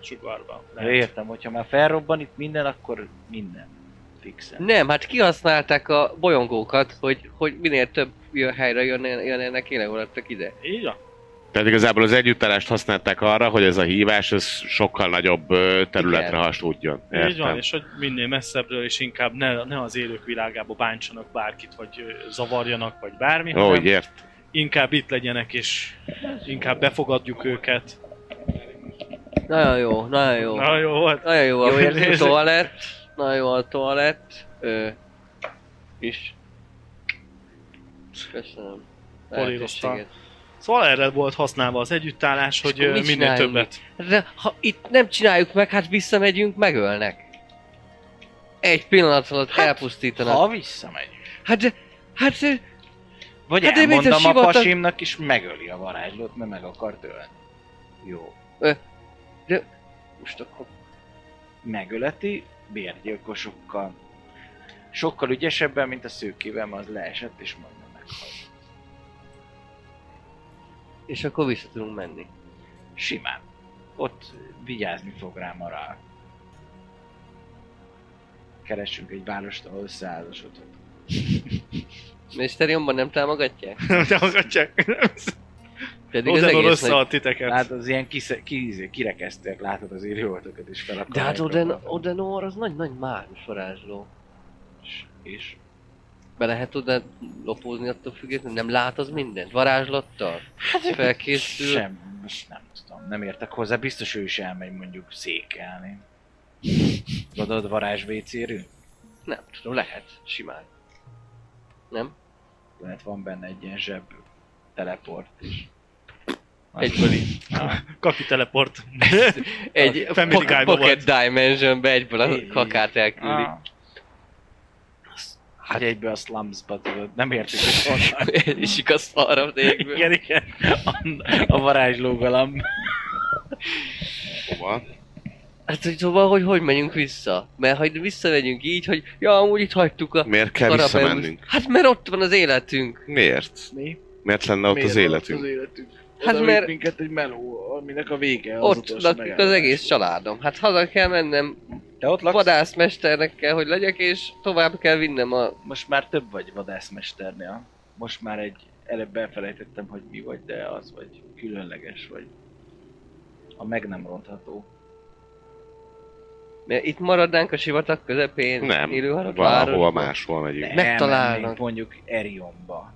Speaker 3: sugarban.
Speaker 2: Ja, értem, hogyha már felrobban itt minden, akkor minden. Fixen.
Speaker 4: Nem, hát kihasználták a bolyongókat, hogy, hogy minél több jön helyre jön, jönnek éleholatok ide.
Speaker 3: Így van.
Speaker 5: Tehát igazából az együttalást használták arra, hogy ez a hívás ez sokkal nagyobb ö, területre
Speaker 4: Igen.
Speaker 5: haslódjon.
Speaker 3: Így van,
Speaker 5: Értem.
Speaker 3: és hogy minél messzebbről, és inkább ne, ne az élők világába bántsanak bárkit, vagy ö, zavarjanak, vagy bármi,
Speaker 5: Ó,
Speaker 3: hanem
Speaker 5: így ért.
Speaker 3: inkább itt legyenek, és inkább befogadjuk őket.
Speaker 4: Nagyon jó, nagyon jó.
Speaker 3: Na jó volt.
Speaker 4: Nagyon jó
Speaker 3: Jó
Speaker 4: a
Speaker 3: érzés.
Speaker 4: toalett, nagyon jó a toalett. Ö, is. Köszönöm.
Speaker 3: Polírozta.
Speaker 4: lehetőséget.
Speaker 3: Szóval erre volt használva az együttállás, hogy
Speaker 4: akkor
Speaker 3: ö,
Speaker 4: mit
Speaker 3: minél
Speaker 4: csináljunk
Speaker 3: többet. [laughs]
Speaker 4: De ha itt nem csináljuk meg, hát visszamegyünk, megölnek. Egy pillanat alatt hát, elpusztítanak.
Speaker 2: Ha visszamegyünk.
Speaker 4: Hát de, hát de,
Speaker 2: Vagy
Speaker 4: Hát
Speaker 2: hát
Speaker 4: de mit a
Speaker 2: elmondom a, a
Speaker 4: sivatag-
Speaker 2: pasimnak, és megöli a varázslót, mert meg akart ölni. Jó.
Speaker 4: most akkor
Speaker 2: Megöleti bérgyilkosokkal. Sokkal ügyesebben, mint a szőkével, mert az leesett, és majdnem meghalt.
Speaker 4: és akkor vissza tudunk menni.
Speaker 2: Simán. Ott vigyázni fog rám a rá. Keressünk egy várost, ahol százasodhat.
Speaker 4: Minisztériumban nem támogatják?
Speaker 3: Nem hallgatják.
Speaker 4: Pedig az
Speaker 3: Oden
Speaker 4: egész
Speaker 3: rosszal
Speaker 4: nagy...
Speaker 3: a titeket.
Speaker 2: Hát az ilyen kisze, ki, kirekesztők, látod az élőoltokat is fel
Speaker 4: De hát Oden, Odenor az nagy-nagy mágus varázsló.
Speaker 2: És
Speaker 4: Be lehet oda lopózni attól függetlenül, nem lát az mindent? Varázslattal? Hát felkészül.
Speaker 2: sem, most nem tudom, nem értek hozzá, biztos ő is elmegy mondjuk székelni. Tudod, varázsvécérű?
Speaker 4: Nem tudom, lehet, simán. Nem?
Speaker 2: Lehet van benne egy ilyen zseb teleport is.
Speaker 4: Egyből így.
Speaker 3: Kapi
Speaker 4: [laughs]
Speaker 3: teleport.
Speaker 4: Egy
Speaker 3: A Family
Speaker 4: pocket,
Speaker 3: Guy-ba
Speaker 4: pocket Dimension-be egyből a kakát elküldi.
Speaker 2: Ah. Azt- Hát egybe a slumsba tudod, nem értjük,
Speaker 4: [laughs]
Speaker 2: hogy honnan.
Speaker 4: [laughs] És a szarra az égből.
Speaker 2: Igen, igen. A, a varázsló galamb.
Speaker 5: Hova?
Speaker 4: Hát, hogy szóval, hogy hogy megyünk vissza? Mert ha visszamegyünk így, hogy ja, amúgy itt hagytuk a
Speaker 5: Miért kell
Speaker 4: Karabeus.
Speaker 5: visszamennünk?
Speaker 4: Hát mert ott van az életünk.
Speaker 5: Miért?
Speaker 2: Mi?
Speaker 5: Miért lenne ott az életünk?
Speaker 2: Az életünk.
Speaker 4: Hát
Speaker 2: Hát
Speaker 4: mert-
Speaker 2: mert... minket egy meló, aminek a vége az
Speaker 4: Ott
Speaker 2: utolsó
Speaker 4: lakik az
Speaker 2: megállás.
Speaker 4: egész családom. Hát haza kell mennem,
Speaker 2: Te ott laksz?
Speaker 4: vadászmesternek kell, hogy legyek, és tovább kell vinnem a...
Speaker 2: Most már több vagy vadászmesternél. Most már egy... Előbb elfelejtettem, hogy mi vagy, de az vagy. Különleges vagy. A meg nem rontható.
Speaker 4: Mert itt maradnánk a sivatag közepén,
Speaker 5: Nem,
Speaker 4: élőhalat
Speaker 5: valahova
Speaker 4: város.
Speaker 5: máshol megyünk.
Speaker 4: Megtalálnak.
Speaker 2: Mondjuk Erionba.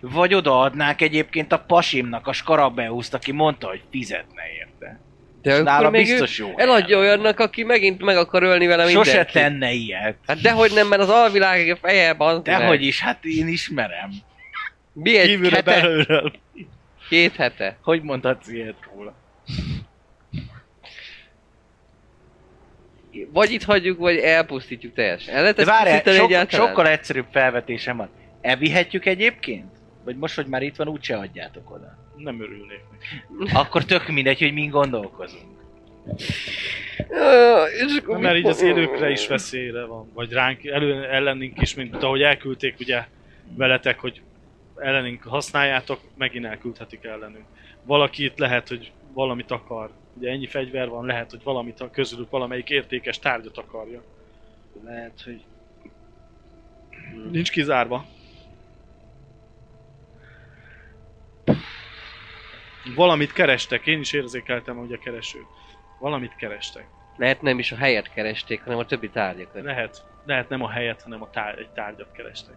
Speaker 2: Vagy odaadnák egyébként a pasimnak a Skarabeuszt, aki mondta, hogy fizetne érte.
Speaker 4: De
Speaker 2: Nála
Speaker 4: akkor még ő
Speaker 2: biztos jó.
Speaker 4: eladja olyannak, aki megint meg akar ölni vele mindenkit.
Speaker 2: Sose tenne ilyet.
Speaker 4: Hát dehogy nem, mert az alvilág a fejében az
Speaker 2: Dehogy is, hát én ismerem.
Speaker 4: Mi egy
Speaker 3: Kívülről,
Speaker 4: hete,
Speaker 3: belülről.
Speaker 4: két hete.
Speaker 2: Hogy mondhatsz ilyet róla?
Speaker 4: Hát Vagy itt hagyjuk, vagy elpusztítjuk teljesen. El lehet
Speaker 2: De
Speaker 4: ezt
Speaker 2: várjál,
Speaker 4: pusztítani
Speaker 2: sok,
Speaker 4: egyáltalán?
Speaker 2: sokkal egyszerűbb felvetésem van. Elvihetjük egyébként? Vagy most, hogy már itt van, úgyse adjátok oda.
Speaker 3: Nem örülnék neki.
Speaker 2: Akkor tök mindegy, hogy min gondolkozunk.
Speaker 4: Ö, és akkor
Speaker 3: Mert
Speaker 4: mit
Speaker 3: így az
Speaker 4: mo-
Speaker 3: élőkre is veszélyre van. Vagy ránk, elő, ellenünk is, mint ahogy elküldték ugye veletek, hogy ellenünk használjátok, megint elküldhetik ellenünk. Valaki itt lehet, hogy valamit akar. Ugye ennyi fegyver van, lehet, hogy valamit a- közülük valamelyik értékes tárgyat akarja.
Speaker 2: Lehet, hogy...
Speaker 3: Nincs kizárva. Valamit kerestek, én is érzékeltem, hogy a kereső. Valamit kerestek.
Speaker 4: Lehet nem is a helyet keresték, hanem a többi tárgyakat.
Speaker 3: Lehet, lehet nem a helyet, hanem a tár- egy tárgyat kerestek.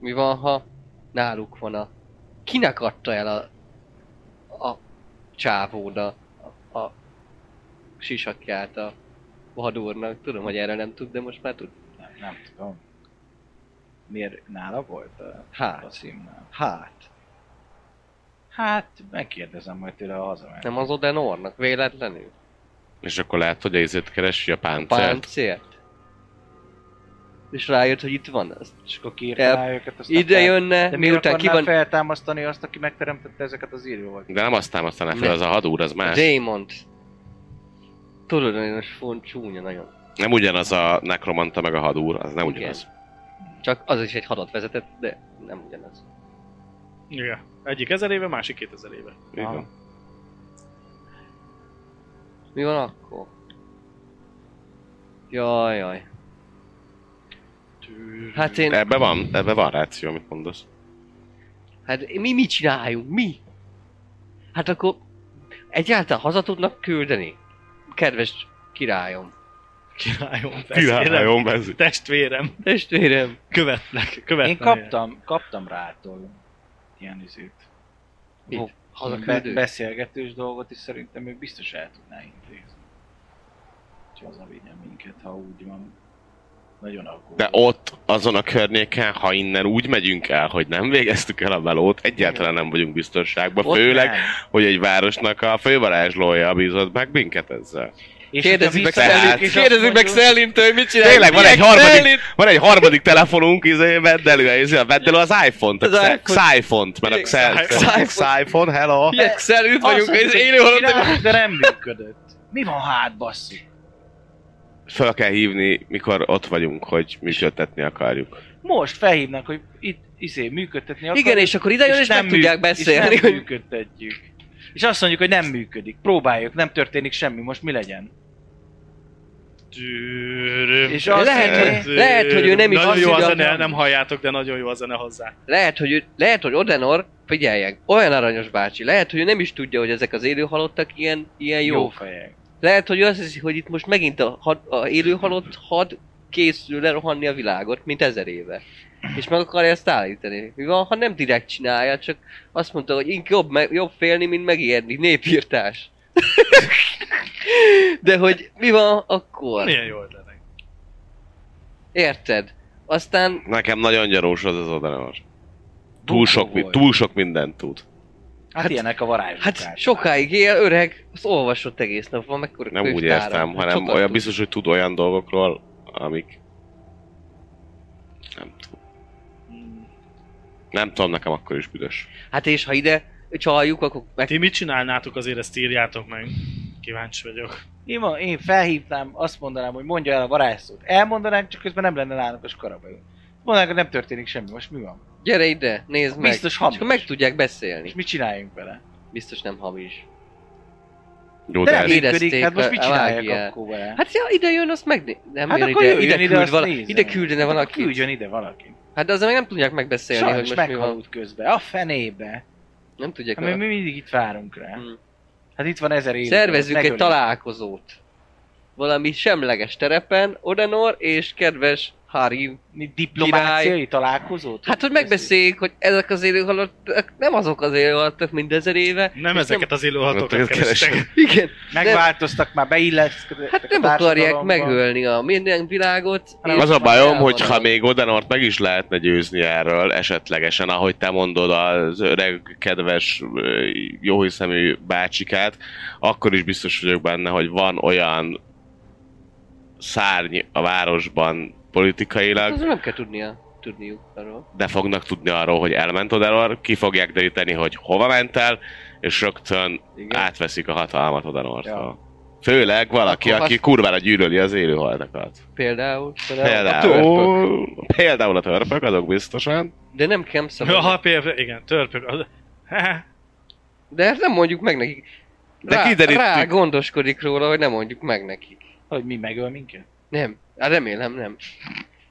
Speaker 4: Mi van, ha náluk van a... Kinek adta el a... A csávóna, a, a sisakját a vadúrnak. Tudom, hogy erre nem tud, de most már tud.
Speaker 2: Nem, nem tudom. Miért nála volt a
Speaker 4: Hát,
Speaker 2: passzimnál?
Speaker 4: hát.
Speaker 2: Hát, megkérdezem majd tőle, ha hazamegy.
Speaker 4: Nem az Odenornak véletlenül?
Speaker 5: És akkor lehet, hogy a izét keresi a páncelt.
Speaker 4: Páncért? És rájött, hogy itt van az.
Speaker 2: És akkor kiírta rá őket, aztán
Speaker 4: Ide
Speaker 2: fel-
Speaker 4: jönne,
Speaker 2: De miért
Speaker 4: miután ki
Speaker 2: akarná
Speaker 4: van...
Speaker 2: feltámasztani azt, aki megteremtette ezeket az írjóval?
Speaker 5: De nem azt támasztaná fel,
Speaker 4: Ne.
Speaker 5: az a hadúr, az más.
Speaker 4: Daemont. Tudod, nagyon font csúnya nagyon.
Speaker 5: Nem ugyanaz a nekromanta meg a hadúr, az nem
Speaker 4: Igen.
Speaker 5: ugyanaz.
Speaker 4: Csak az is egy hadat vezetett, de nem ugyanaz.
Speaker 3: Igen. Egyik ezer éve, másik kétezer éve.
Speaker 5: Így van.
Speaker 4: Mi van akkor? Jaj, jaj. Hát én...
Speaker 5: Ebbe van, ebbe van ráció, amit mondasz.
Speaker 4: Hát mi mit csináljunk? Mi? Hát akkor... Egyáltalán haza tudnak küldeni? Kedves királyom.
Speaker 3: Királyom, testvérem.
Speaker 5: Királyom, ez.
Speaker 3: Testvérem,
Speaker 4: Testvérem.
Speaker 3: követlek, követlek.
Speaker 2: Én kaptam, kaptam rától ilyen izét.
Speaker 4: Mit?
Speaker 2: Ó,
Speaker 4: Haza
Speaker 2: be-
Speaker 4: küldő.
Speaker 2: beszélgetős dolgot, és szerintem ő biztos el tudná intézni. Hogy haza vigyen minket, ha úgy van. Nagyon aggódom.
Speaker 5: De ott, azon a környéken, ha innen úgy megyünk el, hogy nem végeztük el a melót, egyáltalán nem vagyunk biztonságban.
Speaker 2: Ott
Speaker 5: Főleg,
Speaker 2: nem.
Speaker 5: hogy egy városnak a fővarázslója bízott meg minket ezzel.
Speaker 2: És
Speaker 4: Kérdezzük meg
Speaker 2: hogyha
Speaker 5: Szellint-
Speaker 4: Szellint,
Speaker 2: visszamegyünk, és azt
Speaker 4: kérdezzük meg
Speaker 2: mondjuk-
Speaker 4: Szellintől, hogy mit csinál.
Speaker 5: Tényleg, van egy harmadik, van egy harmadik telefonunk, izé, vedd elő, izé, vedd elő az iPhone-t,
Speaker 4: Az
Speaker 5: a
Speaker 4: iPhone.
Speaker 5: Xyphone-t, mert a
Speaker 4: Xyphone.
Speaker 5: Xy- Xyphone, hello.
Speaker 4: Ilyen Szellint
Speaker 2: Azt
Speaker 4: vagyunk,
Speaker 2: mondjuk,
Speaker 4: ez
Speaker 2: hogy
Speaker 4: élő halott.
Speaker 2: csináljuk, De nem működött. Mi van hát, basszus?
Speaker 5: Föl kell hívni, mikor ott vagyunk, hogy működtetni akarjuk.
Speaker 2: Most felhívnak, hogy itt izé, működtetni akarjuk.
Speaker 4: Igen, és akkor ide jön, és meg tudják
Speaker 2: mű-
Speaker 4: beszélni,
Speaker 2: És nem
Speaker 4: hogy
Speaker 2: működtetjük. És azt mondjuk, hogy nem működik. Próbáljuk, nem történik semmi, most mi legyen?
Speaker 3: Tűröm.
Speaker 2: És az-
Speaker 4: Lehet, hogy- lehet, hogy ő nem is
Speaker 3: Nagyon
Speaker 4: azt
Speaker 3: jó a
Speaker 4: írja,
Speaker 3: zene,
Speaker 4: hanem-
Speaker 3: nem halljátok, de nagyon jó a zene hozzá.
Speaker 4: Lehet, hogy, ő, lehet, hogy Odenor, figyeljek, olyan aranyos bácsi, lehet, hogy ő nem is tudja, hogy ezek az élő halottak ilyen, ilyen jó. jó.
Speaker 2: fejek.
Speaker 4: Lehet, hogy ő azt hiszi, hogy itt most megint a, had, a élő halott had készül lerohanni a világot, mint ezer éve. És meg akarja ezt állítani. Mi van, ha nem direkt csinálja, csak azt mondta, hogy inkább jobb, meg, jobb félni, mint megijedni. Népírtás. [laughs] De hogy mi van akkor?
Speaker 3: Milyen jó ötletek.
Speaker 4: Érted? Aztán
Speaker 5: Nekem nagyon gyanús az az oda túl sok,
Speaker 2: bunkó
Speaker 5: mi-
Speaker 2: volt.
Speaker 5: túl sok mindent tud.
Speaker 2: Hát, hát ilyenek a varázslók.
Speaker 4: Hát sokáig él, öreg, az olvasott egész nap, van mekkora
Speaker 5: Nem úgy
Speaker 4: könyvtára. Hát
Speaker 5: értem, hanem
Speaker 4: Sokat
Speaker 5: olyan
Speaker 4: tud.
Speaker 5: biztos, hogy tud olyan dolgokról, amik... Nem tudom. Nem tudom, nekem akkor is büdös.
Speaker 4: Hát és ha ide csaljuk, akkor meg...
Speaker 3: Ti mit csinálnátok azért, ezt írjátok meg. Kíváncsi vagyok.
Speaker 2: Én, ma- én felhívnám, azt mondanám, hogy mondja el a varázsszót. Elmondanám, csak közben nem lenne nálunk a karabajunk. Mondanák, hogy nem történik semmi, most mi van?
Speaker 4: Gyere ide, nézd meg.
Speaker 2: Biztos hamis.
Speaker 4: És akkor meg tudják beszélni.
Speaker 2: És mit csináljunk vele?
Speaker 4: Biztos nem hamis.
Speaker 5: Jó,
Speaker 2: De
Speaker 5: de,
Speaker 2: nem
Speaker 5: ez,
Speaker 4: érezték
Speaker 2: működik, hát most mit
Speaker 4: a- a
Speaker 2: csinálják
Speaker 4: mágiát.
Speaker 2: akkor vele?
Speaker 4: Hát ja, ide jön, azt meg... Nem
Speaker 2: Hát
Speaker 4: jön
Speaker 2: akkor
Speaker 4: ide,
Speaker 2: jöjjön
Speaker 4: ide,
Speaker 2: ide,
Speaker 4: küld
Speaker 2: azt
Speaker 4: vala...
Speaker 2: nézze
Speaker 4: ide
Speaker 2: meg.
Speaker 4: küldene valaki.
Speaker 2: Küldjön ide valaki.
Speaker 4: Hát de azért meg nem tudják megbeszélni,
Speaker 2: Sajnos
Speaker 4: hogy most mi van.
Speaker 2: meghalult közben. A fenébe.
Speaker 4: Nem tudják.
Speaker 2: Hát, mert
Speaker 4: Hát,
Speaker 2: mi mindig itt várunk rá.
Speaker 4: Hmm.
Speaker 2: Hát itt van ezer év.
Speaker 4: Szervezzük egy
Speaker 2: megölik.
Speaker 4: találkozót. Valami semleges terepen, Odenor és kedves Harim.
Speaker 2: Mi Diplomáciai találkozót?
Speaker 4: Hát, hogy megbeszéljük, hogy ezek az élőhalottak, nem azok az élőhalottak, mint ezer éve. [laughs]
Speaker 3: Nem
Speaker 4: és
Speaker 3: ezeket az
Speaker 5: Hát,
Speaker 3: élőhatokat
Speaker 5: ezeket
Speaker 3: kerestek.
Speaker 4: Igen.
Speaker 2: Megváltoztak már, beilleszkedtek
Speaker 4: Hát nem
Speaker 2: a Hát
Speaker 4: akarják
Speaker 2: társadalomba.
Speaker 4: megölni a minden világot.
Speaker 2: Hanem
Speaker 4: és
Speaker 5: az a bajom,
Speaker 4: elvonulni.
Speaker 5: hogyha még Odenort meg is lehetne győzni erről esetlegesen, ahogy te mondod az öreg, kedves, ö, jóhiszemű bácsikát, akkor is biztos vagyok benne, hogy van olyan szárny a városban politikailag,
Speaker 4: Azon nem kell tudnia, tudniuk arról.
Speaker 5: de fognak tudni arról, hogy elment Odenor, ki fogják deríteni, hogy hova ment el, és rögtön
Speaker 4: Igen.
Speaker 5: átveszik a hatalmat Odenortól.
Speaker 2: Ja.
Speaker 5: Főleg valaki,
Speaker 4: Akkor
Speaker 5: aki
Speaker 4: azt-
Speaker 5: kurvára gyűlöli az élőhaltakat.
Speaker 4: Például. például.
Speaker 5: Például,
Speaker 4: A törpök.
Speaker 5: például a törpök, azok biztosan.
Speaker 4: De nem kell
Speaker 3: Ja,
Speaker 4: szabad.
Speaker 3: ha például, igen, törpök. Az-
Speaker 4: De ezt nem mondjuk meg nekik.
Speaker 5: De
Speaker 4: Rá,
Speaker 5: kiderítik.
Speaker 4: rá gondoskodik róla, hogy nem mondjuk meg nekik.
Speaker 2: Hogy mi megöl minket?
Speaker 4: Nem. Hát remélem nem.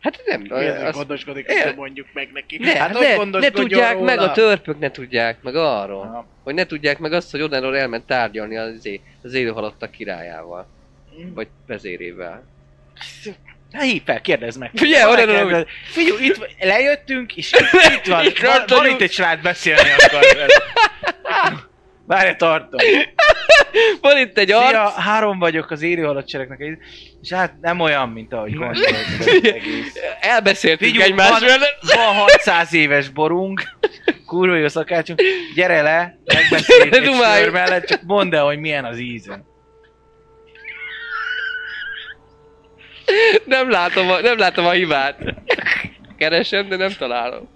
Speaker 4: Hát nem.
Speaker 6: Azt...
Speaker 4: Azt,
Speaker 6: gondoskodik,
Speaker 4: Ér-
Speaker 6: azt mondjuk meg neki.
Speaker 4: ne,
Speaker 6: hát
Speaker 4: hát
Speaker 6: hogy
Speaker 4: ne, ne
Speaker 6: gondoskodjon
Speaker 4: tudják
Speaker 6: róla?
Speaker 4: meg a törpök, ne tudják meg arról.
Speaker 2: Aha.
Speaker 4: Hogy ne tudják meg azt, hogy Odenor elment tárgyalni az, é- az élőhalottak királyával. Vagy vezérével. [laughs]
Speaker 2: Na hívj Hát fel, kérdezd meg.
Speaker 4: Figyelj,
Speaker 2: Van-e
Speaker 4: oda, oda,
Speaker 2: kérdez- Figyelj, itt van- lejöttünk, és
Speaker 4: [laughs]
Speaker 2: itt, itt van.
Speaker 4: Itt
Speaker 2: van, van
Speaker 4: tartunk.
Speaker 2: itt egy srác beszélni akar. veled.
Speaker 4: [laughs]
Speaker 2: Várj, tartom.
Speaker 4: Van itt egy arc,
Speaker 2: Szia, három vagyok az élő halacsereknek, és hát nem olyan, mint ahogy gondolod.
Speaker 4: [laughs]
Speaker 2: az egész.
Speaker 4: elbeszéltünk
Speaker 2: Vigyünk,
Speaker 4: egymásról.
Speaker 2: Van 600 éves borunk, kurva jó szakácsunk, gyere le, megbeszéljük egy
Speaker 4: Dumálj.
Speaker 2: sör mellett, csak mondd el, hogy milyen az íze.
Speaker 4: Nem látom, a, nem látom a hibát. Keresem, de nem találom.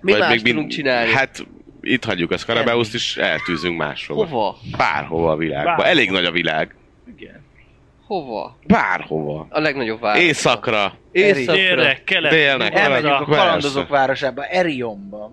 Speaker 4: Mi
Speaker 5: Vagy
Speaker 4: más
Speaker 5: még
Speaker 4: tudunk
Speaker 5: mind-
Speaker 4: csinálni?
Speaker 5: Hát itt hagyjuk a Scarabeust is, eltűzünk máshova. Hova?
Speaker 4: Hova?
Speaker 5: Bárhova a világba.
Speaker 3: Bárhova.
Speaker 5: Elég nagy a világ.
Speaker 4: Hova?
Speaker 5: Bárhova.
Speaker 4: A legnagyobb város.
Speaker 5: Északra.
Speaker 4: Északra.
Speaker 3: Délre, keletre.
Speaker 5: Délnek.
Speaker 2: Elmegyünk a
Speaker 5: Maradjunk
Speaker 2: kalandozók városába, Erionba.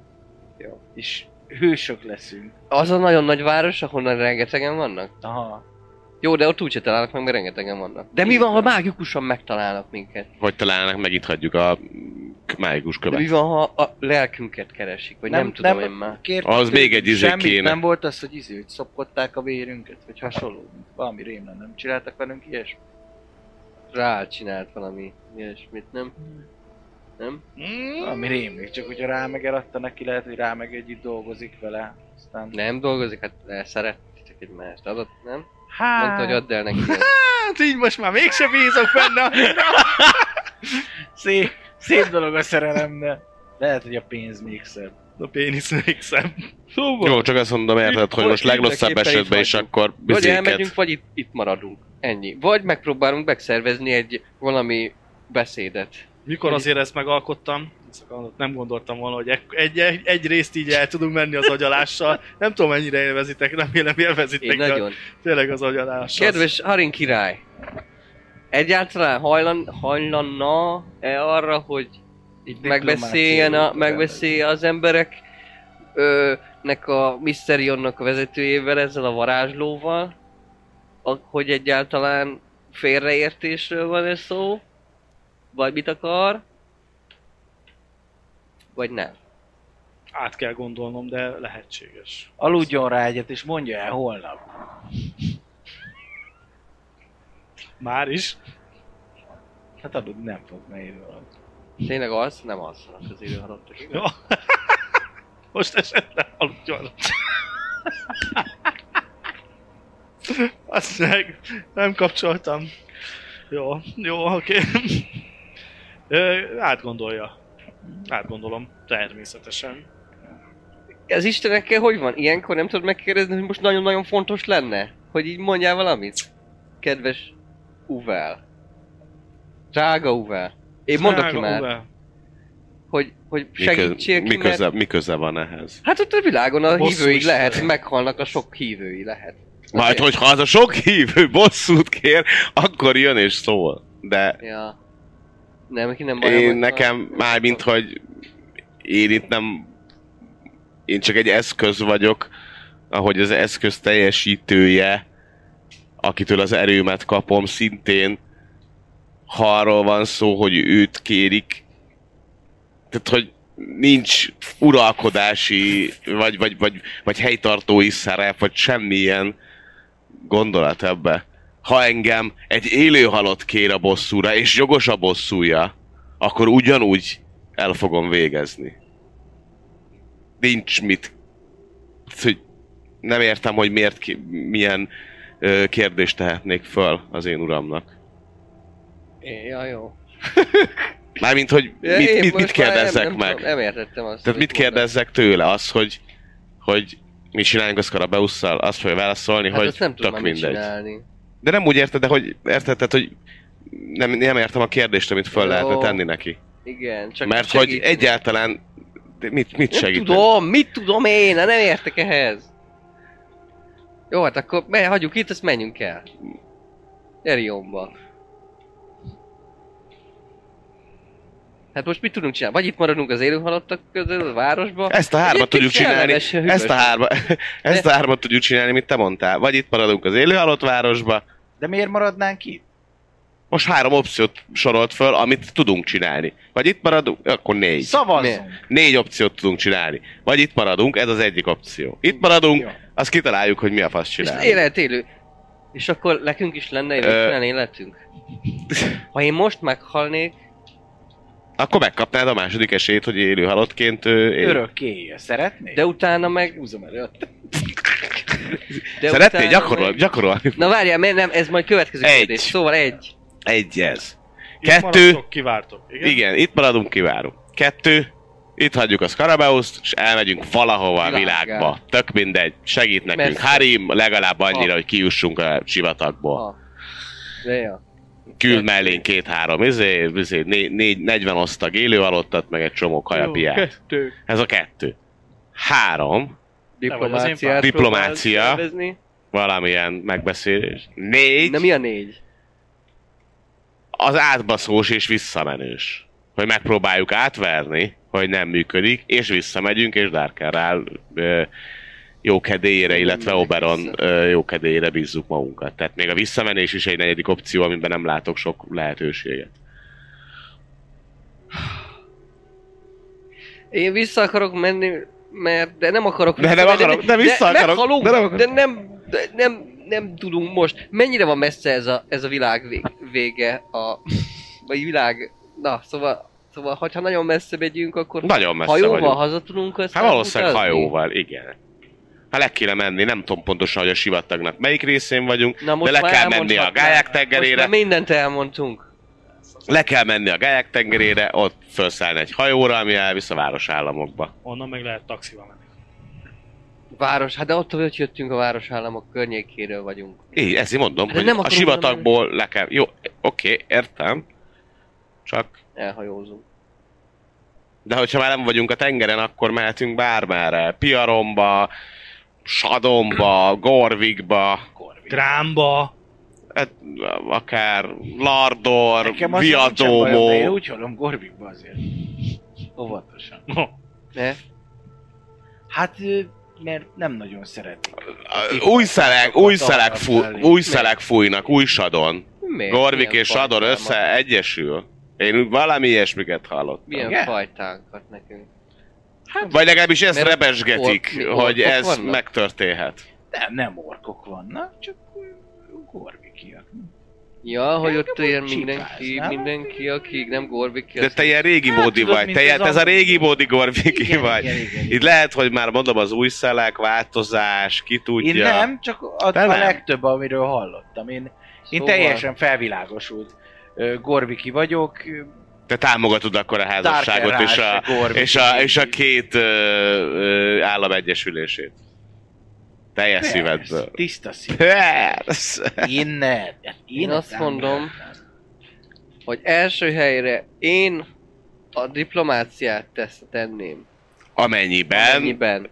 Speaker 2: Jó. És hősök leszünk.
Speaker 4: Az a nagyon nagy város, ahonnan rengetegen vannak.
Speaker 2: Aha.
Speaker 4: Jó, de ott úgyse találnak meg, mert rengetegen vannak. De mi van, ha mágikusan megtalálnak minket?
Speaker 5: Hogy találnak, meg itt hagyjuk a mm, mágikus
Speaker 4: De mi
Speaker 5: követ.
Speaker 4: van, ha a lelkünket keresik? Vagy nem, nem tudom én már.
Speaker 2: Kért,
Speaker 5: Ahhoz még egy izé
Speaker 2: semmit
Speaker 5: kéne.
Speaker 2: nem volt az, hogy izé, hogy szopkodták a vérünket, vagy hasonló. Valami rémlen nem csináltak velünk ilyesmi.
Speaker 4: Rá csinált valami ilyesmit, nem? Nem?
Speaker 2: Valami rémlik, csak hogyha rá meg eladta neki, lehet, hogy rá meg együtt dolgozik vele. Aztán...
Speaker 4: Nem dolgozik, hát elszerettek egymást. Adott, nem?
Speaker 2: Hát,
Speaker 4: Mondta, hogy add el neki.
Speaker 6: Hát így most már mégse bízok benne annyira.
Speaker 2: szép, szép dolog a szerelem, de lehet, hogy a pénz még szebb.
Speaker 3: A pénisz még szem.
Speaker 5: Jó, csak azt mondom, érted, hogy
Speaker 4: Most
Speaker 5: most legrosszabb
Speaker 4: mindenképpen itt
Speaker 5: esetben is
Speaker 4: hagyjuk.
Speaker 5: akkor
Speaker 4: Vagy
Speaker 5: bizéket.
Speaker 4: elmegyünk, vagy itt, itt maradunk. Ennyi. Vagy megpróbálunk megszervezni egy valami beszédet.
Speaker 3: Mikor azért ezt megalkottam, ezt a kalandot nem gondoltam volna, hogy ek- egy, egy, egy részt így el tudunk menni az agyalással. Nem tudom, mennyire élvezitek, remélem élvezitek.
Speaker 4: Én
Speaker 3: de
Speaker 4: nagyon.
Speaker 3: Tényleg az agyalással.
Speaker 4: Kedves Harin király! Egyáltalán hajlan, hajlanna-e arra, hogy így megbeszéljen a, megbeszélje az emberek ö, nek a Mysterionnak a vezetőjével, ezzel a varázslóval, a, hogy egyáltalán félreértésről van ez szó, vagy mit akar, vagy nem.
Speaker 3: Át kell gondolnom, de lehetséges.
Speaker 2: Aludjon rá egyet, és mondja el holnap.
Speaker 3: Már is.
Speaker 2: Hát adod, nem fog nehéz valami.
Speaker 4: Tényleg az? Nem alszanak az időhalottak, igaz?
Speaker 3: Jó. [laughs] Most esetleg aludjon. [laughs] Azt meg nem kapcsoltam. Jó, jó, oké. Ö, Átgondolja. Átgondolom, természetesen.
Speaker 4: Az istenekkel hogy van? Ilyenkor nem tudod megkérdezni, hogy most nagyon-nagyon fontos lenne? Hogy így mondjál valamit? Kedves Uvel. Drága Uvel. Én mondok ki
Speaker 3: Drága
Speaker 4: már,
Speaker 3: Uwe,
Speaker 4: hogy, hogy segítsél ki, mert...
Speaker 5: miköze, miköze van ehhez?
Speaker 4: Hát ott a világon a
Speaker 3: Bosszú
Speaker 4: hívőig
Speaker 3: Isten.
Speaker 4: lehet, meghalnak a sok hívői lehet.
Speaker 5: Hát, hogyha az a sok hívő bosszút kér, akkor jön és szól. De
Speaker 4: Ja. Nem, neki nem baj.
Speaker 5: én nekem már, mint hogy én itt nem... Én csak egy eszköz vagyok, ahogy az eszköz teljesítője, akitől az erőmet kapom, szintén ha arról van szó, hogy őt kérik, tehát hogy nincs uralkodási, vagy, vagy, vagy, vagy helytartói szerep, vagy semmilyen gondolat ebbe. Ha engem egy élő halott kér a bosszúra, és jogos a bosszúja, akkor ugyanúgy el fogom végezni. Nincs mit. Tehát, Hogy nem értem, hogy miért, ki, milyen ö, kérdést tehetnék föl az én uramnak.
Speaker 4: Ja, jó.
Speaker 5: Mármint, hogy
Speaker 4: Ja,
Speaker 5: mit,
Speaker 4: én
Speaker 5: mit, mit
Speaker 4: most már
Speaker 5: kérdezzek
Speaker 4: nem, nem
Speaker 5: meg?
Speaker 4: Tudom, nem értettem azt.
Speaker 5: Tehát
Speaker 4: amit
Speaker 5: mit kérdezzek tőle? Az, hogy, hogy mi csináljunk a Scarabeusszal? Azt fogja válaszolni,
Speaker 4: mondtad. Hát
Speaker 5: hogy
Speaker 4: azt nem tudom
Speaker 5: tök
Speaker 4: mit
Speaker 5: mindegy.
Speaker 4: csinálni.
Speaker 5: De nem úgy érted, de hogy érted, tehát, hogy nem, nem értem a kérdést, amit föl
Speaker 4: Jó.
Speaker 5: lehetne tenni neki.
Speaker 4: Igen, csak
Speaker 5: Mert hogy
Speaker 4: segíteni.
Speaker 5: egyáltalán de mit, mit
Speaker 4: Nem
Speaker 5: segít?
Speaker 4: tudom, mit tudom én, hát nem értek ehhez. Jó, hát akkor me, hagyjuk itt, azt menjünk el. Erionba. Hát most mit tudunk csinálni? Vagy itt maradunk az élő halottak közül, a városba?
Speaker 5: [laughs] Ezt a hármat
Speaker 4: Egyébként
Speaker 5: tudjuk csinálni.
Speaker 4: kellemes, hűvös.
Speaker 5: Ezt a, hárma, [laughs] ezt a hármat tudjuk csinálni, mint te mondtál. Vagy itt maradunk az élő halott városba.
Speaker 2: De miért maradnánk itt?
Speaker 5: Most három opciót sorolt föl, amit tudunk csinálni. Vagy itt maradunk, akkor négy.
Speaker 2: Szavazzunk!
Speaker 4: Miért?
Speaker 5: Négy opciót tudunk csinálni. Vagy itt maradunk, ez az egyik opció. Itt maradunk,
Speaker 2: Jó.
Speaker 5: azt kitaláljuk, hogy mi a fasz
Speaker 4: És
Speaker 5: csinálunk.
Speaker 4: élet élő. És akkor nekünk is lenne
Speaker 5: Ö.
Speaker 4: végtelen életünk. Ha én most meghalnék,
Speaker 5: Akkor megkapnád a második esélyt, hogy élő halottként ö, élj.
Speaker 2: Örökké élj. Szeretnéd?
Speaker 4: de utána meg...
Speaker 2: Húzom elő.
Speaker 4: De
Speaker 5: Szeretnél
Speaker 4: utána
Speaker 5: gyakorol,
Speaker 4: meg-
Speaker 5: gyakorolni?
Speaker 4: Na várjál, mert nem, ez majd következő
Speaker 5: Egy.
Speaker 4: kérdés. Szóval egy.
Speaker 5: Egy ez.
Speaker 3: itt
Speaker 5: Kettő.
Speaker 3: maradtok, Kivártok. Igen?
Speaker 5: Igen. Igen, itt maradunk, kivárunk. Kettő, itt hagyjuk a Scarabeust, és elmegyünk valahova a
Speaker 4: Világgá.
Speaker 5: világba. Tök mindegy, segít nekünk.
Speaker 4: Messze.
Speaker 5: Harim legalább annyira,
Speaker 4: Ha.
Speaker 5: hogy kijussunk a sivatagból.
Speaker 4: Ha. Ah, De jó.
Speaker 5: Küld mellén két-három, izé, izé, né, négy, 40 osztag élő alottat, meg egy csomó
Speaker 4: [laughs]
Speaker 5: kajapiát.
Speaker 2: Kettő.
Speaker 5: Ez a kettő. Három,
Speaker 3: Nem vagy az én
Speaker 4: Diplomáciát
Speaker 3: pár-
Speaker 5: Diplomácia.
Speaker 4: próbálsz szervezni.
Speaker 5: valamilyen megbeszélés. Négy,
Speaker 4: Na mi a négy?
Speaker 5: az átbaszós és visszamenős. Hogy megpróbáljuk átverni, hogy nem működik, és visszamegyünk, és Darkerrel jó kedélyére, illetve
Speaker 4: megyek
Speaker 5: Oberon
Speaker 4: vissza.
Speaker 5: ö, jó kedélyére bízzuk magunkat. Tehát még a visszamenés is egy negyedik opció, amiben nem látok sok lehetőséget.
Speaker 4: Én vissza akarok menni, mert de nem akarok
Speaker 5: De nem
Speaker 4: visszamenni,
Speaker 5: akarok, de vissza akarok,
Speaker 4: meghalunk,
Speaker 5: de nem akarok.
Speaker 4: de nem, de nem, nem tudunk most. Mennyire van messze ez a, ez a világ vég, vége a, vagy világ, na szóval, szóval ha nagyon messze megyünk, akkor
Speaker 5: Nagyon messze
Speaker 4: hajóval
Speaker 5: vagyunk.
Speaker 4: haza tudunk
Speaker 5: Hát valószínűleg hajóval, igen. Ha le kéne menni, nem tudom pontosan, hogy a sivatagnak melyik részén vagyunk,
Speaker 4: Na most
Speaker 5: de le
Speaker 4: már
Speaker 5: kell menni a
Speaker 4: elmondhatnád.
Speaker 5: Gályák
Speaker 4: Most
Speaker 5: tengerére,
Speaker 4: már mindent elmondtunk.
Speaker 5: le kell menni a Gályák tengerére, ott felszállni egy hajóra, ami elvisz a városállamokba.
Speaker 3: Onnan meg lehet taxival menni.
Speaker 4: Város, hát de ott, hogy jöttünk a városállamok környékéről vagyunk.
Speaker 5: Így, ezért mondom,
Speaker 4: De
Speaker 5: hogy
Speaker 4: Hát nem
Speaker 5: a
Speaker 4: akarom
Speaker 5: sivatagból le kell... Jó, oké, értem. Csak...
Speaker 4: Elhajózunk.
Speaker 5: De hogyha már nem vagyunk a tengeren, akkor mehetünk bármerre. Piaromba, Sadomba, Gorvikba,
Speaker 3: Drámba.
Speaker 5: hát, akár Lardor,
Speaker 2: Nekem az nincsen bajom, de én
Speaker 5: Viadómó.
Speaker 2: úgy hallom Gorbikba azért. Óvatosan.
Speaker 4: Ne?
Speaker 2: Hát, ö, mert nem nagyon szeretik.
Speaker 5: Új szelek, új
Speaker 2: A
Speaker 5: szelek,
Speaker 2: talpra
Speaker 5: fú,
Speaker 2: felé.
Speaker 5: új szelek fújnak, új Sadon.
Speaker 4: Miért?
Speaker 5: Gorvik
Speaker 4: Milyen
Speaker 5: és Sadon
Speaker 4: fajtákat?
Speaker 5: összeegyesül. Én úgy valami ilyesmiket hallottam.
Speaker 4: Milyen
Speaker 2: Igen?
Speaker 4: fajtákat nekünk?
Speaker 5: Vagy legalábbis ezt
Speaker 4: Mert
Speaker 5: rebesgetik,
Speaker 4: ork- mi
Speaker 5: hogy
Speaker 4: orkok
Speaker 5: ez
Speaker 4: vannak?
Speaker 5: megtörténhet.
Speaker 2: Nem, nem orkok vannak, csak ö, gorbikiak.
Speaker 4: Ja, hogy ott
Speaker 2: Engem
Speaker 4: ilyen
Speaker 2: úgy
Speaker 4: mindenki,
Speaker 2: csipáznak.
Speaker 4: mindenki, akik nem gorvik ki,
Speaker 5: De te ilyen régi
Speaker 2: Hát,
Speaker 5: módi
Speaker 2: tudod,
Speaker 5: vagy,
Speaker 2: mint
Speaker 5: te
Speaker 2: az
Speaker 5: ilyen, ez a
Speaker 2: angol.
Speaker 5: régi módi gorviki
Speaker 2: Igen,
Speaker 5: vagy.
Speaker 2: igen, igen.
Speaker 4: Izé,
Speaker 5: Itt lehet, hogy már mondom, az új szelek, változás, ki tudja.
Speaker 2: Én nem, csak a,
Speaker 5: Te
Speaker 2: a
Speaker 5: nem.
Speaker 2: legtöbb, amiről hallottam. Én, én
Speaker 4: Szóval-
Speaker 2: teljesen felvilágosult ö, gorbiki vagyok, ö,
Speaker 5: Te támogatod akkor a házasságot és a,
Speaker 2: Gormit
Speaker 5: és a, és a
Speaker 2: így.
Speaker 5: két ö, ö, állam egyesülését. Teljes szívedből.
Speaker 2: Tiszta szív. Hát
Speaker 5: Persze.
Speaker 2: Innen.
Speaker 4: Én azt mondom, hogy első helyre én a diplomáciát tesz, tenném.
Speaker 5: Amennyiben
Speaker 4: Amennyiben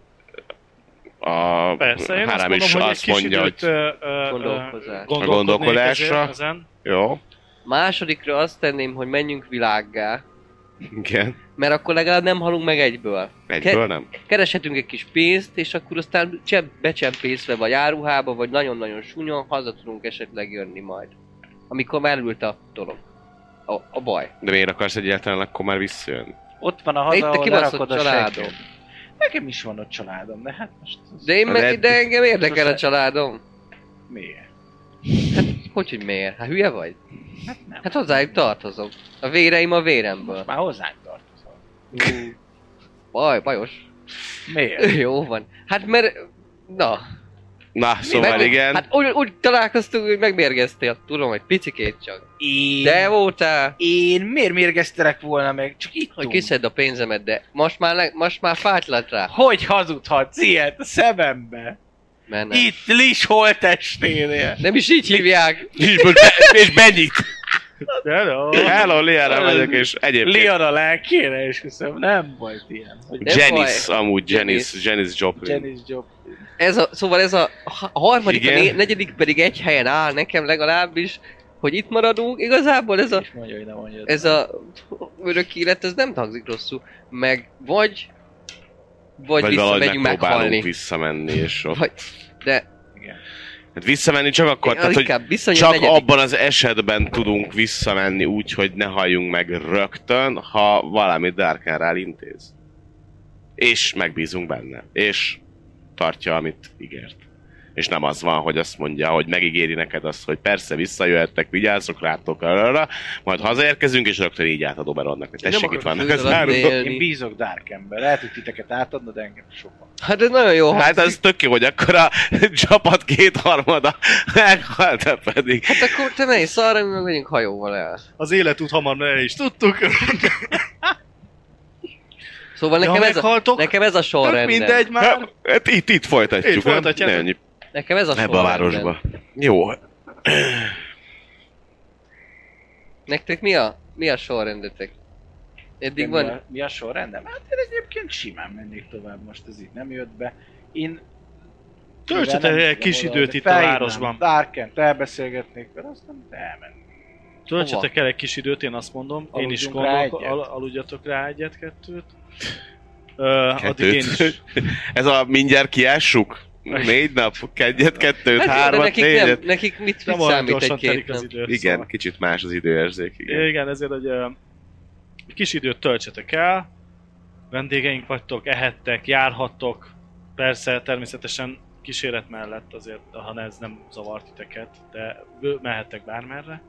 Speaker 5: a
Speaker 3: Persze, én
Speaker 5: Három
Speaker 3: azt
Speaker 5: is
Speaker 3: mondom, hogy egy
Speaker 5: azt
Speaker 3: kis
Speaker 5: mondja,
Speaker 3: időt
Speaker 5: hogy
Speaker 3: ö, ö, ö,
Speaker 4: Gondolkozás.
Speaker 3: gondolkodnék
Speaker 5: Gondolkodásra.
Speaker 3: ezen- Ezen.
Speaker 5: jó,
Speaker 4: Másodikra azt tenném, hogy menjünk világgá,
Speaker 5: igen,
Speaker 4: mert akkor legalább nem halunk meg egyből.
Speaker 5: egyből nem.
Speaker 4: Kereshetünk egy kis pénzt, és akkor aztán cseb, becsempészve vagy áruhába, vagy nagyon-nagyon sunyon haza tudunk esetleg jönni majd. Amikor már ült a dolog. A, a baj.
Speaker 5: De miért akarsz egyáltalán akkor már visszajönni?
Speaker 2: Ott van a
Speaker 4: Itt
Speaker 2: haza,
Speaker 4: a
Speaker 2: ahol
Speaker 4: kibaszott
Speaker 2: lerakod a
Speaker 4: családom.
Speaker 2: segged. Nekem is van ott családom, de hát most... az-
Speaker 4: De én meg,
Speaker 5: Red-
Speaker 4: de engem érdekel a
Speaker 2: Sose.
Speaker 4: családom.
Speaker 2: Miért?
Speaker 4: Hogy, hogy miért? Hát hülye vagy?
Speaker 2: Hát nem.
Speaker 4: Hát hozzájuk tartozom. A véreim a véremből.
Speaker 2: Most már hozzánk tartozol.
Speaker 4: Baj, bajos.
Speaker 2: Miért?
Speaker 4: Jó van. Hát mert... Na.
Speaker 5: Na, szóval
Speaker 4: meg,
Speaker 5: igen,
Speaker 4: Hát úgy, úgy találkoztunk, hogy megmérgeztél. Tudom, hogy picikét csak.
Speaker 2: Én...
Speaker 4: De voltál.
Speaker 2: Én miért mérgeztelek volna meg? Csak itt
Speaker 4: Hogy kiszed a pénzemet, de most már, le, most már fátlat rá.
Speaker 2: Hogy hazudhatsz ilyet a szemembe?
Speaker 4: Mert nem.
Speaker 2: Itt Lis holtesténél.
Speaker 4: nem is így hívják.
Speaker 5: [laughs] és, be, és benyit.
Speaker 2: Hello.
Speaker 5: Hello, Liara vagyok, és egyébként
Speaker 2: Leon a lelkére, és köszönöm, nem volt ilyen. Hogy
Speaker 4: Nem
Speaker 5: Janis,
Speaker 4: baj.
Speaker 5: amúgy Janis, Janis Joplin.
Speaker 2: Janis Job.
Speaker 4: Ez a, szóval ez a ha- a harmadik, a
Speaker 5: Igen.
Speaker 4: né- negyedik pedig egy helyen áll nekem legalábbis, hogy itt maradunk. Igazából ez a
Speaker 2: És mondja, hogy nem mondja.
Speaker 4: ez a örök élet, ez nem hangzik rosszul. Meg vagy, vagy,
Speaker 5: Vagy valahogy
Speaker 4: visszamegyünk meghalni.
Speaker 5: megpróbálunk visszamenni, és ott.
Speaker 4: Vagy, de
Speaker 5: Hát visszamenni csak akkor,
Speaker 4: Akkor,
Speaker 5: tehát, hogy
Speaker 4: inkább viszonylag
Speaker 5: Csak
Speaker 4: negyedik.
Speaker 5: abban az esetben tudunk visszamenni úgy, hogy ne halljunk meg rögtön, ha valami Darkán intéz. És megbízunk benne. És tartja, amit ígért. És nem az van, hogy azt mondja, hogy megígéri neked azt, hogy persze visszajöhettek, vigyázzok rátok arra, majd hazaérkezünk, és rögtön így átadó Beronnak, hogy
Speaker 4: Én nem
Speaker 5: tessék, itt
Speaker 4: akarok
Speaker 5: vannak az
Speaker 4: főzalatt
Speaker 5: áruk.
Speaker 4: élni.
Speaker 2: Én bízok Darkenben. Lehet, hogy titeket átadna, de engem sokan.
Speaker 4: Hát ez nagyon jó. Hát,
Speaker 5: Hát az tök jó, hogy akkor a [laughs] csapat kétharmada meghalt, te pedig.
Speaker 4: hát akkor te menj szarra, mi meg megyünk hajóval el.
Speaker 3: Az életút hamar el is tudtuk.
Speaker 4: Szóval
Speaker 3: De ha
Speaker 4: nekem, ez, a,
Speaker 3: meghaltok,
Speaker 4: nekem ez a
Speaker 3: tök
Speaker 4: sorrend.
Speaker 3: mindegy már.
Speaker 5: Hát itt, itt folytatjuk,
Speaker 3: Itt
Speaker 5: nem?
Speaker 3: folytatjátok.
Speaker 5: Ne ennyi
Speaker 4: Nekem ez a
Speaker 5: Ebbe a
Speaker 4: sorrendem.
Speaker 5: városba. Jó.
Speaker 4: Nektek mi a, mi a sorrendetek? Eddig
Speaker 2: mi,
Speaker 4: van?
Speaker 2: a, mi a sorrendem? Hát én egyébként simán mennék tovább, most ez így nem jött be. Én...
Speaker 3: Töltsetek
Speaker 2: mivel nem
Speaker 3: egy kis
Speaker 2: tudom
Speaker 3: időt
Speaker 2: oda,
Speaker 3: itt
Speaker 2: de
Speaker 3: a
Speaker 2: felhívnám
Speaker 3: városban.
Speaker 2: Darkent, elbeszélgetnék vele, aztán elmennék.
Speaker 3: Töltsetek el egy kis időt, én azt mondom. Én is
Speaker 2: Aludjunk rá
Speaker 3: gondolok,
Speaker 2: egyet?
Speaker 3: al, aludjatok rá egyet, kettőt. Ö, addig én
Speaker 5: Kettőt.
Speaker 3: is.
Speaker 5: Ez a mindjárt kiássuk? Négy nap, egyet,
Speaker 4: Hát
Speaker 5: kettőt,
Speaker 4: jó, de
Speaker 5: hármat,
Speaker 4: nekik, nem,
Speaker 5: négyet.
Speaker 4: nekik mit,
Speaker 3: Nem
Speaker 4: mit
Speaker 3: olyan
Speaker 4: számít
Speaker 3: gyorsan
Speaker 4: egy-két
Speaker 3: telik az
Speaker 4: nap?
Speaker 3: idő.
Speaker 5: Igen, kicsit más az időérzék. Igen.
Speaker 3: Igen, igen ezért egy ö, kis időt töltsetek el, vendégeink vagytok, ehettek, járhattok, persze természetesen kíséret mellett azért, ha ez nem zavar titeket, de bő- mehettek bármerre.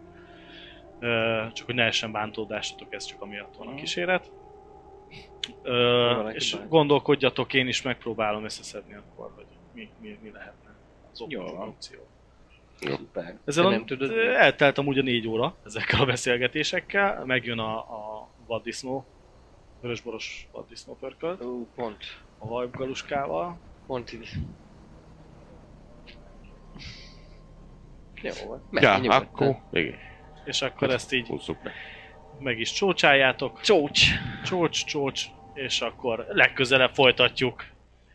Speaker 3: Ö, csak hogy ne essen bántódásotok, ez csak amiatt van a kíséret. Ö,
Speaker 4: Van egy
Speaker 3: és
Speaker 4: hibánk.
Speaker 3: gondolkodjatok, én is megpróbálom összeszedni akkor, hogy mi, mi, mi lehetne az
Speaker 2: Jó
Speaker 3: opció.
Speaker 2: van.
Speaker 3: opció.
Speaker 4: Szuper.
Speaker 3: Ezzel
Speaker 4: Te
Speaker 3: nem
Speaker 4: nem tudod?
Speaker 3: eltelt amúgy a négy óra ezekkel a beszélgetésekkel, megjön a, a vaddisznó, vörösboros vaddisznó pörkölt,
Speaker 4: Ú, pont.
Speaker 3: a vajgaluskával.
Speaker 4: Pont így. Jó van.
Speaker 5: Ja,
Speaker 4: Menj, nyugodtan.
Speaker 5: akkor... Igen,
Speaker 3: és akkor
Speaker 4: Hát,
Speaker 3: ezt így
Speaker 5: húzzuk meg.
Speaker 3: meg is csócsáljátok.
Speaker 4: Csócs.
Speaker 3: Csócs, csócs, és akkor legközelebb folytatjuk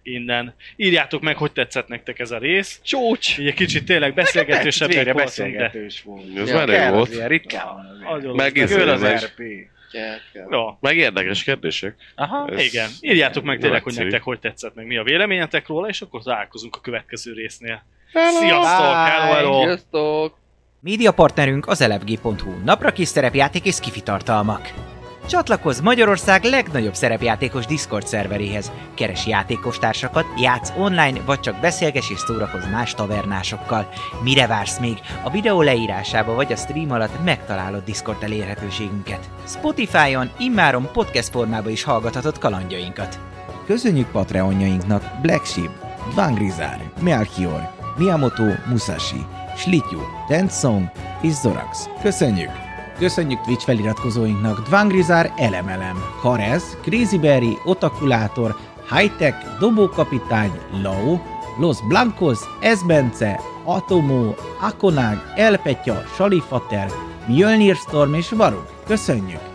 Speaker 3: innen. Írjátok meg, hogy tetszett nektek ez a rész.
Speaker 4: Csócs.
Speaker 3: Így egy kicsit tényleg beszélgetősebbek
Speaker 2: Végre
Speaker 3: voltunk, de...
Speaker 2: beszélgetős volt.
Speaker 5: Ez
Speaker 4: Ja,
Speaker 5: már
Speaker 2: Kell
Speaker 5: jó
Speaker 2: az
Speaker 5: volt.
Speaker 2: ilyen, ritkán van az ilyen.
Speaker 3: Nagyon
Speaker 5: Meg
Speaker 3: jó.
Speaker 5: is-
Speaker 2: Ő
Speaker 5: ez
Speaker 2: az
Speaker 5: is.
Speaker 2: RP.
Speaker 4: Gyerkel.
Speaker 3: Jó,
Speaker 5: Meg érdekes kérdések.
Speaker 2: Aha.
Speaker 5: Ez-
Speaker 3: igen. Írjátok meg tényleg, hogy
Speaker 5: Nagyszerű.
Speaker 3: nektek hogy tetszett, meg mi a véleményetek róla, és akkor találkozunk a következő résznél. Sziasztok! Hello, hello!
Speaker 4: Sziasztok.
Speaker 1: Média partnerünk az elefg.hu, napra kis szerepjáték és kifi tartalmak. Csatlakozz Magyarország legnagyobb szerepjátékos Discord szerveréhez, keres játékostársakat, játsz online, vagy csak beszélges és szórakozz más tavernásokkal. Mire vársz még? A videó leírásába vagy a stream alatt megtalálod Discord elérhetőségünket. Spotify-on immáron podcast formában is hallgathatod kalandjainkat.
Speaker 7: Köszönjük Patreonjainknak Black Sheep, Dvangrizár, Melchior, Miyamoto Musashi, Slityu, Densong és Zorax. Köszönjük!
Speaker 1: Köszönjük Twitch feliratkozóinknak Dvangrizár, Elemelem, Karez, Crazyberry, Otakulátor, Hightech, Dobókapitány, Lau, Los Blancos, Esbence, Atomó, Akonág, Elpetya, Salifater, Mjölnir Storm és Varug. Köszönjük!